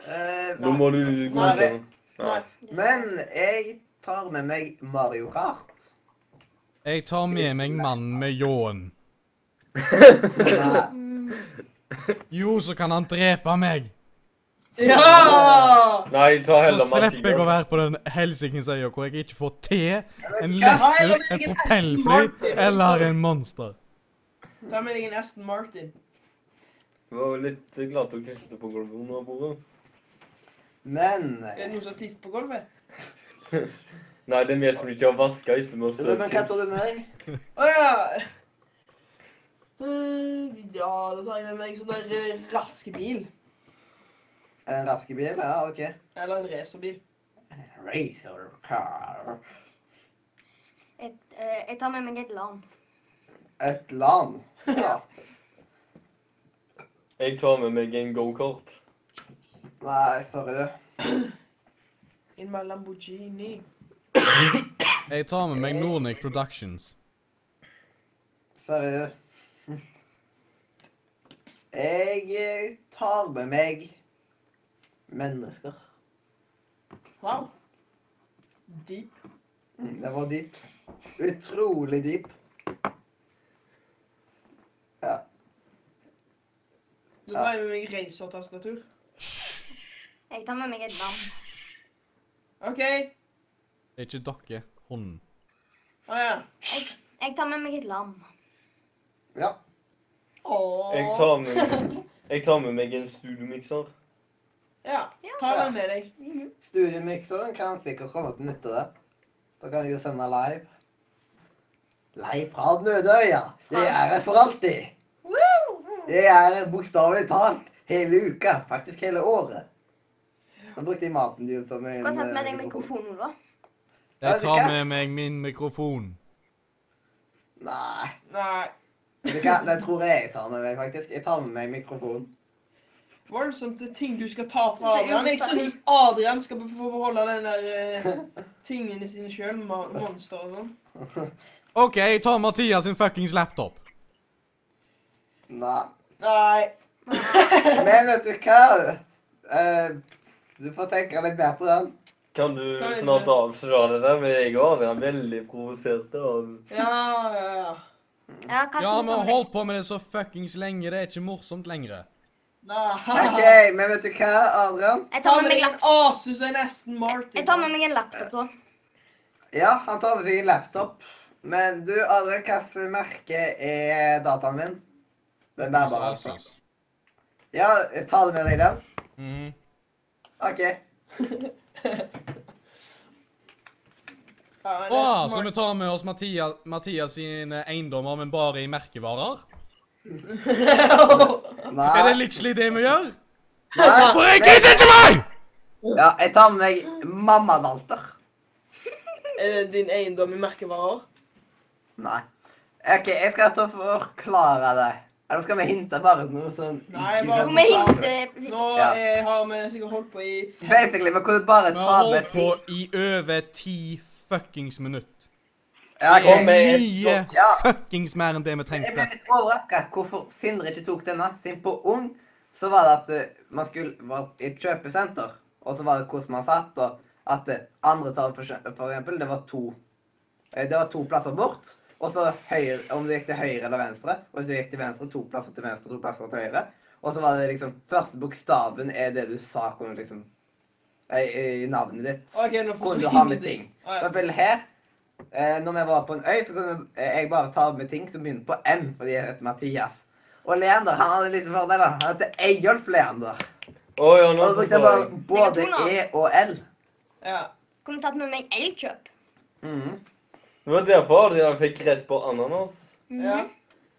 [SPEAKER 3] eh,
[SPEAKER 1] Nå må du godkjenne. Nei.
[SPEAKER 5] Nei.
[SPEAKER 3] Men jeg tar med meg Mario Kart.
[SPEAKER 2] Jeg tar med meg mannen med ljåen.
[SPEAKER 3] Nei.
[SPEAKER 4] Mm,
[SPEAKER 2] Jo, så kan han drepe meg.
[SPEAKER 5] Ja!
[SPEAKER 1] Nei, ta
[SPEAKER 2] Så
[SPEAKER 1] heller
[SPEAKER 2] slipper jeg å
[SPEAKER 1] Mathias.
[SPEAKER 2] være på den helsikens øya hvor jeg ikke får te, en
[SPEAKER 3] hva?
[SPEAKER 2] Lexus, et propellfly eller en monster.
[SPEAKER 5] Ta med deg en Aston Martin.
[SPEAKER 1] Du var jo litt glad til å kriste på gulvet under bordet.
[SPEAKER 3] Men
[SPEAKER 5] Er det noen som har tist på gulvet?
[SPEAKER 1] Nei, det er vi som ikke har vaska etter med oss.
[SPEAKER 3] Ruben, hva tar du med deg?
[SPEAKER 5] Å ja. Eh, Ja, da tar jeg med meg sånn der eh, raskebil.
[SPEAKER 3] En raskebil? Ja, OK.
[SPEAKER 5] Eller en racerbil.
[SPEAKER 3] Racer car.
[SPEAKER 4] et, eh, jeg tar med meg et lam.
[SPEAKER 3] Et land. Ja.
[SPEAKER 1] Jeg tar med meg en gokart.
[SPEAKER 3] Nei, sorry, du.
[SPEAKER 5] In my Lamborghini.
[SPEAKER 2] Jeg tar med meg Nornic Productions.
[SPEAKER 3] Sorry, du. Jeg eh, tar med meg mennesker.
[SPEAKER 5] Wow. Deep.
[SPEAKER 3] Mm, Det var dyp. Utrolig dyp. Ja.
[SPEAKER 5] Da tar jeg med meg racertastatur.
[SPEAKER 4] Jeg tar med meg et lam.
[SPEAKER 5] OK.
[SPEAKER 2] Det er ikke dere, hunden.
[SPEAKER 5] Å ja.
[SPEAKER 4] Jeg tar med meg et lam.
[SPEAKER 3] ja.
[SPEAKER 1] Jeg
[SPEAKER 5] Åh.
[SPEAKER 1] tar med, jeg tar med meg en studiomikser.
[SPEAKER 5] Ja. Ta den med deg.
[SPEAKER 3] Studiemikseren kan sikkert komme til nytte, det. Da kan jeg jo sende live. Live fra Nødøya. Jeg er her for alltid. Jeg er her bokstavelig talt hele uka, faktisk hele året. Nå brukte jeg maten din som en
[SPEAKER 4] Skulle ha tatt med
[SPEAKER 3] eh,
[SPEAKER 4] deg mikrofonen, da.
[SPEAKER 2] Jeg tar med meg min mikrofon.
[SPEAKER 3] Nei.
[SPEAKER 5] Nei.
[SPEAKER 3] Vet du hva? Det tror jeg jeg tar med meg, faktisk. Jeg tar med meg mikrofonen.
[SPEAKER 5] Voldsomt det er ting du skal ta fra
[SPEAKER 4] Så
[SPEAKER 5] Adrian. Jeg
[SPEAKER 4] urettferdig.
[SPEAKER 5] synes Adrian skal be- få beholde den der eh, tingene sine sjøl. Monster og sånn.
[SPEAKER 2] OK, jeg tar Mathias sin fuckings laptop.
[SPEAKER 3] Nei.
[SPEAKER 5] Nei.
[SPEAKER 3] Men vet du hva? Eh, du får tenke litt mer på den.
[SPEAKER 1] Kan du
[SPEAKER 5] Kan vi
[SPEAKER 1] snart
[SPEAKER 5] ikke?
[SPEAKER 1] avsløre det der? Men jeg og Adrian er veldig provoserte av
[SPEAKER 5] Ja, ja, ja.
[SPEAKER 4] Ja, hva skal
[SPEAKER 2] Ja, vi
[SPEAKER 4] vi ta
[SPEAKER 2] har
[SPEAKER 4] med det?
[SPEAKER 2] holdt på med det så fuckings lenge. Det er ikke morsomt lenger.
[SPEAKER 3] OK,
[SPEAKER 5] Nei.
[SPEAKER 3] men vet du hva, Adrian?
[SPEAKER 4] Jeg
[SPEAKER 5] Ta
[SPEAKER 4] tar med meg
[SPEAKER 5] med deg en
[SPEAKER 4] laptop.
[SPEAKER 5] Asus og en Aston Martin.
[SPEAKER 4] Jeg tar med meg en laptop, da.
[SPEAKER 3] Ja, han tar med seg en laptop. Men du, Adrian, hva slags merke er dataen min? Den der bare, altså. Ja, ta det med deg den.
[SPEAKER 2] Mhm.
[SPEAKER 3] OK.
[SPEAKER 5] Ja, en
[SPEAKER 2] Ah,
[SPEAKER 5] Aston
[SPEAKER 2] så vi
[SPEAKER 5] Martin.
[SPEAKER 2] tar med oss Mathias, Mathias sine eiendommer, men bare i merkevarer? Er det
[SPEAKER 3] Nei.
[SPEAKER 2] literally det vi gjør?
[SPEAKER 3] Nei.
[SPEAKER 2] Bare jeg gidder ikke meg!
[SPEAKER 3] Ja, jeg tar med meg mammavalter.
[SPEAKER 5] Er det din eiendom i merkevarer?
[SPEAKER 3] Nei. OK, jeg skal ta og forklare det. Eller skal vi hinte bare noe sånn
[SPEAKER 5] Nei, bare-
[SPEAKER 4] Om jeg hinter
[SPEAKER 5] Nå
[SPEAKER 3] Ja.
[SPEAKER 5] eh, har vi sikkert holdt på i fem
[SPEAKER 3] Basically, vi kunne bare
[SPEAKER 2] Vi
[SPEAKER 3] ta
[SPEAKER 2] har
[SPEAKER 3] med
[SPEAKER 2] holdt på
[SPEAKER 3] ting.
[SPEAKER 2] i over ti fuckings minutt.
[SPEAKER 3] Ja,
[SPEAKER 2] Det er
[SPEAKER 3] ok.
[SPEAKER 1] med et
[SPEAKER 2] mye
[SPEAKER 1] godt-
[SPEAKER 3] ja.
[SPEAKER 2] fuckings mer enn det vi
[SPEAKER 3] Jeg ble
[SPEAKER 2] trengte.
[SPEAKER 3] litt overraska hvorfor Sindre ikke tok denne. Siden på Ung så var det at eh, man skulle var i et kjøpesenter, og så var det hvordan man satt, og at eh, andre tall for, skje- for eksempel, det var to. eh, Det var to plasser bort, og så høyre, om du gikk til høyre eller venstre, og hvis du gikk til venstre, to plasser til venstre, to plasser til høyre. Og så var det liksom Første bokstaven er det du sa kunne liksom eh, I navnet ditt.
[SPEAKER 5] OK, nå
[SPEAKER 3] Hvor du
[SPEAKER 5] forsvinner
[SPEAKER 3] har med
[SPEAKER 5] det.
[SPEAKER 3] ting.
[SPEAKER 5] Ah,
[SPEAKER 3] For
[SPEAKER 5] ja.
[SPEAKER 3] eksempel her, eh, når vi var på en øy, så kunne vi- eh, jeg bare ta med ting som begynner på M, fordi jeg heter Mathias. Og Leander, han hadde litt fordel. da. Han heter Eyolf Leander.
[SPEAKER 1] Å ja, nå
[SPEAKER 3] Og så brukte Altså, jeg
[SPEAKER 1] forstår
[SPEAKER 3] bare
[SPEAKER 1] jeg.
[SPEAKER 3] både
[SPEAKER 4] Sikkert
[SPEAKER 3] E og L.
[SPEAKER 5] ja.
[SPEAKER 4] Kunne tatt med meg elgkjøp.
[SPEAKER 3] Mhm.
[SPEAKER 1] Det var derfor Adrian fikk rett på ananas.
[SPEAKER 5] ja.
[SPEAKER 4] Mhm.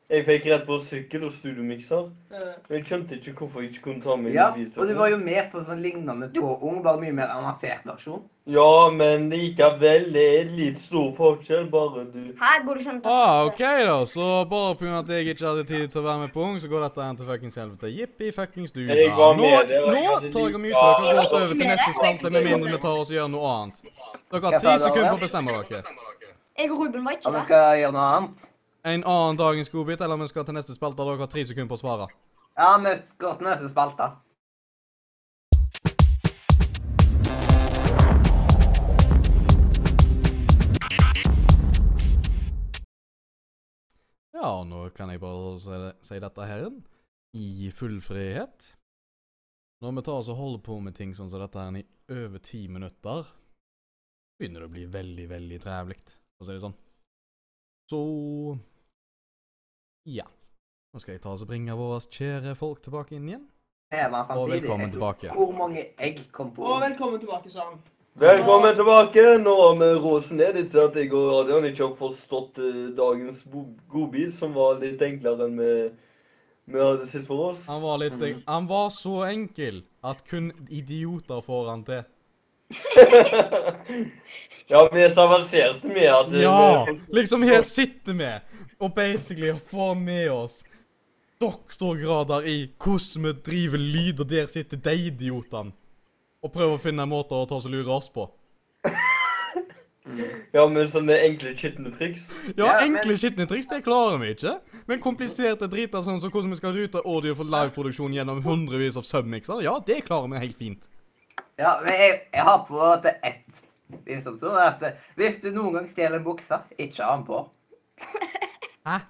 [SPEAKER 1] Jeg fikk rett på sykkel og studiomikser.
[SPEAKER 5] Eh,
[SPEAKER 1] Men jeg skjønte ikke hvorfor jeg ikke kunne ta med
[SPEAKER 3] Ja,
[SPEAKER 1] mobiltelefon.
[SPEAKER 3] og du var jo med på sånn lignende på Ung, bare mye mer avansert versjon.
[SPEAKER 1] Ja, men likevel, det er litt stor forskjell, bare du
[SPEAKER 4] Her går det ikke an å ta
[SPEAKER 2] Ah, OK,
[SPEAKER 4] første.
[SPEAKER 2] da. Så bare pga. at jeg ikke hadde tid til å være med på Ung, så går dette her til fuckings helvete. Jippi fuckings du.
[SPEAKER 1] Jeg
[SPEAKER 2] da.
[SPEAKER 1] var
[SPEAKER 2] Nå,
[SPEAKER 1] med, det var- jeg
[SPEAKER 2] nå
[SPEAKER 1] hadde
[SPEAKER 2] tar jeg og muter
[SPEAKER 1] lyst-
[SPEAKER 2] dere og
[SPEAKER 4] Jeg var
[SPEAKER 2] går
[SPEAKER 4] ikke
[SPEAKER 2] over til
[SPEAKER 4] med
[SPEAKER 2] neste
[SPEAKER 4] det.
[SPEAKER 2] spalte, med mindre vi tar oss og gjør noe annet. Dere
[SPEAKER 3] Hva
[SPEAKER 2] har
[SPEAKER 3] sa
[SPEAKER 2] ti
[SPEAKER 3] du,
[SPEAKER 2] sekunder
[SPEAKER 3] Adrian?
[SPEAKER 2] på å bestemme dere.
[SPEAKER 4] Jeg og Ruben var
[SPEAKER 3] Og
[SPEAKER 4] ikke
[SPEAKER 3] vi
[SPEAKER 4] der.
[SPEAKER 3] skal gjøre noe annet.
[SPEAKER 2] En annen dagens godbit, eller vi skal til neste spalte. Dere har tre sekunder på å svare.
[SPEAKER 3] Ja, vi går til neste spalte.
[SPEAKER 2] Ja, og nå kan jeg bare si, si dette her igjen. I full frihet. Når vi tar oss og holder på med ting sånn som dette her i over ti minutter, begynner det å bli veldig, veldig trevlig, for å si det sånn. Så Ja. Nå skal jeg ta oss og bringe våre kjære folk tilbake inn igjen.
[SPEAKER 3] Her var
[SPEAKER 2] Og
[SPEAKER 3] samtidig.
[SPEAKER 2] velkommen
[SPEAKER 3] Jeg tror-
[SPEAKER 2] tilbake.
[SPEAKER 3] Hvor mange egg kom på Ung?
[SPEAKER 5] Og velkommen tilbake, sa han.
[SPEAKER 1] Velkommen tilbake. Nå har vi rosen ned etter at jeg og Adrian ikke har forstått eh, dagens bo- godbit, som var litt enklere enn vi, vi hadde sett for oss.
[SPEAKER 2] Han var litt Han var så enkel at kun idioter får han til.
[SPEAKER 1] Ja, vi avanserte med at eh,
[SPEAKER 2] Ja!
[SPEAKER 1] vi-
[SPEAKER 2] Liksom her sitter vi og basically får med oss doktorgrader i hvordan vi driver lyd, og der sitter de idiotene og prøver å finne måter å ta oss og lure oss på.
[SPEAKER 1] Ja, med sånne enkle, skitne triks.
[SPEAKER 2] Ja,
[SPEAKER 3] Ja, men-
[SPEAKER 2] enkle skitne triks, det klarer vi ikke. Men kompliserte driter sånn som hvordan vi skal rute audio for liveproduksjon gjennom hundrevis av submikser, ja, det klarer vi helt fint.
[SPEAKER 3] Ja, men jeg, jeg har på en måte ett liksom, som er at eh, Hvis du noen gang stjeler en bukse, ikke ha den på.
[SPEAKER 2] Hæ?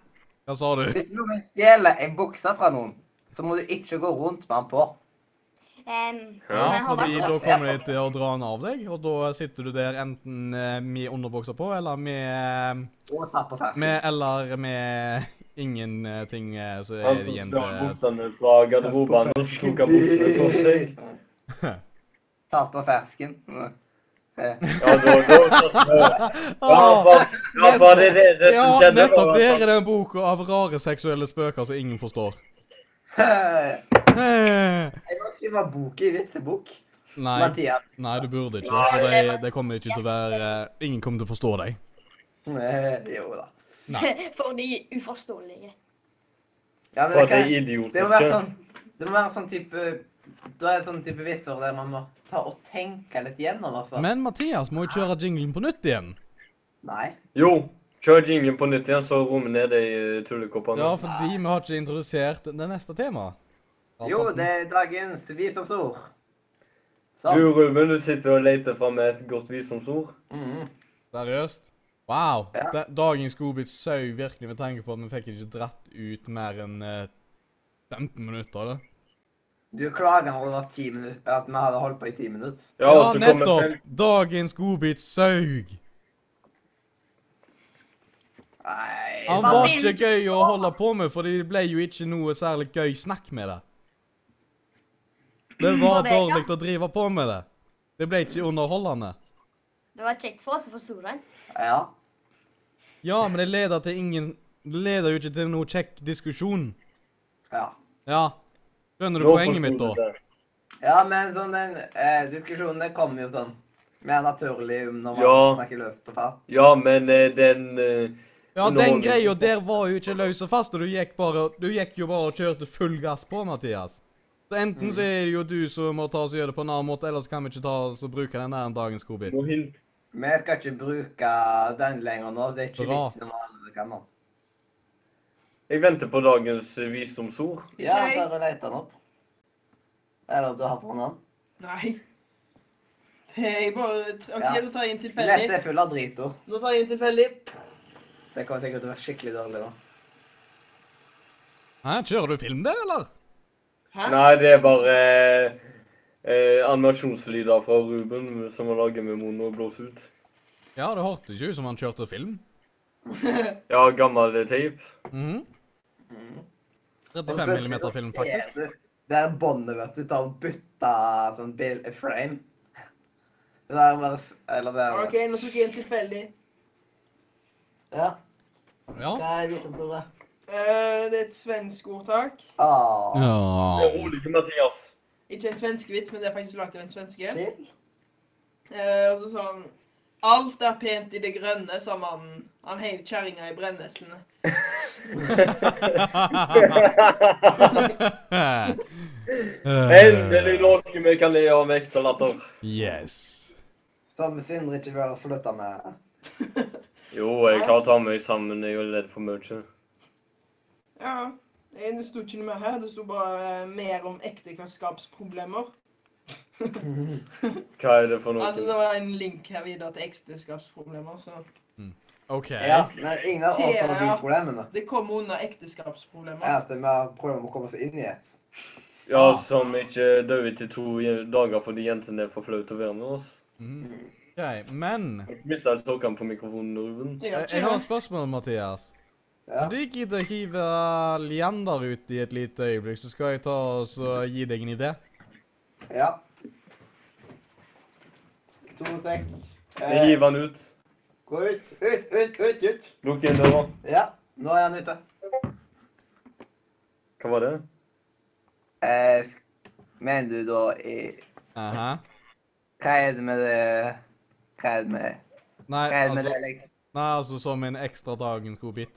[SPEAKER 2] Hva sa du?
[SPEAKER 3] Hvis du noen gang stjeler en bukse fra noen, så må du ikke gå rundt med den på.
[SPEAKER 4] Em,
[SPEAKER 2] Ja,
[SPEAKER 4] men jeg har
[SPEAKER 2] fordi
[SPEAKER 4] vært-
[SPEAKER 2] da kommer de til å dra den av deg, og da sitter du der enten eh, med underbukser på, eller med eh,
[SPEAKER 3] Og ta på
[SPEAKER 2] *laughs*
[SPEAKER 3] fersken.
[SPEAKER 2] Med, eller med ingenting eh, så er
[SPEAKER 1] Han
[SPEAKER 2] det
[SPEAKER 1] som
[SPEAKER 2] igjen
[SPEAKER 1] stjal
[SPEAKER 2] til
[SPEAKER 1] buksene fra garderoben, og så tok han buksene på seg.
[SPEAKER 3] Ta på fersken. Eh,
[SPEAKER 1] Ja, da, da, da. Ja, for, ja, for det er det, det
[SPEAKER 2] Ja,
[SPEAKER 1] som skjedde.
[SPEAKER 2] nettopp
[SPEAKER 1] var-
[SPEAKER 2] der er den boka av rare seksuelle spøker som ingen forstår. *laughs*
[SPEAKER 3] Jeg
[SPEAKER 2] Eh,
[SPEAKER 3] må skrive bok i vitsebok.
[SPEAKER 2] Nei,
[SPEAKER 3] Mathias.
[SPEAKER 2] nei, du burde eh, ikke. For det, det kommer ikke til å være Ingen kommer til å forstå deg.
[SPEAKER 3] Eh, Jo da.
[SPEAKER 4] for de uforståelige.
[SPEAKER 3] Ja, men
[SPEAKER 1] For
[SPEAKER 3] det,
[SPEAKER 1] at det er
[SPEAKER 3] kan, det må være
[SPEAKER 1] idiotiske.
[SPEAKER 3] sånn Det må være sånn type Da er det sånn type vitser der man må ta og tenke litt gjennom, altså.
[SPEAKER 2] Men Mathias må jo kjøre jinglen på nytt igjen.
[SPEAKER 3] Nei.
[SPEAKER 1] Jo, kjør jingen på nytt igjen, så rommer ned de eh, tullekoppene.
[SPEAKER 2] Ja, fordi vi har ikke introdusert det neste temaet.
[SPEAKER 3] Jo, det er dagens visdomsord.
[SPEAKER 1] Du,
[SPEAKER 3] Sånn.
[SPEAKER 1] Ruben, du sitter og leter fram et godt visdomsord.
[SPEAKER 3] Mhm.
[SPEAKER 2] Seriøst? Wow.
[SPEAKER 3] Ja.
[SPEAKER 2] Da- Dagens godbit sau virkelig med tanke på at vi fikk ikke dratt ut mer enn eh, 15 minutter av det.
[SPEAKER 3] Du klager over at, ti minutter, at vi hadde holdt på i ti minutter.
[SPEAKER 1] Ja,
[SPEAKER 2] Ja,
[SPEAKER 1] og så kommer
[SPEAKER 2] nettopp.
[SPEAKER 1] fem-
[SPEAKER 2] Dagens godbit saug.
[SPEAKER 3] Nei
[SPEAKER 2] Han
[SPEAKER 4] Hva
[SPEAKER 2] var
[SPEAKER 4] vil
[SPEAKER 2] ikke
[SPEAKER 4] du
[SPEAKER 2] gøy å holde på med, fordi det ble jo ikke noe særlig gøy snakk med det. Det var
[SPEAKER 4] Var det, ja?
[SPEAKER 2] dårlig å drive på med det. Det ble ikke underholdende.
[SPEAKER 4] Det var kjekt for oss å forstå det.
[SPEAKER 3] Ja.
[SPEAKER 2] Ja, men det leder til ingen Det leder jo ikke til noe kjekk diskusjon.
[SPEAKER 3] Ja.
[SPEAKER 2] Ja. Skjønner du
[SPEAKER 1] Nå
[SPEAKER 2] poenget mitt,
[SPEAKER 1] forsto du
[SPEAKER 2] da?
[SPEAKER 1] det.
[SPEAKER 3] Ja, men sånn den eh, diskusjonen den kommer jo sånn mer naturlig når man
[SPEAKER 1] Ja.
[SPEAKER 3] snakker løst og fast.
[SPEAKER 1] Ja, men eh, den eh,
[SPEAKER 2] Ja,
[SPEAKER 1] Nå-
[SPEAKER 2] den greia der var jo ikke løs og fast, og du gikk, bare, du gikk jo bare og kjørte full gass på, Mathias. Så enten så er det jo du som må ta oss og gjøre det på en annen måte, ellers kan vi ikke ta oss og bruke den der dagens godbit.
[SPEAKER 1] må hin-
[SPEAKER 3] Vi skal ikke bruke den lenger nå. Det er ikke
[SPEAKER 2] Bra.
[SPEAKER 3] vits når man allerede kan nå.
[SPEAKER 1] Jeg venter på dagens eh, visdomsord.
[SPEAKER 3] Ja,
[SPEAKER 5] Ok.
[SPEAKER 3] bare let den opp. Eller du har funnet den.
[SPEAKER 5] Nei. Det er bare OK,
[SPEAKER 3] Ja.
[SPEAKER 5] nå tar jeg en tilfeldig.
[SPEAKER 3] Lett er full av dritord.
[SPEAKER 5] Nå tar jeg en tilfeldig.
[SPEAKER 3] Det kommer sikkert til å være skikkelig dårlig nå.
[SPEAKER 2] Hæ, kjører du film der, eller?
[SPEAKER 5] Hæ?
[SPEAKER 1] Nei, det er bare eh, eh, animasjonslyder fra Ruben som han lager med munnen og blåser ut.
[SPEAKER 2] Ja, det hørtes jo ut som han kjørte film.
[SPEAKER 1] Ja, gammel eh, teip.
[SPEAKER 2] Mhm. 35
[SPEAKER 3] Plutselig
[SPEAKER 2] millimeter
[SPEAKER 3] så
[SPEAKER 2] film,
[SPEAKER 3] ser
[SPEAKER 2] faktisk.
[SPEAKER 3] du Det er båndet, vet du, tar og bytter sånn bil frame. Det der bare s- Eller det er
[SPEAKER 5] OK, nå tok jeg en tilfeldig.
[SPEAKER 3] Ja.
[SPEAKER 2] Ja.
[SPEAKER 3] Hva er visdomsordet?
[SPEAKER 5] Eh, det er et svensk ordtak.
[SPEAKER 3] Åh.
[SPEAKER 2] *laughs*
[SPEAKER 1] Det er
[SPEAKER 2] Ja.
[SPEAKER 1] rolig, Mathias.
[SPEAKER 5] Ikke en svenskevits, men det er faktisk lagt av en svenske.
[SPEAKER 3] Shit.
[SPEAKER 5] Eh, og så sa han Alt er pent i det grønne, sa mannen. Han heiv kjerringa i brenneslene.
[SPEAKER 2] Eh.
[SPEAKER 1] Endelig noe vi kan le av med ekte latter.
[SPEAKER 2] Yes.
[SPEAKER 3] Som Sindre ikke bør slutte med.
[SPEAKER 1] Jo, jeg klarer å ta meg sammen. Jeg er redd for mye.
[SPEAKER 5] Ja. eh, Det sto ikke noe mer her. Det sto bare eh, mer om ekteskapsproblemer.
[SPEAKER 1] Hva er det for
[SPEAKER 5] Altså, det
[SPEAKER 1] noe?
[SPEAKER 5] var en link her videre til ekteskapsproblemer, så
[SPEAKER 2] OK.
[SPEAKER 3] Ja, men ingen av oss har de
[SPEAKER 5] Ja.
[SPEAKER 3] problemene.
[SPEAKER 5] Det kom under
[SPEAKER 3] Er
[SPEAKER 5] ekteskapsproblemer.
[SPEAKER 3] at vi har problemer med å komme oss inn i et.
[SPEAKER 1] Ja,
[SPEAKER 2] Ah.
[SPEAKER 1] som ikke dør til to je- dager fordi jentene er for flaut til å være med oss.
[SPEAKER 2] Mhm. OK, men
[SPEAKER 1] Mista jeg stokken på mikrofonen, Ruben?
[SPEAKER 2] jeg
[SPEAKER 5] Jeg har
[SPEAKER 2] jeg har
[SPEAKER 5] ikke noe.
[SPEAKER 2] et spørsmål, Mathias.
[SPEAKER 3] Ja.
[SPEAKER 2] Om du gidder å hive Leander ut i et lite øyeblikk, så skal jeg ta og så gi deg en idé.
[SPEAKER 3] ja. To sek.
[SPEAKER 1] Jeg
[SPEAKER 3] Eh,
[SPEAKER 1] hiver den ut.
[SPEAKER 3] gå ut, ut, ut, ut, ut.
[SPEAKER 1] Lukk igjen døra.
[SPEAKER 3] Ja, nå er han ute.
[SPEAKER 1] Hva var det?
[SPEAKER 3] Eh, mener du da i
[SPEAKER 2] Aha.
[SPEAKER 3] Hva er det med det Hva er det med det?
[SPEAKER 2] Nei,
[SPEAKER 3] Hva er det med
[SPEAKER 2] altså,
[SPEAKER 3] det, liksom?
[SPEAKER 2] nei, altså som en ekstra dagens godbit.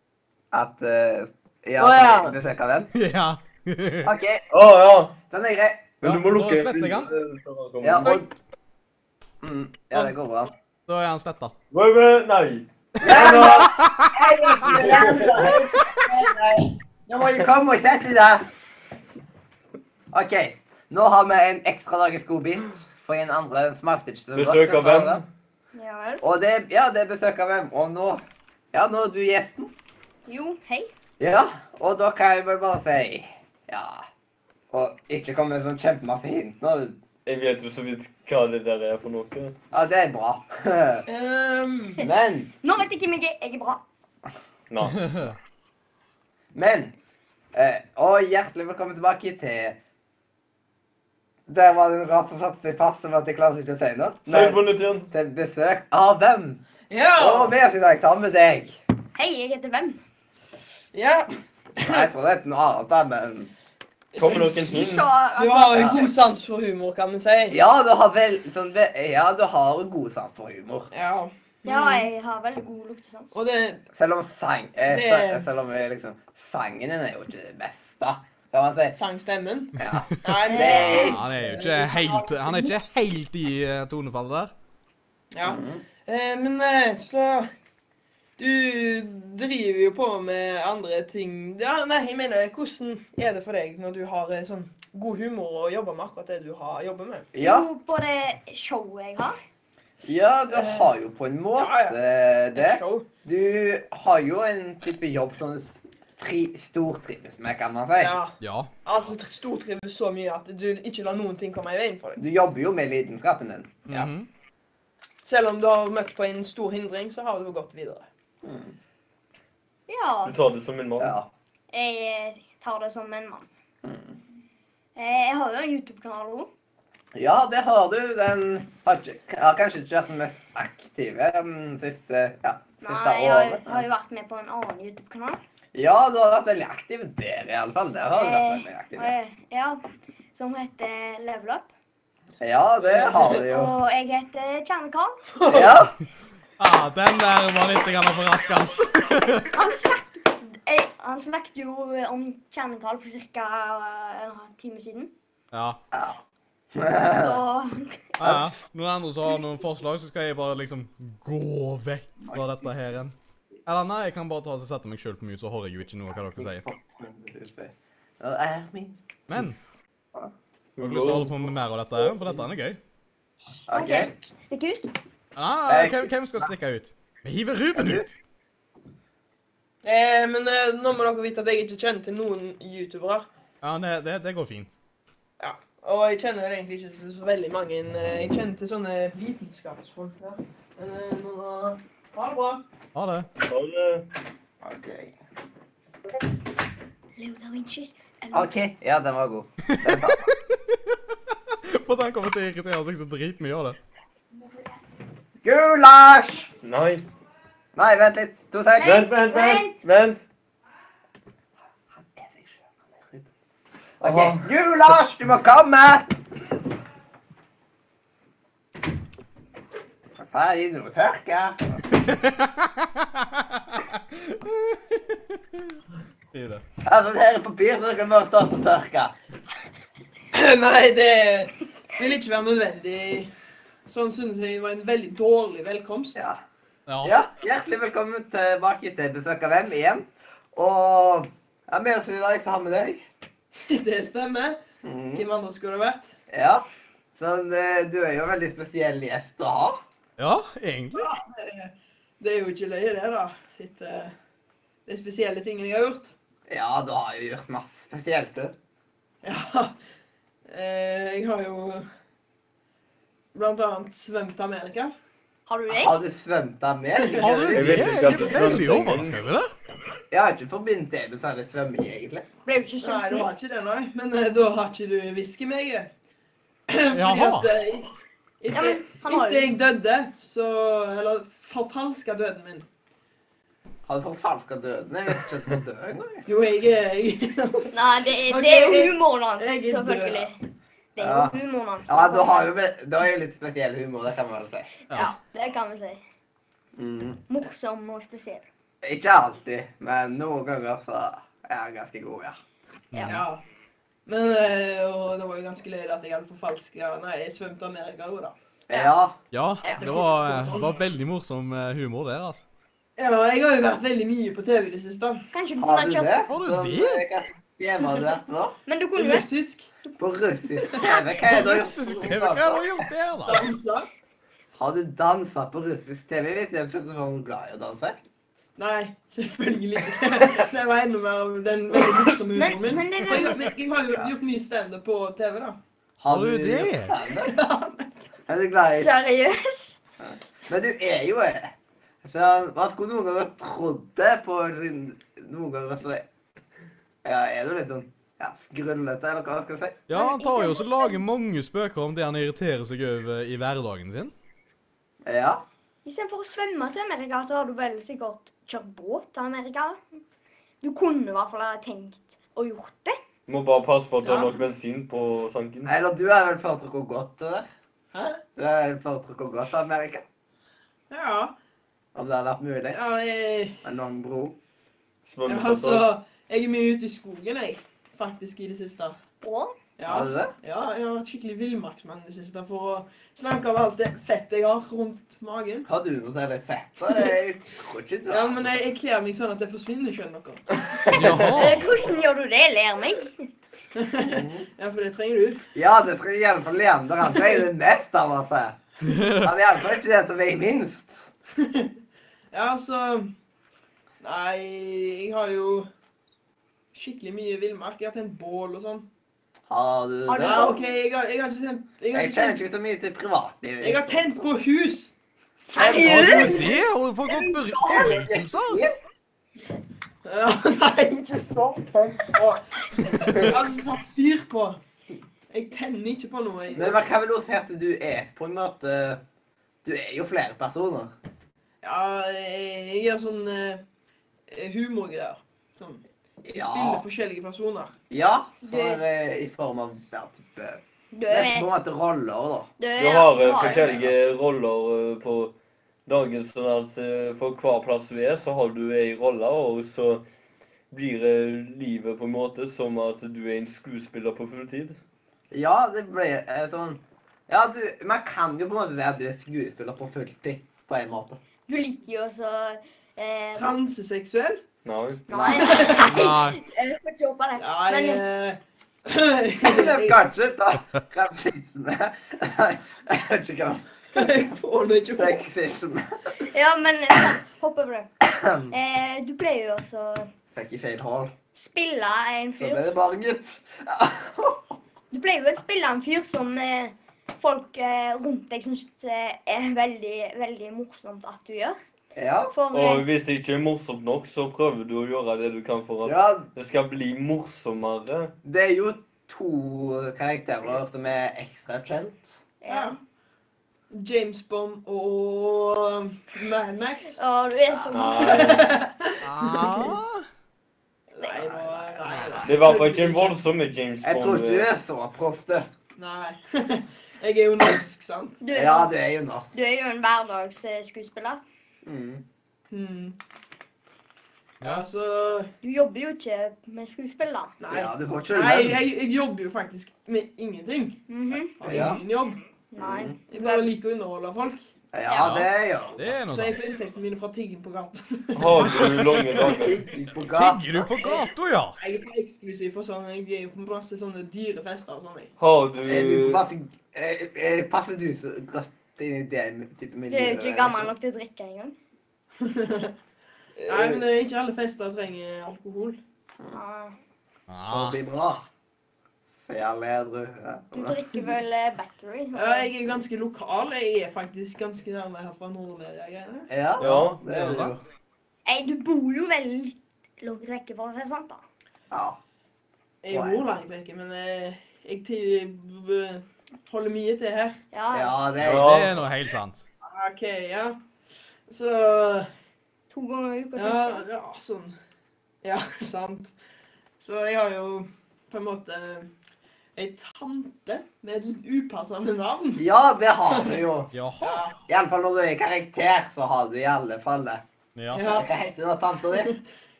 [SPEAKER 2] *laughs*
[SPEAKER 3] At eh, Ja,
[SPEAKER 5] Å, ja.
[SPEAKER 3] du søker den?
[SPEAKER 2] Ja.
[SPEAKER 3] OK,
[SPEAKER 1] Å ja.
[SPEAKER 3] den er grei.
[SPEAKER 1] Men
[SPEAKER 2] Ah, Ja,
[SPEAKER 1] du må
[SPEAKER 2] da
[SPEAKER 1] lukke
[SPEAKER 2] sletter jeg han.
[SPEAKER 1] vinduet før han kommer.
[SPEAKER 3] Ja, og mm, Ja, det går bra.
[SPEAKER 2] Da er han sletta.
[SPEAKER 1] Ruben, nei.
[SPEAKER 3] Nå må du komme og sette deg. OK. Nå har vi en ekstra dagens godbit. For en andre smakte ikke så godt.
[SPEAKER 1] Besøk av
[SPEAKER 3] så sa
[SPEAKER 1] hvem?
[SPEAKER 3] han.
[SPEAKER 4] Ja vel.
[SPEAKER 3] Og det, ja, det er besøk av hvem. Og nå Ja, nå er du gjesten.
[SPEAKER 4] Jo, hei.
[SPEAKER 3] Ja, og da kan jeg vel bare si Ja. Og ikke komme med sånn kjempemasse hint nå.
[SPEAKER 1] Jeg vet jo så vidt hva det der er for noe.
[SPEAKER 3] Ja, det er bra. *laughs*
[SPEAKER 5] Ehm,
[SPEAKER 3] Men
[SPEAKER 4] Nå vet jeg hvem jeg er. Jeg er bra.
[SPEAKER 1] Nei.
[SPEAKER 2] *laughs*
[SPEAKER 3] Men eh, Og hjertelig velkommen tilbake til Der var det en rar som satte seg fast som at jeg klarte ikke å si noe.
[SPEAKER 1] Søk på
[SPEAKER 3] Men
[SPEAKER 1] nytt igjen.
[SPEAKER 3] til besøk av hvem? Og
[SPEAKER 5] ja.
[SPEAKER 3] med oss i dag sammen med deg.
[SPEAKER 4] Hei, jeg heter hvem?
[SPEAKER 5] ja.
[SPEAKER 3] Nei, jeg tror det er noe annet, da, men
[SPEAKER 1] Kommer noen
[SPEAKER 3] Mm.
[SPEAKER 4] Du
[SPEAKER 1] hint?
[SPEAKER 4] sa
[SPEAKER 5] Du har jo god sans for humor, kan vi si.
[SPEAKER 3] Ja, du har vel sånn ve- Ja, du har god sans for humor.
[SPEAKER 5] Ja.
[SPEAKER 4] Ja, jeg har veldig god luktesans.
[SPEAKER 5] Og det
[SPEAKER 3] Selv om sang, eh,
[SPEAKER 5] Det-
[SPEAKER 3] se- selv om eh, liksom, sangen din er jo ikke det beste, kan man si.
[SPEAKER 5] sang stemmen. Eh,
[SPEAKER 3] Ja.
[SPEAKER 5] Nei, men
[SPEAKER 3] Nei.
[SPEAKER 2] Ja, Han er jo ikke helt, han er ikke helt i eh, tonefallet der.
[SPEAKER 5] Ja.
[SPEAKER 3] Mhm.
[SPEAKER 5] Eh, men eh, så Du driver jo på med andre ting. Ja, nei, jeg mener, hvordan er det for deg når du har eh, sånn god humor og jobber med akkurat det du har jobber med?
[SPEAKER 3] Ja,
[SPEAKER 4] Jo, på det showet jeg har.
[SPEAKER 3] ja, du har jo på en måte det.
[SPEAKER 5] Show.
[SPEAKER 3] Du har jo en type jobb som du s- tri, stortrives med, kan man si.
[SPEAKER 5] Ja.
[SPEAKER 2] Ja.
[SPEAKER 5] Altså stortrives så mye at du ikke lar noen ting komme i veien for deg.
[SPEAKER 3] Du jobber jo med lidenskapen din.
[SPEAKER 5] Ja.
[SPEAKER 2] Mhm.
[SPEAKER 5] Selv om du har møtt på en stor hindring, så har du gått videre.
[SPEAKER 4] Mm. Ja.
[SPEAKER 1] Du tar det som en mann.
[SPEAKER 3] Ja.
[SPEAKER 4] Jeg eh, tar det som en mann.
[SPEAKER 3] Mm.
[SPEAKER 4] Eh, Jeg har jo en YouTube-kanal òg.
[SPEAKER 3] ja, det har du. Den har, ikke, har kanskje ikke vært den mest aktive den siste, ja,
[SPEAKER 4] Nei,
[SPEAKER 3] siste
[SPEAKER 4] jeg har, har
[SPEAKER 3] året.
[SPEAKER 4] jo vært med på en annen YouTube-kanal.
[SPEAKER 3] Ja, du har vært veldig aktiv der, i alle fall. Der har du vært
[SPEAKER 4] Eh,
[SPEAKER 3] veldig aktiv.
[SPEAKER 4] og jeg- Ja, som heter Level Up.
[SPEAKER 3] Ja, det har du
[SPEAKER 4] *laughs*
[SPEAKER 3] jo.
[SPEAKER 4] Og jeg heter Kjerne-Karl.
[SPEAKER 3] Ja.
[SPEAKER 2] Ah, den der var litt grann for rask, *laughs* ass.
[SPEAKER 4] Han, snakk- jeg- han snakket jo om Kjerne-Karl for ca. en time siden.
[SPEAKER 2] Ja.
[SPEAKER 4] Så
[SPEAKER 2] Ja, ja. Noen andre som har noen forslag, så skal jeg bare liksom gå vekk fra dette her igjen. Eller nei, jeg kan bare ta og sette meg sjøl på mute, så hører jeg jo ikke noe hva dere sier.
[SPEAKER 3] Nå er min.
[SPEAKER 2] Men har dere lyst til å holde på med mer av dette, her? for dette er gøy.
[SPEAKER 3] OK.
[SPEAKER 4] stikk ut.
[SPEAKER 2] Ah, hvem, hvem skal stikke ut? Vi hiver Ruben ut!
[SPEAKER 5] Eh, men eh, nå må dere vite at jeg ikke kjenner til noen youtubere.
[SPEAKER 2] Ja, det, det, det går fint.
[SPEAKER 5] Ja. Og jeg kjenner egentlig ikke så, så veldig mange. eh, Jeg kjenner til sånne vitenskapsfolk der. Men eh, nå ha det bra. *clears throat*
[SPEAKER 2] Ha det.
[SPEAKER 1] Ta det.
[SPEAKER 3] Ok.
[SPEAKER 4] Leo da Vincis.
[SPEAKER 3] OK. Ja, den var god. Den tar jeg.
[SPEAKER 2] For den kommer til å irritere seg så dritmye av det.
[SPEAKER 3] Gulasj!
[SPEAKER 1] Nei.
[SPEAKER 3] Nei, vent litt. To sek.
[SPEAKER 1] Vent, vent, vent! vent.
[SPEAKER 3] OK. Gulasj, du må komme! Hva faen, gi det noe tørke?
[SPEAKER 2] I det.
[SPEAKER 3] Altså, det her er papir, så dere må starte å tørke.
[SPEAKER 5] Nei, det vil ikke være nødvendig. Sånn synes jeg var en veldig dårlig velkomst.
[SPEAKER 3] Ja.
[SPEAKER 2] Ja.
[SPEAKER 3] ja, hjertelig velkommen tilbake til Besøk av hvem igjen. Og ja, med oss i dag så har vi deg.
[SPEAKER 5] *laughs* Det stemmer.
[SPEAKER 3] Mm.
[SPEAKER 5] Hvem andre skulle det vært?
[SPEAKER 3] Ja. Sånn, eh, du er jo en veldig spesiell gjest å ha.
[SPEAKER 2] ja, egentlig.
[SPEAKER 5] Ja, det, det er jo ikke løye, det, da. Etter de spesielle tingene jeg har gjort. *laughs*
[SPEAKER 3] Ja, du har jo gjort masse spesielt, du.
[SPEAKER 5] Ja. Eh, Jeg har jo blant annet svømt Amerika.
[SPEAKER 4] Har du det?
[SPEAKER 3] Har du svømt Amerika?
[SPEAKER 2] *laughs* Har du det?
[SPEAKER 1] Jeg visste ikke
[SPEAKER 2] Jeg
[SPEAKER 1] at det
[SPEAKER 2] er veldig
[SPEAKER 1] svømte engang.
[SPEAKER 2] overraska over det.
[SPEAKER 3] Jeg har ikke forbindt det med særlig svømming, egentlig.
[SPEAKER 4] Ble du ikke
[SPEAKER 5] Nei, du har
[SPEAKER 4] sulten?
[SPEAKER 5] ikke det, nei. Men eh, da har ikke du visst hvem jeg er. *clears throat* Fordi
[SPEAKER 2] Jaha.
[SPEAKER 5] at eh,
[SPEAKER 4] Ja, men
[SPEAKER 5] etter,
[SPEAKER 4] han har
[SPEAKER 5] etter
[SPEAKER 4] jo
[SPEAKER 5] jeg døde, så Eller forfalska døden min.
[SPEAKER 3] Har du forfalska døden? Jeg vet ikke at du kan dø engang.
[SPEAKER 5] *laughs*
[SPEAKER 3] jeg.
[SPEAKER 5] Jo, jeg er jeg,
[SPEAKER 4] Nei, det er, det er jo humoren hans,
[SPEAKER 5] Jeg er død.
[SPEAKER 4] selvfølgelig. Det er
[SPEAKER 3] Ja.
[SPEAKER 4] jo humoren hans.
[SPEAKER 3] Ja, du har jo, ve- du har jo litt spesiell humor, det kan man vel si.
[SPEAKER 4] Ja, det kan vi si.
[SPEAKER 3] Mm.
[SPEAKER 4] Morsom og spesiell.
[SPEAKER 3] Ikke alltid, men noen ganger så er han ganske god, ja.
[SPEAKER 5] *laughs* ja. Men eh, Og det var jo ganske løye at jeg hadde forfalska Nei, jeg svømte Amerika òg, da.
[SPEAKER 3] Ja,
[SPEAKER 2] Ja, det var, det var veldig morsom eh, humor der, altså.
[SPEAKER 5] Ja, jeg har jo vært veldig mye på TV i det siste.
[SPEAKER 4] Kanskje du
[SPEAKER 3] har
[SPEAKER 4] kunne
[SPEAKER 3] du
[SPEAKER 4] kjøpt
[SPEAKER 3] det?
[SPEAKER 2] Har du
[SPEAKER 3] Sånn,
[SPEAKER 2] det?
[SPEAKER 3] eh, hva Hjemme har du vært nå?
[SPEAKER 4] Men du kunne jo
[SPEAKER 5] Russisk.
[SPEAKER 3] På russisk TV? Hva er det du har gjort?
[SPEAKER 2] Russisk TV, hva har du gjort der, da?
[SPEAKER 5] Dansa.
[SPEAKER 3] Har du dansa på russisk TV? Vet jeg ikke om du var glad i å danse?
[SPEAKER 5] Nei, selvfølgelig ikke. *laughs* Det var enda mer av den veldig morsomme
[SPEAKER 4] Men-
[SPEAKER 5] humoren min.
[SPEAKER 4] men det-
[SPEAKER 5] For jeg, men jeg har jo gjort mye standup på TV, da.
[SPEAKER 2] Har du det?
[SPEAKER 3] gjort standup? Er du glad i
[SPEAKER 4] Seriøst?
[SPEAKER 3] Men du er jo det. Så man skulle noen ganger trodd det på sin Noen ganger så Ja, er du litt sånn ja, skrullete, eller hva man skal si?
[SPEAKER 2] Ja, han tar jo også lager mange spøker om det han irriterer seg over i hverdagen sin.
[SPEAKER 3] Ja.
[SPEAKER 4] Istedenfor å svømme til Amerika, så har du vel sikkert kjørt båt til Amerika. Du kunne i hvert fall ha tenkt og gjort det.
[SPEAKER 1] Må bare passe på at du har
[SPEAKER 5] Ja.
[SPEAKER 1] nok bensin på sanken.
[SPEAKER 3] Eller du er vel foretrukket godt til det?
[SPEAKER 5] Hæ?
[SPEAKER 3] Du er vel foretrukket godt til Amerika?
[SPEAKER 5] Ja.
[SPEAKER 3] Om det hadde vært mulig.
[SPEAKER 5] Ja, jeg,
[SPEAKER 3] En lang bro.
[SPEAKER 1] Sånn,
[SPEAKER 5] ja, altså, jeg er mye ute i skogen, jeg. Faktisk, i det siste.
[SPEAKER 4] Og
[SPEAKER 5] Ja,
[SPEAKER 3] Hadde det?
[SPEAKER 5] ja jeg har vært skikkelig villmarksmann i det siste for å snakke om alt det fettet jeg har rundt magen.
[SPEAKER 3] Har du noe særlig fett? da? Jeg tror ikke du
[SPEAKER 5] Ja, men jeg, jeg kler meg sånn at det forsvinner, skjønner dere.
[SPEAKER 4] *laughs* eh,
[SPEAKER 2] Jaha.
[SPEAKER 4] hvordan gjør du det? Ler meg?
[SPEAKER 5] Ja, for det trenger du.
[SPEAKER 3] Ja, det skal jeg hjelpe Leander. Han sier det mest av oss. her. Han er iallfall ikke det som veier minst.
[SPEAKER 5] Ja, altså Nei, jeg har jo skikkelig mye villmark. Jeg har tent bål og sånn.
[SPEAKER 3] Har du
[SPEAKER 4] Har du
[SPEAKER 3] det?
[SPEAKER 5] Ja, OK, jeg har, jeg har ikke tent Jeg har
[SPEAKER 3] Jeg
[SPEAKER 5] ikke
[SPEAKER 3] kjenner
[SPEAKER 5] tent,
[SPEAKER 3] ikke så mye til privatlivet.
[SPEAKER 5] jeg har tent på hus!
[SPEAKER 2] Har du
[SPEAKER 4] Seriøst?
[SPEAKER 2] se? Har du fått opp berømmelser?
[SPEAKER 5] Ja, *laughs* nei, ikke sånn tent på. Altså satt fyr på. Jeg tenner ikke på noe. Jeg.
[SPEAKER 3] Men hva kan vel også si at du er på en måte Du er jo flere personer.
[SPEAKER 5] Ja, jeg jeg gjør sånn eh, humorgreier. Sånn. Jeg
[SPEAKER 3] Ja.
[SPEAKER 5] spiller forskjellige personer.
[SPEAKER 3] Ja.
[SPEAKER 4] Du-
[SPEAKER 3] For, eh, I form av ja, type,
[SPEAKER 4] Du
[SPEAKER 3] Det
[SPEAKER 4] er
[SPEAKER 3] er på en måte roller, da.
[SPEAKER 4] Du
[SPEAKER 1] Du har eh,
[SPEAKER 4] har-
[SPEAKER 1] forskjellige roller eh, på dagen, sånn at eh, for hver plass du er, så har du ei rolle, og så blir eh, livet på en måte som at du er en skuespiller på fulltid.
[SPEAKER 3] Ja, det ble eh, sånn Ja, du Man kan jo på en måte si at du er skuespiller på fulltid, på en måte.
[SPEAKER 4] Du liker jo også eh,
[SPEAKER 5] Transeseksuell?
[SPEAKER 1] Nei.
[SPEAKER 4] Nei,
[SPEAKER 2] Nei.
[SPEAKER 4] jeg får ikke håpe det.
[SPEAKER 5] Nei
[SPEAKER 4] Men
[SPEAKER 5] eh, *laughs*
[SPEAKER 3] Eller
[SPEAKER 5] Jeg
[SPEAKER 3] *laughs* Kanskje da rasisme *laughs* Nei, jeg vet ikke hva.
[SPEAKER 5] jeg får det ikke på.
[SPEAKER 3] Sexisme.
[SPEAKER 4] Ja, men eh, hopp over det. Eh, du pleier jo også å
[SPEAKER 3] Fikk i feil hall.
[SPEAKER 4] spille en
[SPEAKER 3] Så
[SPEAKER 4] fyr
[SPEAKER 3] ble det barn, gitt.
[SPEAKER 4] Du pleier jo å spille en fyr som eh, folk eh, rundt deg syns eh, er veldig, veldig morsomt at du gjør.
[SPEAKER 3] *laughs* Ja.
[SPEAKER 4] For
[SPEAKER 1] Og
[SPEAKER 4] eh,
[SPEAKER 1] hvis det ikke er morsomt nok, så prøver du å gjøre det du kan for at
[SPEAKER 3] ja,
[SPEAKER 1] det skal bli morsommere.
[SPEAKER 3] det er jo to karakterer som er ekstra kjent.
[SPEAKER 4] ja.
[SPEAKER 5] James Bond og Mad Max.
[SPEAKER 4] Og du er så
[SPEAKER 1] Nei.
[SPEAKER 2] Ah.
[SPEAKER 5] Nei, nå- nei, nei.
[SPEAKER 1] Det var ikke en voldsomme James
[SPEAKER 3] Jeg tror
[SPEAKER 1] Bond.
[SPEAKER 3] ikke du
[SPEAKER 1] eh,
[SPEAKER 3] er så proff, du.
[SPEAKER 5] Nei. *laughs* Jeg er jo norsk, sant?
[SPEAKER 4] du, er-
[SPEAKER 3] Ja, du er jo norsk.
[SPEAKER 4] du er jo en hverdagsskuespiller.
[SPEAKER 3] Mm.
[SPEAKER 5] Hmm.
[SPEAKER 2] Ja.
[SPEAKER 5] Ja, så
[SPEAKER 4] Du jobber jo ikke med skuespill, da.
[SPEAKER 5] Nei.
[SPEAKER 3] Ja, du får ikke
[SPEAKER 5] Nei,
[SPEAKER 3] lønn.
[SPEAKER 5] jeg, jeg jobber jo faktisk med ingenting.
[SPEAKER 4] Mhm.
[SPEAKER 5] Har
[SPEAKER 3] Ja.
[SPEAKER 5] ingen jobb.
[SPEAKER 4] Nei.
[SPEAKER 3] Mhm.
[SPEAKER 5] Jeg bare liker å underholde folk.
[SPEAKER 3] Ja, det gjør du.
[SPEAKER 2] Det er noe
[SPEAKER 5] Så jeg
[SPEAKER 2] sånt.
[SPEAKER 5] får inntektene mine fra tigging på gaten. *laughs*
[SPEAKER 1] Har du lange dager?
[SPEAKER 3] *laughs* Tigger på gata.
[SPEAKER 2] Tigger du på gata, ja?
[SPEAKER 5] Jeg er for eksklusiv for sånn, jeg er jo på masse sånne dyrefester og sånn.
[SPEAKER 2] *laughs*
[SPEAKER 5] jeg.
[SPEAKER 1] Har
[SPEAKER 3] Er du
[SPEAKER 1] du
[SPEAKER 3] masse eh, eh, Passer du så godt inn i det type
[SPEAKER 4] Du
[SPEAKER 3] miljøet?
[SPEAKER 4] er jo ikke gammel nok til å drikke engang.
[SPEAKER 5] Nei, men eh, ikke alle fester trenger alkohol.
[SPEAKER 4] Ja.
[SPEAKER 3] For å
[SPEAKER 2] Ah.
[SPEAKER 3] bli bra. Så jeg ler, du. Ja.
[SPEAKER 4] Du drikker vel eh, battery?
[SPEAKER 5] Ja, jeg er ganske lokal. Jeg er faktisk ganske nærme her fra Nordmedia-greiene.
[SPEAKER 3] Ja,
[SPEAKER 1] Ja,
[SPEAKER 3] det er
[SPEAKER 2] det er
[SPEAKER 3] jo
[SPEAKER 2] sant.
[SPEAKER 3] sant.
[SPEAKER 4] Nei, du bor jo veldig litt langt vekke, for å si det sånn, da.
[SPEAKER 3] Ja.
[SPEAKER 5] Jeg bor langt vekk, men eh, jeg til- b- b- holder mye til her.
[SPEAKER 4] Ja.
[SPEAKER 3] ja, det er
[SPEAKER 2] Det er noe helt sant.
[SPEAKER 5] OK, ja. Så
[SPEAKER 4] To ganger i uka.
[SPEAKER 5] Ja,
[SPEAKER 4] cirka.
[SPEAKER 5] ja sånn. Ja, *laughs* sant. Så jeg har jo på en måte ei tante med et litt upassende navn.
[SPEAKER 3] Ja, det har du jo.
[SPEAKER 2] Jaha.
[SPEAKER 5] Ja.
[SPEAKER 3] Iallfall når du er karakter, så har du i alle fall det.
[SPEAKER 2] Ja.
[SPEAKER 5] Ja.
[SPEAKER 3] Hva heter den tanta di?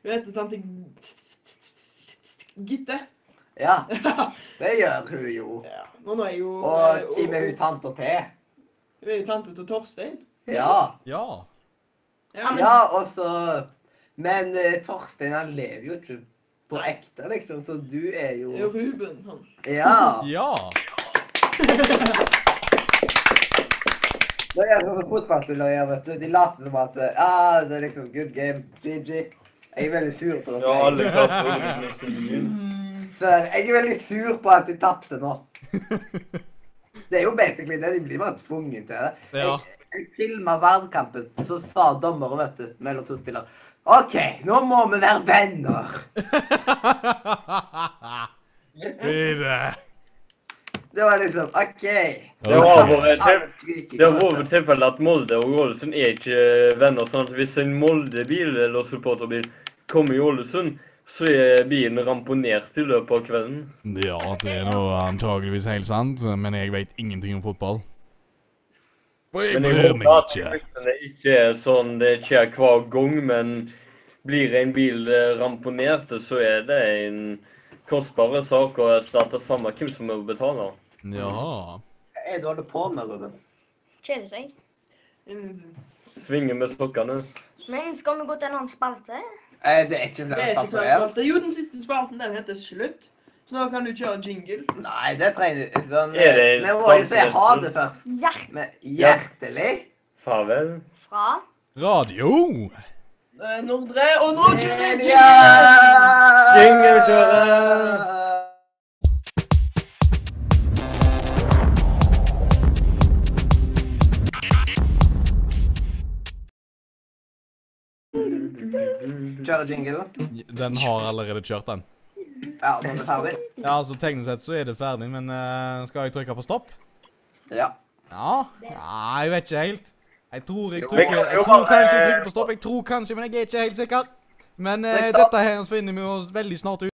[SPEAKER 5] Hun heter tante Gitte.
[SPEAKER 3] Ja,
[SPEAKER 5] Ja.
[SPEAKER 3] det gjør hun jo.
[SPEAKER 5] Nå nå er jeg jo
[SPEAKER 3] Og hvem er hun tanta til?
[SPEAKER 5] Hun er jo tante til Torstein.
[SPEAKER 3] Ja.
[SPEAKER 2] Ja.
[SPEAKER 5] Ja.
[SPEAKER 3] ja, og så Men eh, Torstein, han lever jo ikke på ekte, liksom, så du er
[SPEAKER 5] Det er jo
[SPEAKER 3] jo
[SPEAKER 5] Ruben. sånn. Han.
[SPEAKER 3] Ja.
[SPEAKER 2] Ja. *laughs*
[SPEAKER 3] Det er sånn som fotballspillere gjør, vet du. De later som at eh, ah, det er liksom good game. GG. Jeg er veldig sur på dere.
[SPEAKER 1] Ja,
[SPEAKER 3] *laughs*
[SPEAKER 1] alle klapper. under musikken.
[SPEAKER 3] Så jeg er veldig sur på at de tapte nå.
[SPEAKER 1] *laughs*
[SPEAKER 3] Det er jo basically det. De blir bare tvunget til det.
[SPEAKER 2] Ja.
[SPEAKER 3] Jeg, jeg filma verdenskampen, så sa dommeren, vet du, mellom to spillere OK, nå må vi være venner.
[SPEAKER 2] Videre.
[SPEAKER 3] Det var liksom OK.
[SPEAKER 1] Det var bare til
[SPEAKER 3] Alle skriker.
[SPEAKER 1] Det har vært tilfelle at Molde og Ålesund er ikke venner. sånn at Hvis en Molde-bil eller supporterbil kommer i Ålesund, så er bilen ramponert i løpet av kvelden.
[SPEAKER 2] Ja, det er noe antageligvis helt sant, men jeg vet ingenting om fotball. For jeg
[SPEAKER 1] Men jeg
[SPEAKER 2] bryr
[SPEAKER 1] håper
[SPEAKER 2] meg
[SPEAKER 1] at
[SPEAKER 2] ikke.
[SPEAKER 1] fryktene ikke er sånn det skjer hver gang, men blir en bil eh, ramponert, så er det en kostbar sak å erstatte samme hvem som må betale.
[SPEAKER 2] Jaha.
[SPEAKER 3] Hva er det du holder på med, Ruben?
[SPEAKER 4] Kjeder seg.
[SPEAKER 5] Ingenting.
[SPEAKER 1] Svinge med sokkene.
[SPEAKER 4] Men skal vi gå til en annen spalte?
[SPEAKER 3] Eh, det er ikke
[SPEAKER 5] Det
[SPEAKER 3] flere
[SPEAKER 5] er ikke
[SPEAKER 3] spalter
[SPEAKER 5] flere
[SPEAKER 3] igjen.
[SPEAKER 5] spalter. Jo, den siste spalten den heter Slutt. Så nå kan du kjøre jingle.
[SPEAKER 3] Nei, det trenger du sånn,
[SPEAKER 1] Er det
[SPEAKER 3] Vi må jo si ha
[SPEAKER 1] spalte-
[SPEAKER 3] det først.
[SPEAKER 4] Hjert
[SPEAKER 3] Men hjertelig
[SPEAKER 1] Farvel.
[SPEAKER 4] fra
[SPEAKER 2] Radio.
[SPEAKER 5] Eh, Nordre Og nå kjører jeg
[SPEAKER 3] Media!
[SPEAKER 5] jingle!
[SPEAKER 1] Jinglekjøret!
[SPEAKER 3] Kjøre jinglen.
[SPEAKER 2] Den har allerede kjørt, den.
[SPEAKER 3] Ja, nå er vi ferdig.
[SPEAKER 2] Ja, altså Teknisk sett så er det ferdig, men eh, skal jeg trykke på stopp?
[SPEAKER 3] Ja.
[SPEAKER 2] Ja? Nei, jeg vet ikke helt. Jeg tror jeg
[SPEAKER 3] Jo,
[SPEAKER 2] trykker
[SPEAKER 1] jeg kan-
[SPEAKER 2] Jeg
[SPEAKER 1] jo,
[SPEAKER 2] tror kanskje jeg
[SPEAKER 1] eh,
[SPEAKER 2] trykker på stopp. Jeg tror kanskje, men jeg er ikke helt sikker. Men eh,
[SPEAKER 3] Trykk stopp.
[SPEAKER 2] dette her finner vi oss veldig snart ut.